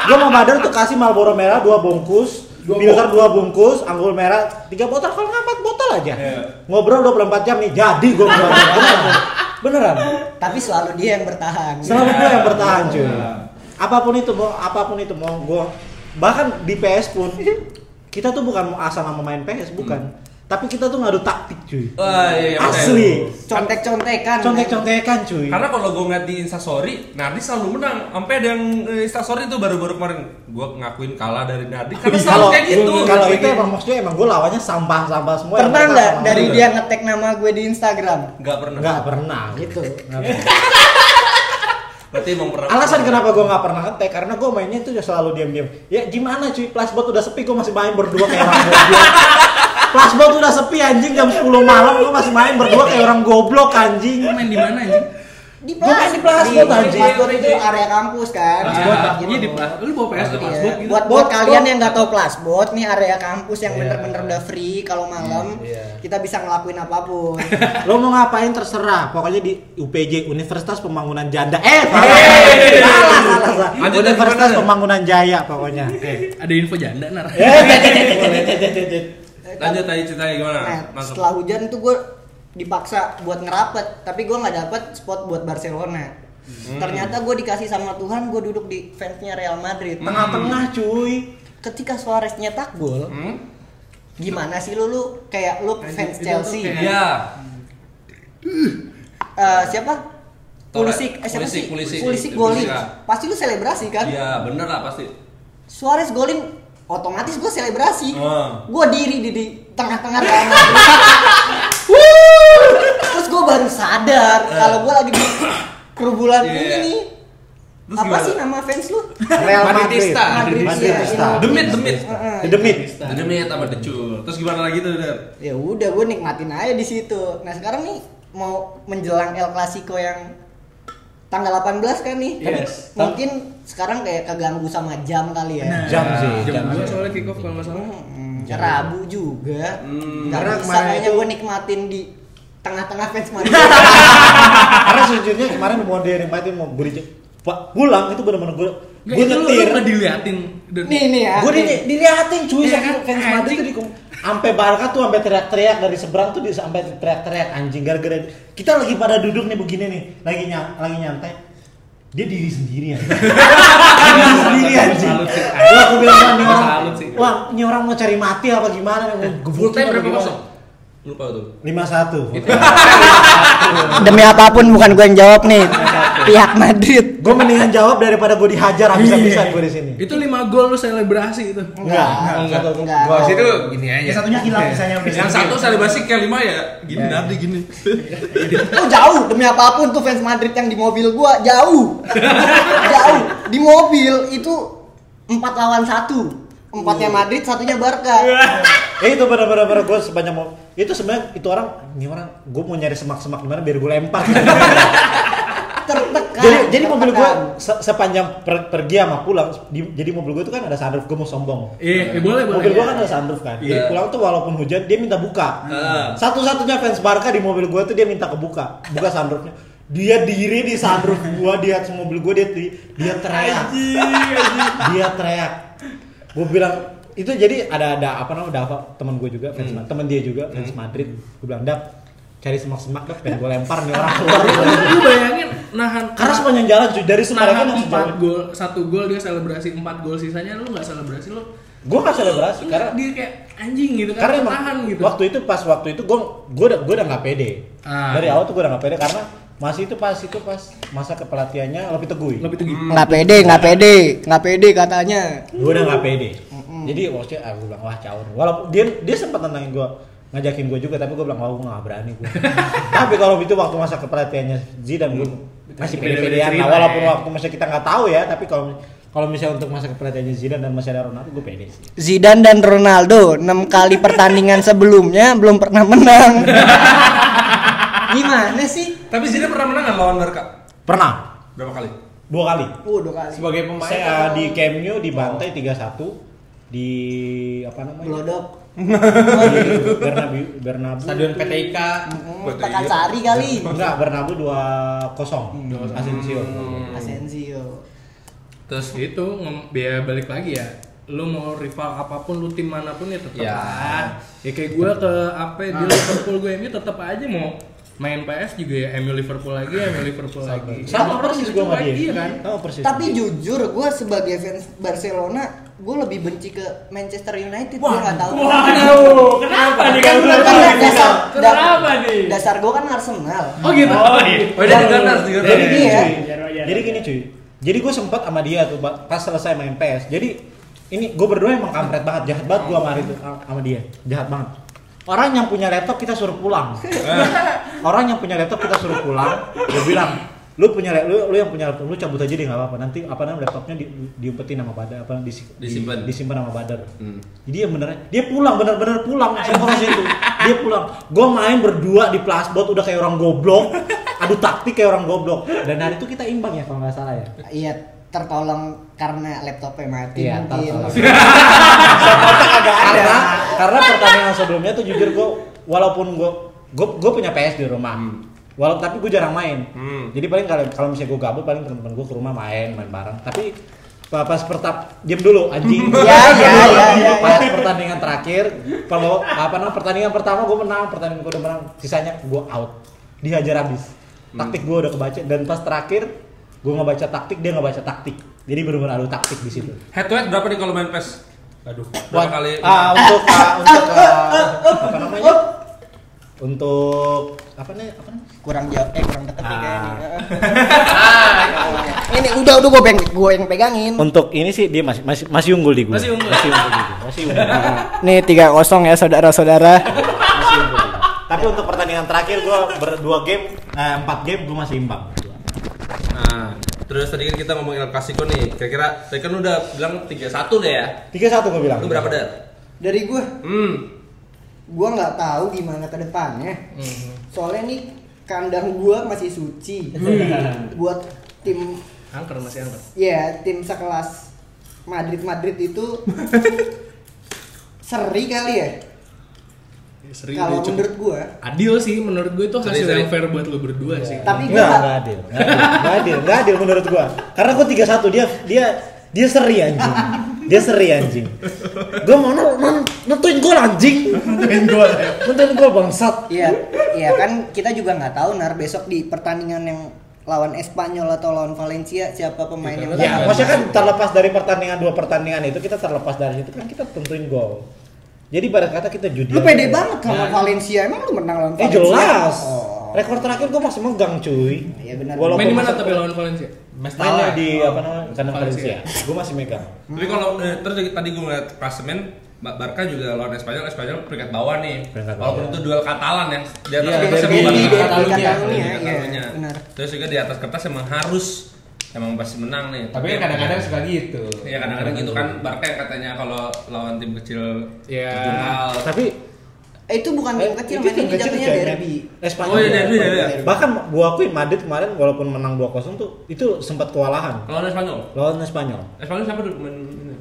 [SPEAKER 2] Gua mau Badar tuh kasih Marlboro merah 2 bungkus, Pilsner 2 bungkus, anggur merah 3 botol kalau nggak 4 botol
[SPEAKER 6] Iya.
[SPEAKER 2] aja. Ngobrol 24 jam nih jadi gua mau Marlboro. Beneran. Beneran.
[SPEAKER 6] <laughs> tapi selalu dia yang bertahan
[SPEAKER 2] Selalu gua
[SPEAKER 1] Iya.
[SPEAKER 2] yang bertahan cuy. Apapun itu mau apapun itu mau gua bahkan di PS
[SPEAKER 1] <laughs>
[SPEAKER 2] pun kita tuh bukan mau asal sama main PS bukan. Tapi kita tuh ngadu taktik cuy.
[SPEAKER 1] Wah, Hmm. iya, iya, betul.
[SPEAKER 2] Asli.
[SPEAKER 6] contek contekan
[SPEAKER 2] Contek-contekan cuy.
[SPEAKER 1] Karena kalau gue ngeliat di Instastory, Nardi selalu menang. Sampai ada yang eh, Instastory itu baru-baru kemarin gue ngakuin kalah dari Nardi. <laughs> Karena selalu
[SPEAKER 2] kalau
[SPEAKER 1] kayak gitu.
[SPEAKER 2] kalau itu emang maksudnya emang gue lawannya sampah-sampah semua.
[SPEAKER 6] pernah
[SPEAKER 2] yang
[SPEAKER 6] nggak
[SPEAKER 2] sama-sama
[SPEAKER 6] dari
[SPEAKER 2] gua.
[SPEAKER 6] dia ngetek nama gue di Instagram
[SPEAKER 1] nggak pernah.
[SPEAKER 2] nggak pernah gitu.
[SPEAKER 1] Berarti emang pernah.
[SPEAKER 2] Alasan kenapa gue nggak pernah ngetek karena gue mainnya itu selalu diam-diam. Ya gimana cuy, flashbot udah sepi gue masih main berdua kayak orang goblok. Flashbot udah sepi anjing jam 10 malam gue masih main berdua kayak orang goblok anjing.
[SPEAKER 5] Lu main di mana anjing?
[SPEAKER 6] di
[SPEAKER 2] Gua main di Plasbot, anjing.
[SPEAKER 6] Plasbot itu area kampus kan
[SPEAKER 5] Plasbot. Iya di plas. Lu bawa PS ke
[SPEAKER 6] Iya.
[SPEAKER 5] plasbot gitu.
[SPEAKER 6] buat buat kalian yang nggak tahu plasbot nih area kampus yang bener-bener udah free kalau malam
[SPEAKER 4] Iya.
[SPEAKER 6] kita bisa ngelakuin apapun Eh,
[SPEAKER 2] Lo mau ngapain terserah, pokoknya di UPJ Universitas Pembangunan Janda. Eh, salah.
[SPEAKER 5] Iya,
[SPEAKER 1] Hey!
[SPEAKER 2] salah, salah, salah.
[SPEAKER 1] Lanjut, lanjut,
[SPEAKER 2] Universitas
[SPEAKER 1] lanjut.
[SPEAKER 2] Pembangunan Jaya
[SPEAKER 5] <laughs>
[SPEAKER 2] pokoknya.
[SPEAKER 5] Ada info janda nar.
[SPEAKER 2] Ya.
[SPEAKER 1] Lanjut tadi ceritanya gimana?
[SPEAKER 2] Eh,
[SPEAKER 6] Nah,
[SPEAKER 1] Masuk.
[SPEAKER 6] kan setelah hujan tuh gue dipaksa buat ngerapet, tapi gue nggak dapet spot buat Barcelona. Ternyata gue dikasih sama Tuhan, gue duduk di fansnya Real Madrid.
[SPEAKER 2] Tengah-tengah cuy.
[SPEAKER 6] Ketika Suarez nyetak gol,
[SPEAKER 1] Hmm?
[SPEAKER 6] gimana sih lu lu kayak lu fans Chelsea?
[SPEAKER 5] kayak-
[SPEAKER 1] Iya.
[SPEAKER 6] Eh, siapa?
[SPEAKER 1] Torres.
[SPEAKER 6] Pulisic, eh, siapa
[SPEAKER 1] Pulisic,
[SPEAKER 6] sih?
[SPEAKER 1] Pulisic.
[SPEAKER 6] golin.
[SPEAKER 1] Pulisic.
[SPEAKER 6] Pasti lu selebrasi kan?
[SPEAKER 1] Iya, bener lah pasti.
[SPEAKER 6] Suarez golin, otomatis gue selebrasi.
[SPEAKER 1] Wah.
[SPEAKER 6] Gue diri di, di
[SPEAKER 1] <laughs>
[SPEAKER 6] tengah-tengah Real Madrid. Wuh! Terus gue baru sadar kalau gue lagi di <coughs> kerubulan
[SPEAKER 1] Ah. Iya.
[SPEAKER 6] ini nih.
[SPEAKER 1] Terus
[SPEAKER 6] Apa
[SPEAKER 1] gimana?
[SPEAKER 6] sih nama fans
[SPEAKER 1] <laughs>
[SPEAKER 6] lu?
[SPEAKER 2] Real Madrid.
[SPEAKER 4] Madridista.
[SPEAKER 6] Madrid,
[SPEAKER 2] Madridista.
[SPEAKER 6] iya.
[SPEAKER 1] Demit, demit.
[SPEAKER 6] Heeh.
[SPEAKER 2] Demit.
[SPEAKER 1] Demit sama decul. Terus gimana lagi tuh, Der?
[SPEAKER 6] Ya udah gue nikmatin aja di situ. Nah sekarang nih mau menjelang El Clasico yang tanggal 18 kan nih.
[SPEAKER 1] Yes.
[SPEAKER 6] Tapi Mungkin sekarang kayak keganggu sama jam kali ya.
[SPEAKER 2] Jam
[SPEAKER 1] Iya,
[SPEAKER 2] sih.
[SPEAKER 5] Ah, Jam dua soalnya kick off kalau nggak salah.
[SPEAKER 6] Hmm, Rabu juga.
[SPEAKER 1] Hmm,
[SPEAKER 6] Gak
[SPEAKER 4] karena
[SPEAKER 6] bisa
[SPEAKER 4] kemarin
[SPEAKER 6] kayaknya
[SPEAKER 4] itu-
[SPEAKER 6] gue nikmatin di tengah-tengah fans Madrid.
[SPEAKER 2] karena sejujurnya kemarin mau dia nikmatin mau beli Pak, pulang itu bener-bener gue
[SPEAKER 5] Nggak,
[SPEAKER 2] gue
[SPEAKER 5] itu lu-
[SPEAKER 2] nyetir
[SPEAKER 5] Lu nggak diliatin dan
[SPEAKER 6] nih nih ya.
[SPEAKER 2] gue di,
[SPEAKER 6] nih.
[SPEAKER 2] diliatin
[SPEAKER 1] Ya
[SPEAKER 2] cuy
[SPEAKER 5] Iya
[SPEAKER 2] sama
[SPEAKER 5] kan,
[SPEAKER 2] fans Madrid tuh
[SPEAKER 5] anjing.
[SPEAKER 2] dikum sampai Barca tuh sampai teriak-teriak dari seberang tuh dia sampai teriak-teriak anjing gara-gara kita lagi pada duduk nih begini nih lagi nyam, lagi nyantai dia diri sendiri
[SPEAKER 5] <laughs>
[SPEAKER 2] ya diri sendiri anjing
[SPEAKER 5] Salut sih.
[SPEAKER 2] Gua aku bilang wah ini orang
[SPEAKER 5] Salut sih.
[SPEAKER 2] wah ini orang mau cari mati apa gimana nih, mau
[SPEAKER 1] Full
[SPEAKER 2] gebukin
[SPEAKER 1] time
[SPEAKER 2] apa
[SPEAKER 1] berapa
[SPEAKER 2] gimana
[SPEAKER 1] kosong? Lupa tuh.
[SPEAKER 2] lima satu
[SPEAKER 5] Gitu.
[SPEAKER 6] Demi apapun bukan gue yang jawab nih. Pihak Madrid.
[SPEAKER 2] gue mendingan jawab daripada gue dihajar
[SPEAKER 5] Iya.
[SPEAKER 2] habis-habisan gue di sini
[SPEAKER 5] Itu 5 gol lu selebrasi itu.
[SPEAKER 1] Oh,
[SPEAKER 2] Enggak,
[SPEAKER 6] Enggak.
[SPEAKER 2] satu-
[SPEAKER 6] Enggak.
[SPEAKER 4] Gua sih tuh gini aja.
[SPEAKER 3] Yang satunya hilang misalnya udah
[SPEAKER 1] Yang satu selebrasi kayak lima ya, gini
[SPEAKER 2] Iya.
[SPEAKER 1] Nardi
[SPEAKER 2] <laughs>
[SPEAKER 1] gini.
[SPEAKER 6] Oh jauh demi apapun tuh fans Madrid yang di mobil gua jauh. jauh di mobil itu empat lawan satu. Empatnya Madrid, satunya Barca.
[SPEAKER 2] Eh itu bener-bener bener gue sebanyak mau itu sebenarnya itu orang ini orang gue mau nyari semak-semak di mana biar gue lempar.
[SPEAKER 5] <laughs>
[SPEAKER 6] Tertekan.
[SPEAKER 2] jadi jadi mobil gue
[SPEAKER 6] tertekan.
[SPEAKER 2] se- sepanjang per- pergi sama pulang di- jadi mobil gue itu kan ada sunroof gue mau sombong.
[SPEAKER 5] Iya, eh, boleh boleh.
[SPEAKER 2] Mobil gue kan ada sunroof kan. Jadi
[SPEAKER 1] Iya.
[SPEAKER 2] pulang tuh walaupun hujan dia minta buka.
[SPEAKER 1] Heeh.
[SPEAKER 2] Satu-satunya fans Barca di mobil gue tuh dia minta kebuka, buka sunroofnya. Dia diri di sunroof gue, dia semua mobil gue dia di- dia teriak. dia teriak gue bilang itu jadi ada ada apa namanya ada apa teman gue juga fans Ma- teman dia juga fans Madrid gue bilang dap cari semak-semak dap pengen gue lempar nih orang keluar
[SPEAKER 5] <laughs> Lu bayangin nahan
[SPEAKER 2] karena sepanjang jalan cuy dari Semarang kan
[SPEAKER 5] nahan
[SPEAKER 2] langsung
[SPEAKER 5] empat
[SPEAKER 2] jalan
[SPEAKER 5] gol satu gol dia selebrasi empat gol sisanya lu nggak selebrasi lu
[SPEAKER 2] gue nggak selebrasi karena
[SPEAKER 5] dia kayak anjing gitu kan
[SPEAKER 2] karena emang
[SPEAKER 5] Iya, tahan gitu
[SPEAKER 2] waktu itu pas waktu itu gue gue udah gue udah nggak pede
[SPEAKER 5] Ah.
[SPEAKER 2] dari awal tuh gue udah nggak pede karena masih itu pas itu pas masa kepelatihannya lebih tegui
[SPEAKER 5] lebih tinggi
[SPEAKER 6] nggak pede nggak pede nggak pede katanya
[SPEAKER 2] gue udah nggak pede jadi waktu aku bilang wah caur walaupun dia dia sempat nantangin gue ngajakin gue juga tapi gue bilang wah gue nggak berani
[SPEAKER 5] <laughs>
[SPEAKER 2] gue tapi kalau itu waktu masa kepelatihannya Zidane gue masih
[SPEAKER 5] Iya. Beda-beda
[SPEAKER 2] pede-pedean nah,
[SPEAKER 5] cerita
[SPEAKER 2] walaupun
[SPEAKER 5] ya.
[SPEAKER 2] waktu masa kita nggak tahu ya tapi kalau kalau misalnya untuk masa kepelatihannya Zidane dan masih ada Ronaldo gue pede sih
[SPEAKER 6] Zidane dan Ronaldo 6 kali pertandingan sebelumnya belum pernah menang
[SPEAKER 2] <laughs>
[SPEAKER 6] gimana sih
[SPEAKER 1] Tapi Zidane pernah menang nggak lawan Barca?
[SPEAKER 2] pernah
[SPEAKER 1] Berapa kali?
[SPEAKER 2] dua kali
[SPEAKER 6] Waduh kali
[SPEAKER 4] sebagai pemain
[SPEAKER 2] saya uh, di Camp Nou dibantai 3-1 di di apa namanya?
[SPEAKER 6] Glodok.
[SPEAKER 2] Di Bernabu Bernabu.
[SPEAKER 4] Stadion PTIK.
[SPEAKER 2] iya.
[SPEAKER 6] Pekansari Eh,
[SPEAKER 2] <laughs>
[SPEAKER 6] kali.
[SPEAKER 2] Enggak, Bernabu
[SPEAKER 5] Hmm.
[SPEAKER 2] 2-0. Asensio.
[SPEAKER 6] Asensio.
[SPEAKER 5] Terus itu ngom- biar balik lagi ya. Lu mau rival apapun, lu tim manapun ya tetap.
[SPEAKER 4] Ya.
[SPEAKER 5] lah. Ya kayak gue ke apa ya, di Liverpool gue ini tetap aja mau main PS juga ya MU Liverpool lagi, MU Liverpool lagi.
[SPEAKER 2] Sama
[SPEAKER 5] Orang
[SPEAKER 2] persis gua
[SPEAKER 5] juga
[SPEAKER 2] sama
[SPEAKER 5] cuek,
[SPEAKER 2] dia.
[SPEAKER 5] Iya kan?
[SPEAKER 2] Sama persis.
[SPEAKER 6] Tapi jujur, gue sebagai fans Barcelona, gue lebih benci ke Manchester United. Gue nggak tahu.
[SPEAKER 7] Waduh, kenapa nih
[SPEAKER 6] Kan
[SPEAKER 7] kamu
[SPEAKER 6] bener kan
[SPEAKER 7] kenapa nih?
[SPEAKER 6] dasar,
[SPEAKER 7] Kenapa nih?
[SPEAKER 6] dasar gue kan Arsenal. Iya.
[SPEAKER 7] Oh gitu. Oh iya.
[SPEAKER 1] Oh, dia di Gunners, di
[SPEAKER 2] Eh,
[SPEAKER 1] Gunners.
[SPEAKER 6] Jadi dia,
[SPEAKER 7] Wajar, wajar.
[SPEAKER 2] Jadi gini cuy, jadi gue sempet sama dia tuh Pak, pas selesai main PS. Jadi ini gue berdua emang kampret banget, jahat banget gue sama hari itu sama dia, jahat banget. Orang yang punya laptop kita suruh
[SPEAKER 5] <laughs>
[SPEAKER 2] pulang. Orang yang punya laptop kita suruh pulang. Gue bilang, lu punya lap- lu, lu yang punya laptop lu cabut aja deh nggak apa-apa. Nanti apa namanya laptopnya di, diumpetin sama badar apa di, di-
[SPEAKER 1] Disimpan.
[SPEAKER 2] disimpan sama badar. Jadi yang bener dia pulang bener-bener pulang sekolah itu. Dia pulang. Gue main berdua di plasbot udah kayak orang goblok. Adu taktik kayak orang goblok. Dan hari itu kita imbang ya kalau nggak salah ya.
[SPEAKER 6] iya tertolong karena laptopnya mati
[SPEAKER 2] Iya,
[SPEAKER 6] mungkin.
[SPEAKER 2] tertolong. karena karena pertandingan sebelumnya tuh jujur gue walaupun gue gue punya PS di rumah walaupun tapi gue jarang main jadi paling kalau kalau misalnya gue gabut paling teman-teman gue ke rumah main main bareng tapi pa- pas pertap diam dulu anjing
[SPEAKER 6] Iya, iya, iya, iya,
[SPEAKER 2] pas pertandingan terakhir kalau apa namanya pertandingan pertama gue menang pertandingan gue udah menang sisanya gue out dihajar habis taktik gue udah kebaca dan pas terakhir gue ngebaca taktik dia ngebaca taktik jadi benar-benar adu taktik di situ
[SPEAKER 1] Head to head berapa nih kalau main PES?
[SPEAKER 4] Aduh.
[SPEAKER 1] Berapa kali?
[SPEAKER 2] Ah, untuk ah, untuk ah, apa namanya? Untuk apa nih? Apa nih?
[SPEAKER 6] kurang jauh eh kurang deket ya
[SPEAKER 2] Ah.
[SPEAKER 6] kayaknya ini udah udah gue peng gue yang pegangin
[SPEAKER 2] Untuk ini sih dia masih masih masih unggul di gue.
[SPEAKER 1] Masih unggul.
[SPEAKER 2] Masih unggul di gue. Masih unggul. <laughs>
[SPEAKER 6] nih tiga kosong ya saudara-saudara
[SPEAKER 2] Masih unggul di gua. Tapi untuk pertandingan terakhir gue berdua game, eh, empat game gue masih imbang.
[SPEAKER 1] Nah, terus tadi kan kita ngomongin El Clasico nih. Kira-kira tadi kan lu udah bilang 3-1 deh ya.
[SPEAKER 2] Tiga satu gue bilang.
[SPEAKER 1] Lu berapa deh?
[SPEAKER 6] dari gue
[SPEAKER 1] Hmm.
[SPEAKER 6] gue nggak tahu gimana ke depannya
[SPEAKER 2] Hmm.
[SPEAKER 6] soalnya nih kandang gue masih suci
[SPEAKER 2] Hmm.
[SPEAKER 6] buat tim
[SPEAKER 5] Angker masih angker.
[SPEAKER 6] ya tim sekelas Madrid Madrid
[SPEAKER 2] <laughs>
[SPEAKER 6] itu seri kali ya
[SPEAKER 5] Ya, Seri udah
[SPEAKER 6] kalau
[SPEAKER 5] cukup.
[SPEAKER 6] menurut gue
[SPEAKER 5] Adil sih menurut gue itu hasil
[SPEAKER 1] Seri, seri.
[SPEAKER 5] yang fair buat lu berdua sih.
[SPEAKER 6] tapi gue
[SPEAKER 2] Enggak, enggak adil. Enggak adil. Enggak adil, enggak adil menurut gue. Karena gue tiga satu dia dia dia seri anjing. Dia seri anjing. Gue mau nol- nol- nentuin gol anjing. Nentuin gol.
[SPEAKER 5] ya.
[SPEAKER 2] Nentuin gol bangsat.
[SPEAKER 6] Iya, iya kan kita juga nggak tahu nar besok di pertandingan yang lawan Espanyol atau lawan Valencia siapa pemain yang
[SPEAKER 5] Iya,
[SPEAKER 2] Ya,
[SPEAKER 6] bakal-
[SPEAKER 2] maksudnya kan terlepas dari pertandingan dua pertandingan itu kita terlepas dari itu kan kita tentuin gol. Jadi ibarat kata kita judi.
[SPEAKER 6] Lu
[SPEAKER 2] aja.
[SPEAKER 6] pede banget sama Valencia. Emang lu menang lawan
[SPEAKER 2] Eh
[SPEAKER 6] Valencia?
[SPEAKER 2] jelas.
[SPEAKER 6] Oh.
[SPEAKER 2] Rekor terakhir gua masih megang cuy.
[SPEAKER 6] Iya, benar.
[SPEAKER 2] Walaupun
[SPEAKER 5] Main di mana tapi lawan Valencia?
[SPEAKER 2] mainnya di apa namanya? Kandang
[SPEAKER 5] Valencia.
[SPEAKER 2] Valencia. Gua masih megang.
[SPEAKER 1] Tapi kalau eh, terus tadi gue ngeliat klasemen Ba- Barca juga lawan Espanyol, Espanyol peringkat bawah nih.
[SPEAKER 2] Peringkat bawah.
[SPEAKER 1] Walaupun itu duel Katalan yang di atas kan
[SPEAKER 4] Iya,
[SPEAKER 1] kertas
[SPEAKER 4] derby,
[SPEAKER 1] emang Barca.
[SPEAKER 4] derby
[SPEAKER 1] Derby
[SPEAKER 6] Catalunya.
[SPEAKER 1] Catalunya.
[SPEAKER 6] Iya, benar.
[SPEAKER 1] Terus juga di atas kertas emang harus emang pasti menang nih.
[SPEAKER 4] Tapi kan kadang-kadang suka gitu.
[SPEAKER 1] Iya kadang-kadang gitu kan Barca yang katanya kalau lawan tim kecil
[SPEAKER 5] Iya.
[SPEAKER 1] terkenal.
[SPEAKER 2] Tapi
[SPEAKER 6] Eh, itu bukan game kecil,
[SPEAKER 2] itu
[SPEAKER 6] men.
[SPEAKER 2] tim
[SPEAKER 6] Ini jatuhnya
[SPEAKER 2] coy, men.
[SPEAKER 6] derby.
[SPEAKER 2] Espanyol.
[SPEAKER 1] Oh iya derby ya. iya.
[SPEAKER 2] Bahkan gua akuin Madrid kemarin walaupun menang 2-0 tuh itu sempat kewalahan
[SPEAKER 1] Lawan Espanyol.
[SPEAKER 2] lawan Espanyol.
[SPEAKER 1] Espanyol siapa dulu pemain ini?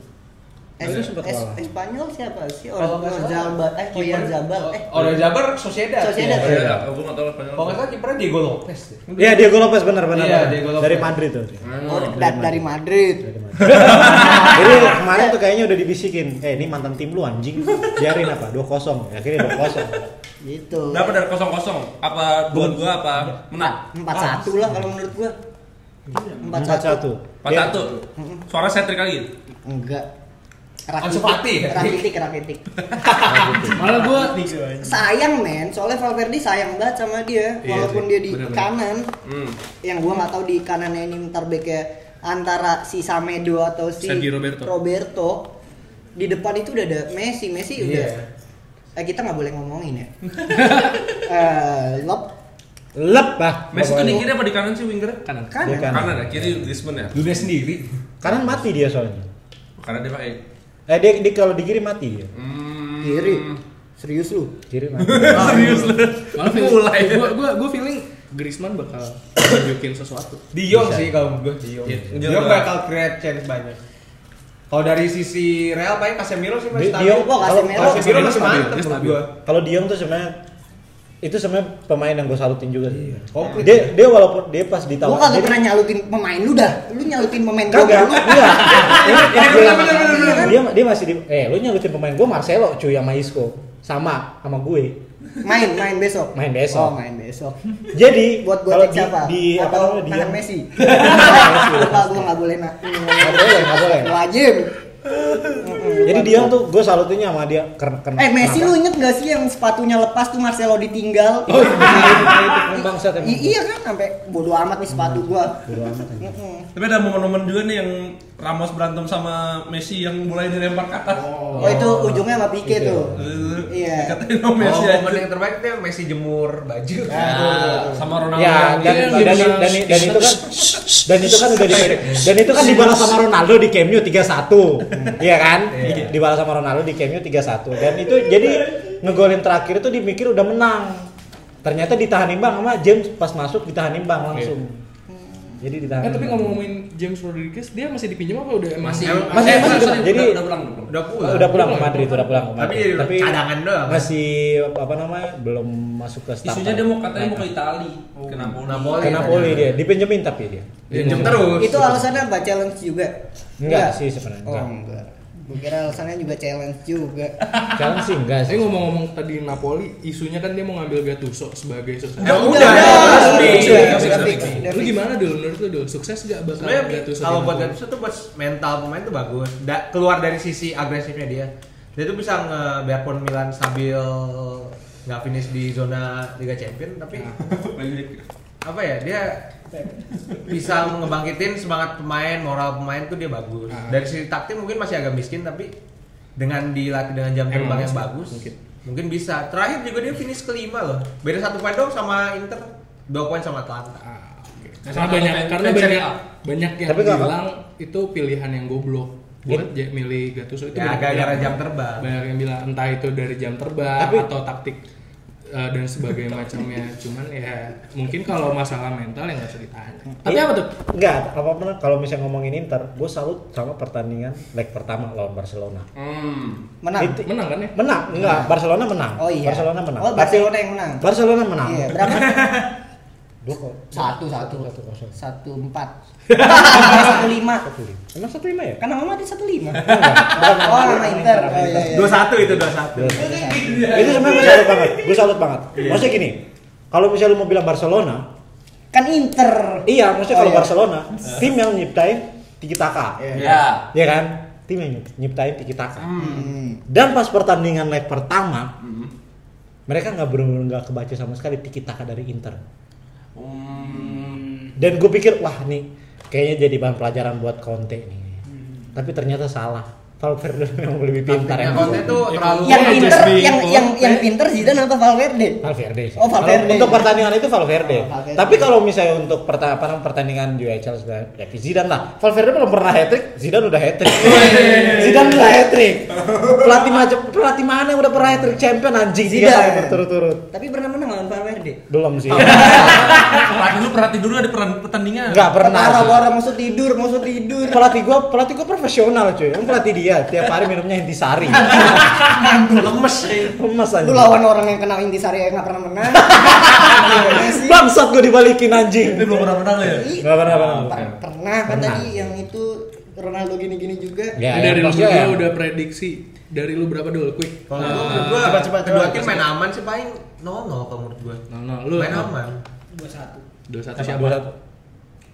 [SPEAKER 6] Es,
[SPEAKER 2] Itu sempat
[SPEAKER 6] Eh, es,
[SPEAKER 2] kalah.
[SPEAKER 6] Espanyol siapa sih?
[SPEAKER 4] Kalau nggak salah, Iya,
[SPEAKER 6] Oyarzabal. Eh, Oyarzabal. Eh,
[SPEAKER 4] Orang Oh, Jabar Sociedad.
[SPEAKER 6] Sociedad.
[SPEAKER 1] Oh,
[SPEAKER 4] Iya.
[SPEAKER 1] iya, aku nggak tahu Espanyol.
[SPEAKER 4] Kalau nggak salah kipernya Diego Lopez deh.
[SPEAKER 2] Iya, Diego Lopez benar-benar.
[SPEAKER 4] Iya, Diego Lopez.
[SPEAKER 2] Dari Madrid
[SPEAKER 1] <laughs>
[SPEAKER 2] tuh.
[SPEAKER 5] iya.
[SPEAKER 6] oh, da- dari Madrid.
[SPEAKER 2] Jadi kemarin tuh kayaknya udah dibisikin, eh ini mantan tim lu anjing, biarin apa, 2-0 Akhirnya 2-0
[SPEAKER 6] Gitu.
[SPEAKER 1] Berapa dari kosong kosong? Apa dua dua apa menang?
[SPEAKER 6] Empat satu lah kalau menurut gua. Empat satu.
[SPEAKER 2] 4-1
[SPEAKER 1] Empat satu. Suara saya trik lagi.
[SPEAKER 6] Enggak.
[SPEAKER 4] Ansu Fati.
[SPEAKER 6] Rakitik, rakitik, rakitik.
[SPEAKER 5] Malah gue
[SPEAKER 6] sayang men soalnya Valverde sayang banget sama dia
[SPEAKER 5] Iya
[SPEAKER 6] walaupun
[SPEAKER 5] sih,
[SPEAKER 6] dia di
[SPEAKER 5] bener-bener.
[SPEAKER 6] kanan
[SPEAKER 1] Hmm.
[SPEAKER 6] yang gua nggak tahu di kanannya ini ntar backnya antara si Samedo atau si
[SPEAKER 5] Sergi Roberto.
[SPEAKER 6] Roberto. di depan itu udah ada Messi Messi
[SPEAKER 4] Iya.
[SPEAKER 6] udah eh, kita nggak boleh ngomongin ya Eh, Lop
[SPEAKER 2] Lep ah
[SPEAKER 1] Messi tuh di
[SPEAKER 2] pokoknya.
[SPEAKER 1] kiri apa di kanan sih winger?
[SPEAKER 5] kanan.
[SPEAKER 6] kan
[SPEAKER 2] Bukan.
[SPEAKER 1] Kanan ya, kiri Griezmann ya.
[SPEAKER 4] Dunia sendiri.
[SPEAKER 2] Kanan mati dia soalnya
[SPEAKER 1] Karena dia pakai.
[SPEAKER 2] Eh dia, dia kalau di kiri mati dia
[SPEAKER 1] Hmm.
[SPEAKER 6] kiri serius lu
[SPEAKER 2] Kiri mati
[SPEAKER 1] <laughs> Serius lu.
[SPEAKER 5] Malah
[SPEAKER 1] Mulai.
[SPEAKER 5] Gue gue gue feeling Griezmann bakal nunjukin sesuatu.
[SPEAKER 4] Dion sih kalau menurut gue Dion.
[SPEAKER 1] Iya,
[SPEAKER 4] Dion
[SPEAKER 1] Dion
[SPEAKER 4] bakal create chance banyak. Kalau dari sisi Real paling Casemiro
[SPEAKER 2] Di-
[SPEAKER 4] sih masih stabil.
[SPEAKER 2] Diong kok,
[SPEAKER 6] Casemiro.
[SPEAKER 4] Kalau Casemiro
[SPEAKER 1] Casemiro
[SPEAKER 4] masih
[SPEAKER 1] stabil,
[SPEAKER 4] mantep
[SPEAKER 1] dia
[SPEAKER 4] menurut
[SPEAKER 1] stabil.
[SPEAKER 4] gua.
[SPEAKER 2] Kalau Diong tuh sebenarnya itu sebenarnya pemain yang gue salutin juga sih.
[SPEAKER 4] Komplit.
[SPEAKER 2] Dia dia walaupun dia pas
[SPEAKER 6] Gua
[SPEAKER 2] ditawarin
[SPEAKER 6] kagak
[SPEAKER 2] jadi-
[SPEAKER 6] pernah nyalutin pemain lu dah. Lu nyalutin pemain gua
[SPEAKER 2] Kagak,
[SPEAKER 6] mulu.
[SPEAKER 2] iya. Ini-
[SPEAKER 4] Ini
[SPEAKER 2] ini-
[SPEAKER 4] bener, bener, bener, bener.
[SPEAKER 2] Dia dia masih di eh lu nyalutin pemain gue Marcelo cuy sama Isco. Sama sama gue.
[SPEAKER 6] Main, main besok.
[SPEAKER 2] Main besok.
[SPEAKER 6] Oh, main besok.
[SPEAKER 2] Jadi
[SPEAKER 6] Buat gua
[SPEAKER 2] kalau
[SPEAKER 6] cek
[SPEAKER 2] di,
[SPEAKER 6] siapa?
[SPEAKER 2] di apa
[SPEAKER 6] Atau
[SPEAKER 2] namanya
[SPEAKER 6] tahan
[SPEAKER 2] Diong <laughs>
[SPEAKER 6] Messi.
[SPEAKER 2] Messi.
[SPEAKER 6] Lupa gua enggak boleh nak.
[SPEAKER 2] Nggak boleh, nggak boleh.
[SPEAKER 6] Wajib.
[SPEAKER 2] Jadi Diong tuh gue salutinnya sama dia keren keren.
[SPEAKER 6] Eh Messi lu inget gak sih yang sepatunya lepas tuh Marcelo ditinggal? Oh,
[SPEAKER 2] iya. bangsat emang.
[SPEAKER 6] iya kan sampai bodo amat nih sepatu gua.
[SPEAKER 2] Bodo amat aja.
[SPEAKER 6] Mm-mm.
[SPEAKER 1] Tapi ada momen-momen juga nih yang Ramos berantem sama Messi yang mulai dilempar ke atas. <laughs>
[SPEAKER 6] Oh itu ujungnya sama Pique
[SPEAKER 2] Pique.
[SPEAKER 6] tuh.
[SPEAKER 1] Eh,
[SPEAKER 6] Iya.
[SPEAKER 1] Dikatain sama
[SPEAKER 4] Kalau
[SPEAKER 1] Messi
[SPEAKER 4] Oh, momen
[SPEAKER 1] aja.
[SPEAKER 4] yang terbaik dia Messi jemur baju.
[SPEAKER 1] Nah, sama Ronaldo.
[SPEAKER 2] Ya,
[SPEAKER 1] yang
[SPEAKER 2] dan,
[SPEAKER 1] dia-
[SPEAKER 2] dan, dan, dan, dan itu kan dan itu kan udah di dan itu kan dibalas sama Ronaldo di Camp Nou 3-1. Iya kan? Di- Dibalas sama Ronaldo di Camp Nou 3-1 dan itu jadi ngegolin terakhir itu dimikir udah menang. Ternyata ditahan imbang sama James pas masuk ditahan imbang langsung. Iya. Jadi ditahan.
[SPEAKER 5] Eh tapi
[SPEAKER 2] imbang.
[SPEAKER 5] ngomong-ngomongin James Rodriguez, dia masih dipinjam apa udah
[SPEAKER 4] Masih.
[SPEAKER 5] emang-
[SPEAKER 2] Masih,
[SPEAKER 1] Eh,
[SPEAKER 2] masih,
[SPEAKER 1] sorry,
[SPEAKER 2] jadi-
[SPEAKER 1] udah pulang. udah pulang.
[SPEAKER 4] Udah pulang.
[SPEAKER 2] udah pulang ke Madrid, udah pulang ke
[SPEAKER 4] Tapi
[SPEAKER 2] Madrid. Tapi
[SPEAKER 4] cadangan doang.
[SPEAKER 2] masih apa namanya? Belum masuk ke staff.
[SPEAKER 1] Isunya dia mau katanya mau ke Iya. Itali. Ke Napoli.
[SPEAKER 4] Napoli.
[SPEAKER 2] ke Napoli dia, dipinjemin tapi
[SPEAKER 1] <laughs>
[SPEAKER 2] dia.
[SPEAKER 5] Iya,
[SPEAKER 4] Pinjem terus.
[SPEAKER 6] Itu alasannya apa challenge juga?
[SPEAKER 2] Enggak sih sebenarnya.
[SPEAKER 6] Oh
[SPEAKER 2] Enggak.
[SPEAKER 6] enggak. Gue kira alasannya juga challenge juga.
[SPEAKER 2] Jalan sih enggak sih.
[SPEAKER 5] Saya ngomong-ngomong tadi Napoli, isunya kan dia mau ngambil Gattuso sebagai sukses.
[SPEAKER 4] Eh, udah, udah, resmi.
[SPEAKER 6] udah fix, udah
[SPEAKER 5] Lu
[SPEAKER 6] fix.
[SPEAKER 5] gimana dulu menurut lu dulu sukses gak bakal
[SPEAKER 4] sebenarnya
[SPEAKER 2] gitu,
[SPEAKER 5] Gattuso? di
[SPEAKER 4] kalau buat
[SPEAKER 5] Napoli?
[SPEAKER 4] Gattuso tuh buat mental pemain tuh bagus Da- keluar dari sisi agresifnya dia dia tuh bisa ngebiarpun Milan stabil nggak finish di zona Liga Champion tapi
[SPEAKER 2] Nah.
[SPEAKER 4] apa ya dia bisa ngebangkitin semangat pemain moral pemain tuh dia bagus
[SPEAKER 2] Nah.
[SPEAKER 4] dari sisi taktik mungkin masih agak miskin tapi dengan dilatih dengan jam terbang yang bagus mungkin. bisa terakhir juga dia finish kelima loh beda satu poin dong sama Inter dua poin sama Atlanta
[SPEAKER 5] Ah, oke.
[SPEAKER 1] Nah,
[SPEAKER 5] Karena
[SPEAKER 1] sama
[SPEAKER 5] banyak
[SPEAKER 1] kayak
[SPEAKER 5] karena
[SPEAKER 1] kayak
[SPEAKER 5] banyak
[SPEAKER 1] Serie A.
[SPEAKER 5] banyak yang
[SPEAKER 2] Tapi kalau-
[SPEAKER 5] bilang itu pilihan yang goblok buat ja- milih Gattuso itu
[SPEAKER 4] ya
[SPEAKER 5] banyak
[SPEAKER 4] gara-gara
[SPEAKER 5] yang-
[SPEAKER 4] jam terbang
[SPEAKER 5] banyak yang bilang entah itu dari jam terbang
[SPEAKER 2] Tapi-
[SPEAKER 5] atau taktik eh, dan sebagainya macamnya cuman ya mungkin kalau masalah mental yang nggak usah ditanya tapi apa tuh
[SPEAKER 2] Enggak, apa apa kalau misalnya ngomongin Inter, gue salut sama pertandingan leg pertama lawan Barcelona.
[SPEAKER 6] Eh?
[SPEAKER 1] Hmm.
[SPEAKER 6] Menang.
[SPEAKER 2] Itu-
[SPEAKER 5] menang kan ya
[SPEAKER 2] Menang, enggak, Barcelona menang.
[SPEAKER 6] Oh iya.
[SPEAKER 2] Barcelona menang.
[SPEAKER 6] Oh Barcelona yang menang.
[SPEAKER 2] Barcelona menang.
[SPEAKER 6] Iya,
[SPEAKER 2] <laughs>
[SPEAKER 6] berapa?
[SPEAKER 2] Dua kok.
[SPEAKER 6] Satu satu
[SPEAKER 2] Satu, satu.
[SPEAKER 6] satu empat <laughs> satu lima.
[SPEAKER 2] Satu lima. Emang satu lima ya?
[SPEAKER 6] Kan nama Madrid satu lima.
[SPEAKER 2] Enggak.
[SPEAKER 6] Oh nama Inter. Oh iya iya.
[SPEAKER 4] dua satu itu dua satu
[SPEAKER 2] Dua. Itu sebenarnya gue salut banget. Gue salut banget. Maksudnya gini, kalau misalnya lu mau bilang Barcelona,
[SPEAKER 6] Kan Inter.
[SPEAKER 2] iya, maksudnya
[SPEAKER 6] Oh,
[SPEAKER 2] kalau
[SPEAKER 6] iya.
[SPEAKER 2] Barcelona, tim yang nyiptain Tiki Taka.
[SPEAKER 1] Ya.
[SPEAKER 2] Iya kan? Tim yang nyip- nyiptain Tiki Taka.
[SPEAKER 4] Hmm.
[SPEAKER 2] Dan pas pertandingan leg pertama, mereka nggak benar-benar nggak kebaca sama sekali tiki taka dari Inter.
[SPEAKER 4] Hmm.
[SPEAKER 2] Dan gue pikir wah nih kayaknya jadi bahan pelajaran buat Conte nih.
[SPEAKER 4] Hmm.
[SPEAKER 2] Tapi ternyata salah. Valverde <laughs> memang lebih pintar
[SPEAKER 4] Yang
[SPEAKER 2] yang
[SPEAKER 4] Conte tuh terlalu
[SPEAKER 6] Yang
[SPEAKER 4] Iya,
[SPEAKER 6] Inter
[SPEAKER 4] Jasmine.
[SPEAKER 6] yang yang yang Inter Zidane apa Valverde?
[SPEAKER 2] Valverde sih.
[SPEAKER 6] Oh, Valverde.
[SPEAKER 2] Kalau Untuk pertandingan itu Valverde.
[SPEAKER 6] Oh, Valverde.
[SPEAKER 2] Tapi kalau misalnya untuk perta- apa namanya, pertandingan UHL sudah ya Zidane lah. Valverde belum pernah hat trick, Zidane udah hat
[SPEAKER 6] Oh,
[SPEAKER 2] trick.
[SPEAKER 6] iya,
[SPEAKER 2] Zidane udah hat trick. Pelatih macam pelatih mana yang udah pernah hat trick champion anjing tiga
[SPEAKER 6] Zidane.
[SPEAKER 2] kali berturut-turut.
[SPEAKER 6] Tapi pernah menang lawan Valverde.
[SPEAKER 2] Belum sih.
[SPEAKER 1] Pelatih lu perhatiin dulu ada peran- pertandingan.
[SPEAKER 2] Enggak pernah. sih.
[SPEAKER 6] Parah-parah maksud tidur, maksud tidur.
[SPEAKER 2] Pelatih gua, pelatih gua profesional cuy. Emang pelatih dia tiap hari minumnya intisari.
[SPEAKER 4] lemes sih
[SPEAKER 2] Lemes
[SPEAKER 6] Lu
[SPEAKER 2] anjing.
[SPEAKER 6] lawan orang yang kenal Intisari yang nggak pernah <laughs> menang. Gimana sih?
[SPEAKER 2] Bangsat gua dibalikin anjing.
[SPEAKER 1] Dia belum pernah menang ya.
[SPEAKER 6] Ih,
[SPEAKER 2] Enggak pernah, pernah.
[SPEAKER 6] per- Pernah kan
[SPEAKER 2] Pernah.
[SPEAKER 6] tadi yang itu Ronaldo gini-gini juga.
[SPEAKER 2] Ya, ya,
[SPEAKER 5] dari lu
[SPEAKER 2] maksudnya
[SPEAKER 5] berdua
[SPEAKER 2] ya.
[SPEAKER 5] udah prediksi dari lu berapa dulu quick
[SPEAKER 4] Kalau
[SPEAKER 5] Eh,
[SPEAKER 4] menurut gua,
[SPEAKER 2] Coba, coba,
[SPEAKER 4] kedua
[SPEAKER 2] coba.
[SPEAKER 4] tim main aman sih paling 0-0 kalau menurut gua.
[SPEAKER 5] no no lu
[SPEAKER 4] main aman.
[SPEAKER 7] Dua satu.
[SPEAKER 5] dua satu
[SPEAKER 2] Apa,
[SPEAKER 5] siapa
[SPEAKER 2] dua-satu?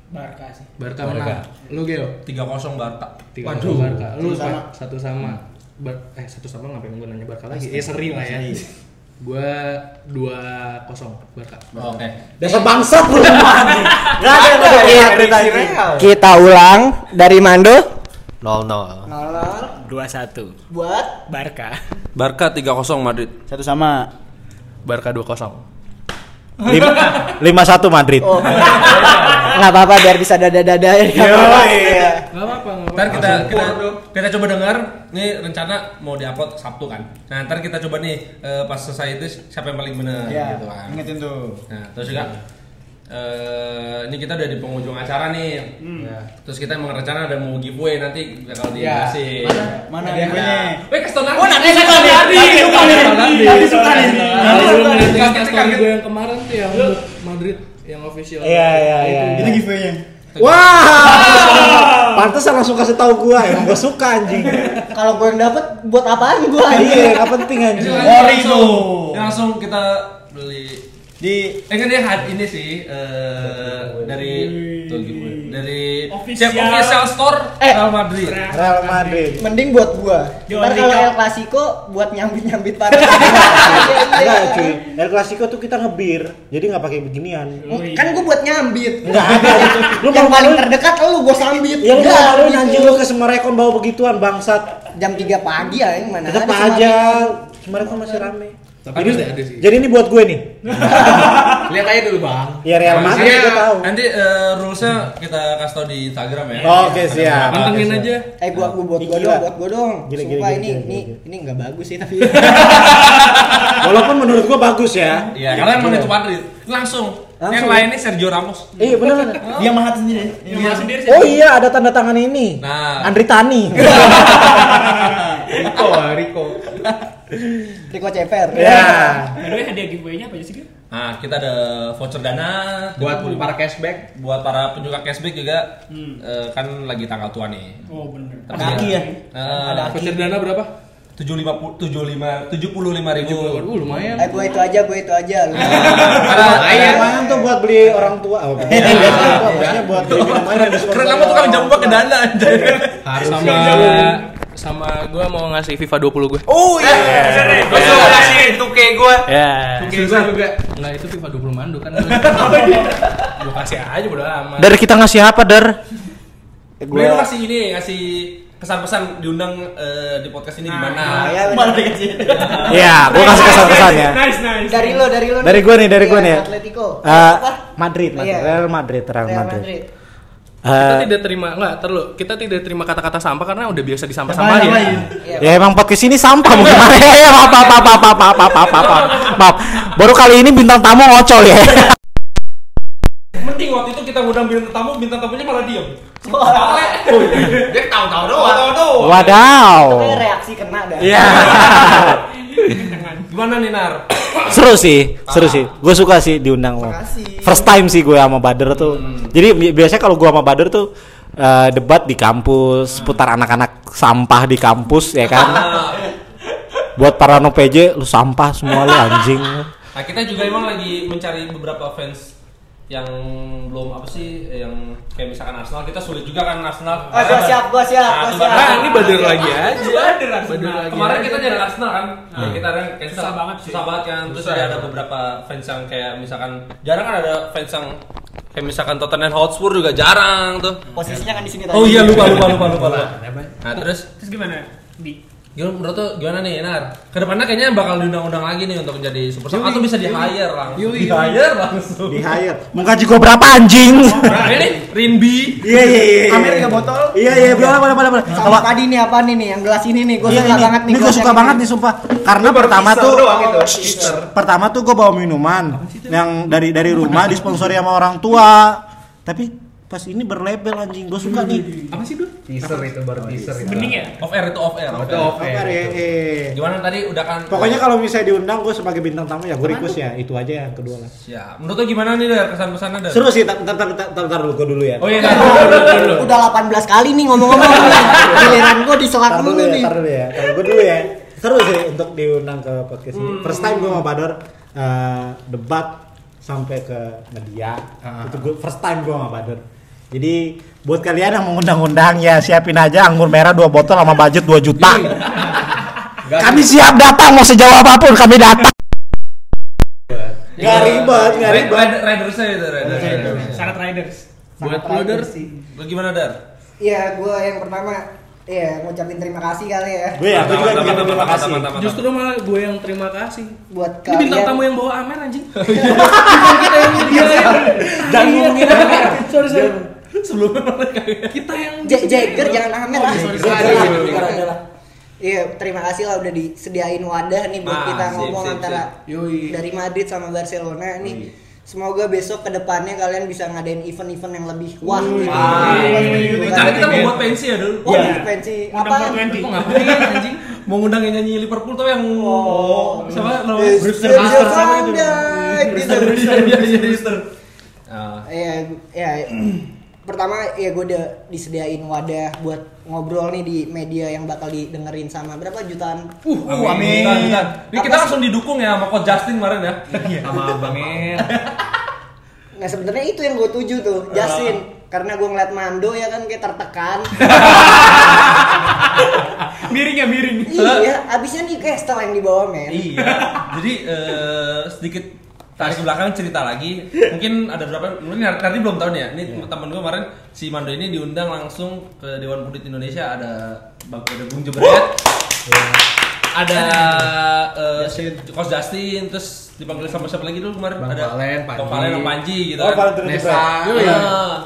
[SPEAKER 7] Barca sih.
[SPEAKER 5] Barca
[SPEAKER 2] Barca.
[SPEAKER 5] menang lu Geo
[SPEAKER 1] 3-0 Barca.
[SPEAKER 5] tiga
[SPEAKER 4] Waduh.
[SPEAKER 5] satu Barca lu
[SPEAKER 6] Satu sama.
[SPEAKER 5] Pak, satu sama Bar- eh satu sama ngapain gua nanya Barca lagi eh seri lah ya gua dua kosong Barca
[SPEAKER 4] Oh,
[SPEAKER 1] Oke.
[SPEAKER 2] Dasar bangsat lu semua anjing. Gak ada yang ada
[SPEAKER 4] Iya,
[SPEAKER 2] yang cerita
[SPEAKER 4] prediksi
[SPEAKER 2] ini.
[SPEAKER 4] Real.
[SPEAKER 6] Kita ulang dari Mando.
[SPEAKER 4] 0-0.
[SPEAKER 6] Nolol
[SPEAKER 7] Dua satu.
[SPEAKER 6] buat
[SPEAKER 7] Barca.
[SPEAKER 1] Barca 3-0 Madrid.
[SPEAKER 3] Satu sama.
[SPEAKER 7] Barca dua kosong.
[SPEAKER 2] Lim- 5-1 Madrid.
[SPEAKER 6] Oh. Nggak apa-apa biar bisa dada-dada. ya. Iya.
[SPEAKER 5] Gak apa-apa, gak
[SPEAKER 1] Ntar kita
[SPEAKER 5] apa-apa.
[SPEAKER 1] kita, kita coba dengar nih rencana mau diupload Sabtu kan. Nah, ntar kita coba nih eh, pas selesai itu siapa yang paling benar
[SPEAKER 3] Iya.
[SPEAKER 1] gitu kan.
[SPEAKER 3] Ingetin tuh.
[SPEAKER 1] Nah, terus juga eh, ini kita udah di penghujung acara nih.
[SPEAKER 3] Hmm.
[SPEAKER 1] Iya.
[SPEAKER 4] Ya.
[SPEAKER 1] Terus kita emang rencana ada mau giveaway nanti kalau di
[SPEAKER 4] Ya.
[SPEAKER 1] kasih.
[SPEAKER 3] Iya. Mana
[SPEAKER 4] Ada
[SPEAKER 3] giveaway-nya?
[SPEAKER 1] Weh, kasih tau nanti.
[SPEAKER 6] Oh, nanti kasih tau
[SPEAKER 1] Nanti,
[SPEAKER 6] nanti.
[SPEAKER 1] nanti,
[SPEAKER 6] Suka
[SPEAKER 1] nanti.
[SPEAKER 6] nih.
[SPEAKER 3] Tadi suka nih.
[SPEAKER 5] Kalau
[SPEAKER 1] Tadi
[SPEAKER 5] lu
[SPEAKER 1] suka
[SPEAKER 5] ngeliat
[SPEAKER 1] nih.
[SPEAKER 5] Insta story
[SPEAKER 1] Kaget.
[SPEAKER 5] gue yang kemarin tuh yang untuk Madrid yang official. gitu.
[SPEAKER 2] Iya, iya, iya.
[SPEAKER 3] Itu giveaway-nya.
[SPEAKER 6] <laughs>
[SPEAKER 2] Wah, pantesan langsung kasih tahu gua, emang gua suka anjing.
[SPEAKER 6] Kalau gue yang dapet buat apaan gue anjing?
[SPEAKER 2] Iya, nggak penting anjing.
[SPEAKER 3] Boring
[SPEAKER 1] langsung-
[SPEAKER 3] tuh.
[SPEAKER 1] ini langsung kita beli di eh kan dia had ini sih eh dari tuh giveaway. dari
[SPEAKER 7] Official.
[SPEAKER 1] Cep official store
[SPEAKER 6] Eh.
[SPEAKER 1] Real Madrid.
[SPEAKER 2] Real Madrid.
[SPEAKER 6] Mending buat gua.
[SPEAKER 7] Yo,
[SPEAKER 6] Ntar kalau
[SPEAKER 7] Rico.
[SPEAKER 6] El Clasico buat nyambit-nyambit para.
[SPEAKER 2] <laughs> Enggak cuy, El Clasico tuh kita ngebir, jadi nggak pakai beginian.
[SPEAKER 6] Kan gua buat nyambit.
[SPEAKER 2] Nggak ada gitu. Lu
[SPEAKER 6] yang paling
[SPEAKER 2] malu-maluin-
[SPEAKER 6] terdekat lu gua sambit.
[SPEAKER 2] Ya lu
[SPEAKER 6] Enggak,
[SPEAKER 2] maluin
[SPEAKER 6] gitu.
[SPEAKER 2] anjing lu ke Semarekon bawa begituan bangsat.
[SPEAKER 6] Jam 3 pagi ya yang mana?
[SPEAKER 2] Tetep
[SPEAKER 6] ada sama-
[SPEAKER 2] aja. Semarekon masih rame.
[SPEAKER 5] Tapi ada, ada sih.
[SPEAKER 2] Jadi ini buat gue nih.
[SPEAKER 4] Lihat aja dulu bang.
[SPEAKER 2] Ya Real Madrid
[SPEAKER 1] Nanti-
[SPEAKER 2] gue tahu.
[SPEAKER 1] Nanti eh, rulesnya kita kasih tau di Instagram ya.
[SPEAKER 2] Oke,
[SPEAKER 1] Ada
[SPEAKER 2] siap.
[SPEAKER 1] berapa.
[SPEAKER 5] Pantengin
[SPEAKER 2] Oke,
[SPEAKER 5] aja.
[SPEAKER 6] Eh gua gua buat gua
[SPEAKER 2] Gila.
[SPEAKER 6] dong, buat gua dong.
[SPEAKER 2] Ah, Gila, gila,
[SPEAKER 6] Sumpah
[SPEAKER 2] gila,
[SPEAKER 6] ini
[SPEAKER 2] gila,
[SPEAKER 6] ini
[SPEAKER 2] gila.
[SPEAKER 6] ini enggak bagus sih tapi.
[SPEAKER 2] Walaupun menurut gue bagus ya.
[SPEAKER 1] Iya, kalian mau itu Madrid langsung. Yang
[SPEAKER 2] Langsung.
[SPEAKER 1] lainnya Sergio Ramos.
[SPEAKER 2] <laughs> Iya beneran.
[SPEAKER 3] Dia mahat sendiri. Dia
[SPEAKER 7] Yang
[SPEAKER 3] mahat.
[SPEAKER 7] sendiri
[SPEAKER 2] Oh iya ada tanda tangan ini.
[SPEAKER 1] Nah.
[SPEAKER 2] Andri Tani.
[SPEAKER 4] Riko, Riko.
[SPEAKER 6] <laughs> Rico Ceper.
[SPEAKER 2] <laughs> ya.
[SPEAKER 7] By the way, hadiah giveaway-nya apa aja sih? Gil?
[SPEAKER 1] Nah, kita ada voucher dana
[SPEAKER 4] Buat
[SPEAKER 1] 70.
[SPEAKER 4] para cashback.
[SPEAKER 1] buat para penyuka cashback juga
[SPEAKER 7] Hmm.
[SPEAKER 1] eh, kan lagi tanggal tua nih.
[SPEAKER 7] Oh bener.
[SPEAKER 1] Tapi
[SPEAKER 3] Ada aki ya?
[SPEAKER 1] Ada
[SPEAKER 5] Voucher dana berapa?
[SPEAKER 1] tujuh lima tujuh lima tujuh puluh lima ribu.
[SPEAKER 5] Uh, lumayan.
[SPEAKER 6] Eh gua itu aja, gua itu aja. Lu.
[SPEAKER 2] Ayah, Ayah tuh buat beli orang tua. Oh, biasanya biasanya buat beli minuman yang diskon.
[SPEAKER 1] Keren kamu tuh kan jamu pakai dana anjay.
[SPEAKER 4] Harus
[SPEAKER 5] Sama
[SPEAKER 4] sama.
[SPEAKER 5] sama gue mau ngasih FIFA 20 gue.
[SPEAKER 1] Oh iya. Terus lu kasih tuke gua.
[SPEAKER 7] Ya.
[SPEAKER 4] Mungkin gua juga.
[SPEAKER 5] Enggak Eh, itu FIFA 20 mandu kan. Gue kasih aja bodo amat.
[SPEAKER 2] Dari kita ngasih apa, Dar? Eh,
[SPEAKER 1] Gue lu kasih ini ngasih kesan-pesan diundang eh, di podcast ini gimana?
[SPEAKER 6] ya, bener.
[SPEAKER 3] Malah dikasih.
[SPEAKER 2] Iya, gua kasih kesan-kesan ya.
[SPEAKER 7] Nice, nice.
[SPEAKER 6] Dari lo, dari lo.
[SPEAKER 2] Dari
[SPEAKER 6] nih.
[SPEAKER 2] gue nih, dari
[SPEAKER 6] Iya,
[SPEAKER 2] gue nih. ya.
[SPEAKER 6] Atletico.
[SPEAKER 2] Eh,
[SPEAKER 6] Apa?
[SPEAKER 2] Madrid, Madrid,
[SPEAKER 6] Iya.
[SPEAKER 2] Real Madrid, Real
[SPEAKER 6] Real
[SPEAKER 2] Madrid.
[SPEAKER 6] Madrid.
[SPEAKER 5] Kita
[SPEAKER 2] Eh,
[SPEAKER 5] tidak terima enggak, terlalu. Kita tidak terima kata-kata sampah karena udah biasa
[SPEAKER 3] Sama
[SPEAKER 5] disampah-sampahin.
[SPEAKER 3] lain.
[SPEAKER 6] Iya.
[SPEAKER 2] Ya emang podcast ini sampah mau gimana? <laughs> Ya maaf maaf maaf maaf maaf maaf maaf maaf maaf maaf. Baru kali ini bintang tamu ngocol ya.
[SPEAKER 1] Mending waktu itu kita ngundang bintang tamu, bintang tamunya malah diem. Dia tahu-tahu doang.
[SPEAKER 6] Pokoknya
[SPEAKER 2] Wadaw.
[SPEAKER 6] reaksi kena dah.
[SPEAKER 2] Iya.
[SPEAKER 1] Gimana nih Nar?
[SPEAKER 2] Seru sih, seru sih. Gue suka sih diundang lo.
[SPEAKER 6] Makasih.
[SPEAKER 2] First time sih gue sama Bader tuh. Jadi bi- biasanya kalau gue sama Bader tuh eh, debat di kampus, putar anak-anak sampah di kampus ya kan. Buat para no PJ lu sampah semua lu anjing.
[SPEAKER 1] Nah, kita juga emang lagi mencari beberapa fans yang belum apa sih eh, yang kayak misalkan Arsenal kita sulit juga kan Arsenal. kan.
[SPEAKER 6] Oh, gua siap, gua siap, gua siap.
[SPEAKER 5] Nah, ini bader
[SPEAKER 1] ya.
[SPEAKER 5] lagi aja. Bader lagi.
[SPEAKER 1] Nah, Kemarin
[SPEAKER 5] aja.
[SPEAKER 1] kita nyari Arsenal kan, Yang kita ada yang cancel.
[SPEAKER 7] Susah banget sih.
[SPEAKER 1] Susah banget kan. Terus ada, ada beberapa fans yang kayak misalkan jarang kan ada fans yang kayak misalkan Tottenham Hotspur juga jarang tuh.
[SPEAKER 6] Posisinya kan di sini tadi.
[SPEAKER 1] Oh iya lupa lupa lupa lupa. lupa.
[SPEAKER 4] Mana, Bang?
[SPEAKER 1] Nah terus
[SPEAKER 7] Terus gimana? Di
[SPEAKER 1] gimana menurut tuh gimana nih Nar? Kedepannya kayaknya bakal diundang-undang lagi nih untuk menjadi super sub. atau bisa di hire langsung. Di hire langsung.
[SPEAKER 2] Di hire. Mau gaji gue berapa anjing?
[SPEAKER 1] Nah ini Rinbi
[SPEAKER 2] <laughs> Iya iya iya.
[SPEAKER 3] Amir tiga botol.
[SPEAKER 2] Iya iya boleh boleh boleh boleh.
[SPEAKER 6] Sama tadi nih apa nih nih yang gelas ini nih gua
[SPEAKER 2] Iya,
[SPEAKER 6] suka
[SPEAKER 2] ini,
[SPEAKER 6] banget nih.
[SPEAKER 2] ini gue suka banget nih sumpah karena pertama
[SPEAKER 4] teaser
[SPEAKER 2] tuh
[SPEAKER 4] doang itu,
[SPEAKER 2] Shh, pertama tuh gue bawa minuman yang dari dari rumah disponsori sama orang tua tapi pas ini berlabel anjing gue suka nih
[SPEAKER 5] Apa sih, Dul?
[SPEAKER 4] Teaser itu baru teaser itu.
[SPEAKER 7] bening ya?
[SPEAKER 1] off air itu off air. off air.
[SPEAKER 4] Oke.
[SPEAKER 2] Sabar ya, eh.
[SPEAKER 1] Gimana tadi udah kan?
[SPEAKER 2] pokoknya kalau misalnya diundang gue sebagai bintang tamu ya gue request ya itu aja yang kedua lah
[SPEAKER 1] ya. Menurut lo gimana nih dari kesan-pesannya dari?
[SPEAKER 2] seru sih tar tar tar tar, tar dulu gue dulu ya
[SPEAKER 1] Oh iya, tar dulu, tar dulu, tar dulu.
[SPEAKER 6] Udah 18 kali nih ngomong-ngomong. nih. Giliran gua diselak
[SPEAKER 2] tar dulu
[SPEAKER 6] dulu
[SPEAKER 2] ya
[SPEAKER 6] nih.
[SPEAKER 2] tar dulu ya tar gue dulu ya seru sih untuk diundang ke podcast ini first time gue sama Bador eh, debat sampai ke media itu gue first time gue sama Bador jadi buat kalian yang mau undang-undang ya siapin aja anggur merah 2 botol sama budget 2 juta kami siap datang mau sejauh apapun kami datang Iya. Gak ribet, gak
[SPEAKER 1] Iya. Red-
[SPEAKER 2] ribet.
[SPEAKER 1] Red- Ridersnya itu Riders.
[SPEAKER 7] Sangat riders.
[SPEAKER 1] Buat
[SPEAKER 6] Sangat
[SPEAKER 1] lo dar,
[SPEAKER 6] sih.
[SPEAKER 1] lo gimana dar?
[SPEAKER 6] Iya, gua yang pertama ya ngucapin terima kasih kali ya
[SPEAKER 2] Gue ya, gue juga ingin terima kasih.
[SPEAKER 5] Justru malah gue yang terima kasih.
[SPEAKER 6] buat
[SPEAKER 5] Ini bintang tamu
[SPEAKER 6] kalian.
[SPEAKER 5] yang bawa Amer anjing. Bukan kita yang nyediain.
[SPEAKER 2] Dan ngomongin Amer.
[SPEAKER 5] Sorry, sorry. Sebelumnya malah kayak kita yang
[SPEAKER 6] J- Jagger jangan Ahmed lah.
[SPEAKER 5] sorry,
[SPEAKER 6] Jagger
[SPEAKER 5] sorry.
[SPEAKER 6] lah,
[SPEAKER 5] Sorry,
[SPEAKER 6] Jagger
[SPEAKER 5] sorry.
[SPEAKER 6] lah. Iya, terima kasih lah udah disediain wadah nih buat
[SPEAKER 1] Ah,
[SPEAKER 6] kita
[SPEAKER 1] sip,
[SPEAKER 6] ngomong
[SPEAKER 1] sip,
[SPEAKER 6] antara
[SPEAKER 5] Nah, sip. Yoi.
[SPEAKER 6] dari Madrid sama Barcelona nih. Semoga besok kedepannya kalian bisa ngadain event-event yang lebih wah. gitu.
[SPEAKER 1] Wah.
[SPEAKER 5] Ah, iya,
[SPEAKER 6] Bukan-
[SPEAKER 1] Karena kita mau buat pensi ya dulu.
[SPEAKER 6] Oh, di pensi apa?
[SPEAKER 7] Undang 420.
[SPEAKER 5] Kok ngapain anjing?
[SPEAKER 1] Mau ngundang yang nyanyi Liverpool tuh yang
[SPEAKER 6] Oh.
[SPEAKER 1] siapa namanya?
[SPEAKER 6] Is
[SPEAKER 1] Brewster.
[SPEAKER 6] the
[SPEAKER 1] Brewster sama itu.
[SPEAKER 6] Iya, Sunday. Gitu.
[SPEAKER 1] <laughs> Iya, iya, iya, Brewster. Ah.
[SPEAKER 6] Ya, ya pertama ya gue udah disediain wadah buat ngobrol nih di media yang bakal didengerin sama berapa jutaan
[SPEAKER 1] Uh,
[SPEAKER 5] Oh,
[SPEAKER 1] amin. Bukan, bukan. Ini kita langsung didukung ya sama Coach Justin kemarin ya.
[SPEAKER 4] sama Bang En.
[SPEAKER 6] Nah sebenarnya itu yang gue tuju tuh, Jasin.
[SPEAKER 1] Iya.
[SPEAKER 6] Karena gue ngeliat Mando ya kan kayak
[SPEAKER 1] <laughs>
[SPEAKER 6] tertekan.
[SPEAKER 7] Miring ya miring.
[SPEAKER 6] iya, abisnya nih kayak style yang dibawa men.
[SPEAKER 1] Iya. Jadi eh, sedikit tarik ke belakang cerita lagi. Mungkin ada berapa? Mungkin nanti belum tahu nih ya. Ini
[SPEAKER 4] Iya.
[SPEAKER 1] temen gue kemarin si Mando ini diundang langsung ke Dewan Pundit Indonesia ada Bang ada Bung Jebret.
[SPEAKER 4] Iya.
[SPEAKER 1] Ada eh, si Coach Justin terus dipanggil sama siapa lagi dulu kemarin?
[SPEAKER 4] Bang
[SPEAKER 1] ada
[SPEAKER 4] Valen, Panji.
[SPEAKER 1] Bang Valen, Bang Panji gitu.
[SPEAKER 2] Oh,
[SPEAKER 1] kan.
[SPEAKER 2] Valen Terjebret.
[SPEAKER 4] Nesa.
[SPEAKER 1] Iya.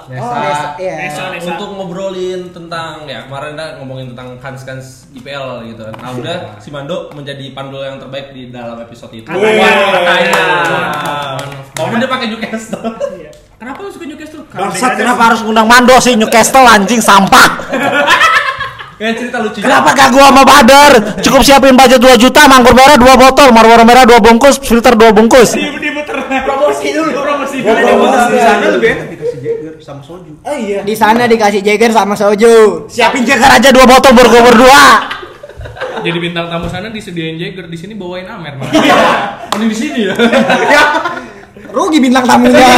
[SPEAKER 4] Nesa.
[SPEAKER 6] Nesa- iya.
[SPEAKER 7] Nesa. Soal
[SPEAKER 1] Eh, untuk ngobrolin tentang ya kemarin kita ngomongin tentang kans kans IPL gitu kan. Nah udah si Mando menjadi pandul yang terbaik di dalam episode itu.
[SPEAKER 7] Katanya.
[SPEAKER 1] katanya. Walaupun dia pakai Newcastle.
[SPEAKER 7] Iya. Kenapa lu suka Newcastle? Karena
[SPEAKER 2] Bangsat
[SPEAKER 7] degradasi.
[SPEAKER 2] kenapa harus ngundang Mando sih Newcastle anjing sampah.
[SPEAKER 1] Kayak cerita lucunya.
[SPEAKER 2] Kenapa gak gua sama Badar? Cukup siapin budget 2 juta, manggur merah 2 botol, marwaro merah 2 bungkus, filter 2 bungkus.
[SPEAKER 7] Di diputer. Promosi dulu, promosi dulu.
[SPEAKER 2] Iya, promosi.
[SPEAKER 4] Di sana lebih enak dikasih Jagger sama soju.
[SPEAKER 2] Oh iya.
[SPEAKER 6] Di sana dikasih Jagger sama Soju.
[SPEAKER 2] Siapin jagar aja 2 botol baru gua berdua.
[SPEAKER 5] Jadi bintang tamu sana disediain Jagger, di sini bawain Amer malah. Oh,
[SPEAKER 1] Mending di sini ya.
[SPEAKER 6] Rugi bintang tamunya.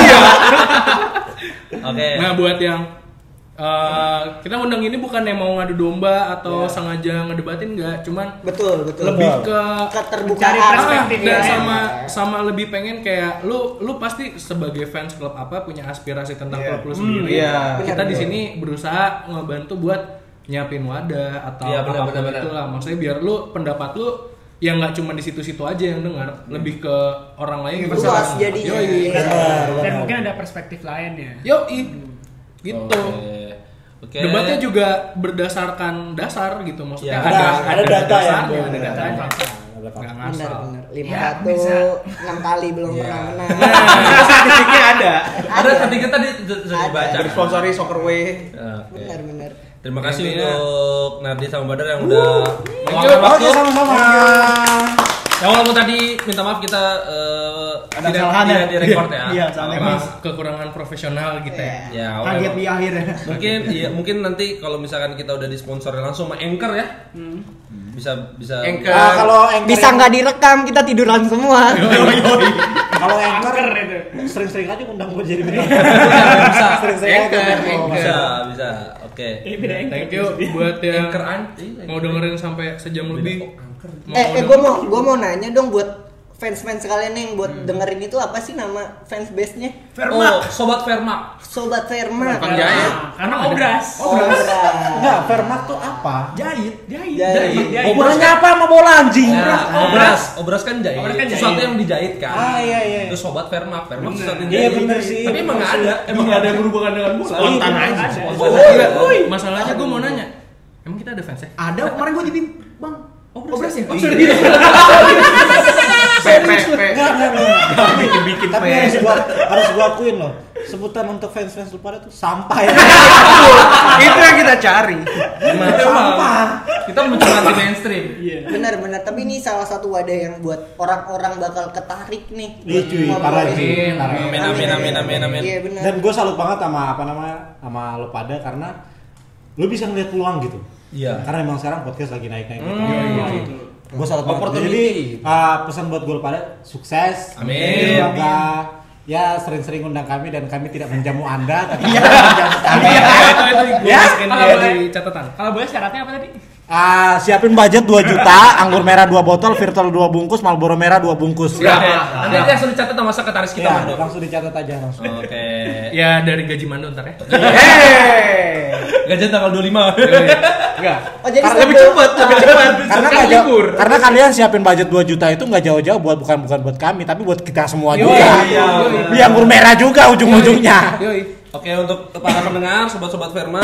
[SPEAKER 1] Oke.
[SPEAKER 5] Nah buat yang eh, kita undang ini bukan yang mau ngadu domba atau sengaja ngedebatin nggak, cuman
[SPEAKER 6] betul, betul.
[SPEAKER 5] lebih ke
[SPEAKER 7] Cari
[SPEAKER 6] Keterbukaan.
[SPEAKER 7] perspektif.
[SPEAKER 5] Ah,
[SPEAKER 7] ya.
[SPEAKER 5] dan sama sama lebih pengen kayak lu lu pasti sebagai fans klub apa punya aspirasi tentang
[SPEAKER 3] Iya.
[SPEAKER 5] klub lu sendiri.
[SPEAKER 4] iya.
[SPEAKER 5] Kita
[SPEAKER 6] Benar,
[SPEAKER 5] di
[SPEAKER 6] benar.
[SPEAKER 5] sini berusaha ngebantu buat nyiapin wadah atau
[SPEAKER 1] Iya, benar,
[SPEAKER 5] apapun
[SPEAKER 1] benar, benar.
[SPEAKER 5] itulah. Maksudnya biar lu pendapat lu yang nggak cuma di situ-situ aja yang dengar,
[SPEAKER 1] Iya.
[SPEAKER 5] lebih ke orang lain
[SPEAKER 6] Luas
[SPEAKER 5] orang.
[SPEAKER 6] jadinya. Iya.
[SPEAKER 5] Yoi.
[SPEAKER 7] Dan mungkin ada perspektif lain ya.
[SPEAKER 5] Yoi. Gitu.
[SPEAKER 1] Oke. Oke.
[SPEAKER 5] Debatnya juga berdasarkan dasar gitu maksudnya
[SPEAKER 1] Ya,
[SPEAKER 5] ada,
[SPEAKER 2] ada- ada data ya.
[SPEAKER 1] Iya,
[SPEAKER 5] dasarnya, ada
[SPEAKER 2] Benar,
[SPEAKER 5] datanya. Nggak
[SPEAKER 6] Benar,
[SPEAKER 5] ngasal.
[SPEAKER 6] benar.
[SPEAKER 7] Ya,
[SPEAKER 6] 5
[SPEAKER 7] bisa.
[SPEAKER 6] 1 6 kali belum pernah menang.
[SPEAKER 4] Statistiknya ada.
[SPEAKER 1] Ada statistik tadi sudah sudah
[SPEAKER 6] Ada.
[SPEAKER 1] dibaca. Ya,
[SPEAKER 4] Bersponsori Soccerway.
[SPEAKER 1] Oke.
[SPEAKER 6] Benar, benar.
[SPEAKER 1] Terima kasih
[SPEAKER 4] Intinya-
[SPEAKER 1] untuk Nardi sama Badar yang udah meluangkan
[SPEAKER 2] Oke,
[SPEAKER 1] waktu.
[SPEAKER 2] sama-sama.
[SPEAKER 1] Ya walaupun tadi minta maaf kita eh,
[SPEAKER 3] Ada
[SPEAKER 1] tidak,
[SPEAKER 3] kesalahan
[SPEAKER 1] tidak
[SPEAKER 3] ya?
[SPEAKER 1] direkord ya.
[SPEAKER 3] Iya, soalnya
[SPEAKER 5] Emang kekurangan profesional gitu
[SPEAKER 6] Iya.
[SPEAKER 5] ya.
[SPEAKER 1] Ya,
[SPEAKER 3] kaget
[SPEAKER 1] oke.
[SPEAKER 3] di akhirnya.
[SPEAKER 1] mungkin iya mungkin nanti kalau misalkan kita udah disponsori langsung sama Anchor ya bisa bisa
[SPEAKER 4] Anchor.
[SPEAKER 1] bisa-
[SPEAKER 2] Nah, kalau anchor
[SPEAKER 6] Bisa nggak direkam kita tiduran semua.
[SPEAKER 2] Kalau anchor
[SPEAKER 7] Angker itu.
[SPEAKER 2] sering-sering aja ngundang gua jadi bintang.
[SPEAKER 1] bisa
[SPEAKER 2] Sering-sering aja.
[SPEAKER 4] Anchor,
[SPEAKER 2] ngundang gua.
[SPEAKER 4] anchor.
[SPEAKER 1] bisa bisa oke
[SPEAKER 7] Ini beda yang
[SPEAKER 5] Thank you <laughs>
[SPEAKER 7] <laughs>
[SPEAKER 5] buat yang
[SPEAKER 1] Anchor iya, anti
[SPEAKER 5] mau dengerin sampai sejam lebih. Mau
[SPEAKER 6] Eh, eh
[SPEAKER 5] denger-
[SPEAKER 6] gue mau gue mau nanya dong buat fans-fans kalian yang buat dengerin itu apa sih nama fans base-nya?
[SPEAKER 1] Oh, sobat Vermak.
[SPEAKER 6] Sobat Verma.
[SPEAKER 5] Bukan Jaya.
[SPEAKER 7] Karena obras.
[SPEAKER 6] Obras.
[SPEAKER 2] Enggak, Fermat tuh apa?
[SPEAKER 7] Jahit, jahit,
[SPEAKER 6] Jahit.
[SPEAKER 7] jahit, jahit.
[SPEAKER 2] Ukurannya apa sama bola anjing?
[SPEAKER 1] Obras, Nah, obras, obras kan jahit.
[SPEAKER 7] Obras kan jahit.
[SPEAKER 1] Sesuatu yang dijahit kan.
[SPEAKER 2] Ah, iya, iya.
[SPEAKER 1] Itu sobat Vermak. Vermak
[SPEAKER 7] Bener.
[SPEAKER 1] sesuatu yang
[SPEAKER 2] Iya,
[SPEAKER 1] jahit.
[SPEAKER 2] bener sih.
[SPEAKER 1] Tapi emang nggak ada, emang nggak ada yang berhubungan dengan Oh, bola.
[SPEAKER 7] Spontan aja.
[SPEAKER 1] Spontan
[SPEAKER 5] Gila,
[SPEAKER 1] aja.
[SPEAKER 5] Oh, iya. Masalahnya gue mau nanya. Emang kita ada fans ya?
[SPEAKER 3] Ada kemarin gue jadi bang. Obras ya?
[SPEAKER 1] Oh, serius?
[SPEAKER 4] PP.
[SPEAKER 2] Enggak, enggak, enggak.
[SPEAKER 4] Bikin-bikin
[SPEAKER 2] Tapi
[SPEAKER 4] PS.
[SPEAKER 2] harus gua harus gua akuin loh. Sebutan untuk fans-fans lu pada tuh sampah ya.
[SPEAKER 4] Itu yang kita cari.
[SPEAKER 1] Emang.
[SPEAKER 2] Sampah.
[SPEAKER 1] Kita muncul anti mainstream.
[SPEAKER 7] Iya.
[SPEAKER 6] Benar-benar, tapi ini salah satu wadah yang buat orang-orang bakal ketarik nih.
[SPEAKER 2] Iya, cuy, parah, cuy.
[SPEAKER 1] Amin
[SPEAKER 5] Amin, amin.
[SPEAKER 1] amin amin amin amin.
[SPEAKER 6] Iya benar.
[SPEAKER 2] Dan gue salut banget sama apa namanya sama lo pada karena lo bisa ngeliat peluang gitu.
[SPEAKER 1] Iya.
[SPEAKER 2] Karena emang sekarang podcast lagi gitu. Iya, naik naik.
[SPEAKER 1] Hmm.
[SPEAKER 2] Gue salut banget.
[SPEAKER 1] Opportunity.
[SPEAKER 2] Jadi uh, pesan buat gue pada sukses.
[SPEAKER 1] Amin.
[SPEAKER 2] Semoga ya sering-sering undang kami dan kami tidak menjamu
[SPEAKER 1] <laughs>
[SPEAKER 2] anda tapi kami menjamu kami.
[SPEAKER 5] Iya, Itu itu gue
[SPEAKER 2] Ya?
[SPEAKER 5] masukin
[SPEAKER 7] Kalau
[SPEAKER 5] dia
[SPEAKER 7] boleh.
[SPEAKER 5] di catatan.
[SPEAKER 7] Kalau boleh syaratnya apa tadi?
[SPEAKER 2] Ah, siapin budget 2 juta, anggur merah 2 botol, virtual 2 bungkus, Marlboro merah 2 bungkus.
[SPEAKER 1] Oke,
[SPEAKER 2] Ya,
[SPEAKER 5] Iya.
[SPEAKER 1] Nanti dia langsung dicatat sama sekretaris kita Mando.
[SPEAKER 2] langsung dicatat aja langsung.
[SPEAKER 1] Oke.
[SPEAKER 5] Ya dari gaji Mando ntar ya.
[SPEAKER 4] Hei.
[SPEAKER 1] Gajian tanggal 25. Iya.
[SPEAKER 4] Enggak.
[SPEAKER 6] Oh, jadi
[SPEAKER 2] Karena
[SPEAKER 6] sebelum-
[SPEAKER 2] lebih cepat,
[SPEAKER 6] Ah,
[SPEAKER 2] karena nggak jauh- karena kalian siapin budget 2 juta itu nggak jauh-jauh buat bukan bukan buat kami tapi buat kita semua
[SPEAKER 1] Yoi,
[SPEAKER 2] juga
[SPEAKER 1] iya, benar.
[SPEAKER 2] beli anggur merah juga ujung-ujungnya
[SPEAKER 1] Oke, untuk para pendengar, sobat-sobat Verma,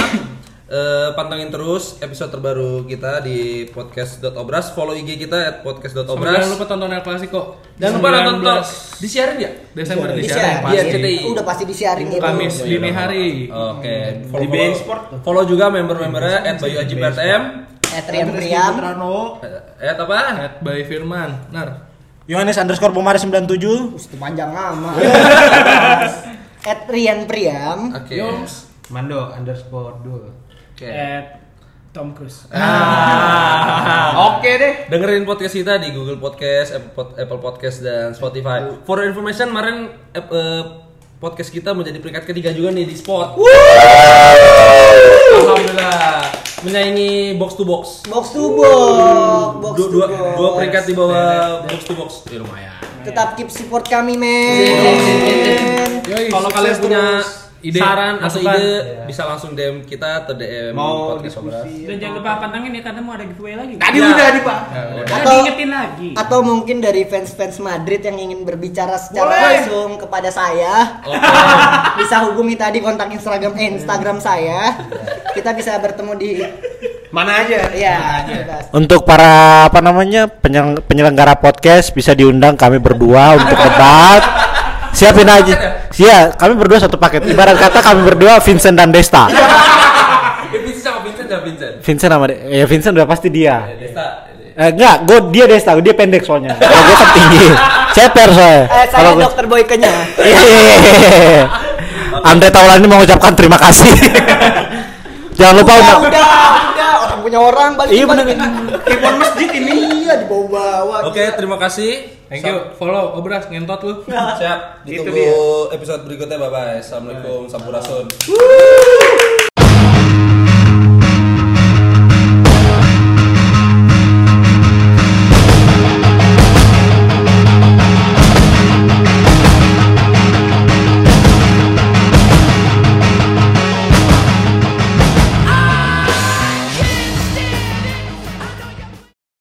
[SPEAKER 1] eh, pantengin terus episode terbaru kita di podcast.obras. Follow IG kita at
[SPEAKER 5] Sama jangan
[SPEAKER 1] podcast.obras.
[SPEAKER 5] lupa tonton El Clasico.
[SPEAKER 1] Dan lupa nonton tol.
[SPEAKER 5] 19
[SPEAKER 1] Disiarin ya?
[SPEAKER 5] Desember di
[SPEAKER 6] Bisa,
[SPEAKER 5] Serang.
[SPEAKER 1] Iya,
[SPEAKER 6] biar
[SPEAKER 1] CTI.
[SPEAKER 6] udah pasti disiarin itu.
[SPEAKER 5] Kamis
[SPEAKER 1] Oh, iya,
[SPEAKER 5] dini
[SPEAKER 1] dong.
[SPEAKER 5] hari.
[SPEAKER 1] Oke.
[SPEAKER 4] Di
[SPEAKER 1] Follow-
[SPEAKER 4] BN Sport tuh.
[SPEAKER 1] Follow juga member-membernya at Bayu Aji PRTM.
[SPEAKER 6] Etrian Priam.
[SPEAKER 1] At apa?
[SPEAKER 5] At by Firman. Nar.
[SPEAKER 2] Yohanes underscore Bomare 97
[SPEAKER 6] Itu panjang amat.
[SPEAKER 2] Iya.
[SPEAKER 6] <laughs> Etrian Priam.
[SPEAKER 1] Oke.
[SPEAKER 5] Yoms.
[SPEAKER 4] Mando underscore dua.
[SPEAKER 1] Oke.
[SPEAKER 7] Eh, Tom Cruise.
[SPEAKER 1] Ah. Oke deh. Dengerin podcast kita di Google Podcast, Apple, Pod- Apple Podcast dan Spotify. For your information, kemarin ep- eh, podcast kita menjadi peringkat ketiga juga nih di Spot. Alhamdulillah. Menyaingi box to box.
[SPEAKER 6] Box to box, box
[SPEAKER 1] Dua,
[SPEAKER 6] to
[SPEAKER 1] dua,
[SPEAKER 6] box.
[SPEAKER 1] dua peringkat di bawah box to box. Ya, lumayan.
[SPEAKER 6] Tetap keep support kami, men.
[SPEAKER 5] Yoi,
[SPEAKER 1] Kalau
[SPEAKER 5] sukses
[SPEAKER 1] kalian punya ya.
[SPEAKER 5] terus. Ide,
[SPEAKER 1] saran atau
[SPEAKER 5] masukan.
[SPEAKER 1] ide bisa langsung DM kita atau DM
[SPEAKER 4] Mau
[SPEAKER 1] podcast Obras.
[SPEAKER 4] diskusi.
[SPEAKER 7] Dan jangan lupa pantengin ya karena mau ada giveaway lagi.
[SPEAKER 3] Tadi udah nih pak.
[SPEAKER 7] Karena
[SPEAKER 6] Atau-
[SPEAKER 7] diingetin lagi.
[SPEAKER 6] Atau mungkin dari fans-fans Madrid yang ingin berbicara secara
[SPEAKER 3] Boleh.
[SPEAKER 6] langsung kepada saya,
[SPEAKER 1] <laughs> Oke.
[SPEAKER 6] bisa hubungi tadi kontak Instagram eh, Instagram saya. Kita bisa bertemu di
[SPEAKER 4] Mana aja?
[SPEAKER 6] ya bebas.
[SPEAKER 2] Untuk para apa namanya penyeleng- penyelenggara podcast bisa diundang kami berdua untuk debat. Siapin aja. Iya, kami berdua satu paket. Ibarat kata kami berdua Vincent dan Desta.
[SPEAKER 1] Ya, Vincent sama Vincent sama Vincent.
[SPEAKER 2] Vincent sama De- ya Vincent udah pasti
[SPEAKER 1] Ya,
[SPEAKER 2] dia.
[SPEAKER 1] Desta.
[SPEAKER 2] Eh, enggak, gue dia Desta, dia pendek soalnya. Kalau gue kan tinggi. Ceper soalnya.
[SPEAKER 6] Eh, saya
[SPEAKER 2] Kalau gua- Iya,
[SPEAKER 6] dokter Boykenya.
[SPEAKER 2] Yeay. Andre Taulani mengucapkan terima kasih. Jangan lupa
[SPEAKER 6] udah,
[SPEAKER 2] undang.
[SPEAKER 6] udah, udah, orang punya orang balik.
[SPEAKER 2] Iya,
[SPEAKER 6] balik.
[SPEAKER 3] Kepon masjid ini.
[SPEAKER 6] Iya dibawa-bawa.
[SPEAKER 1] Oke, terima kasih.
[SPEAKER 5] Thank you. Follow Obras ngentot lu.
[SPEAKER 1] Siap.
[SPEAKER 4] Itu
[SPEAKER 1] Ditunggu episode berikutnya. Bye bye. Assalamualaikum. Sampurasun.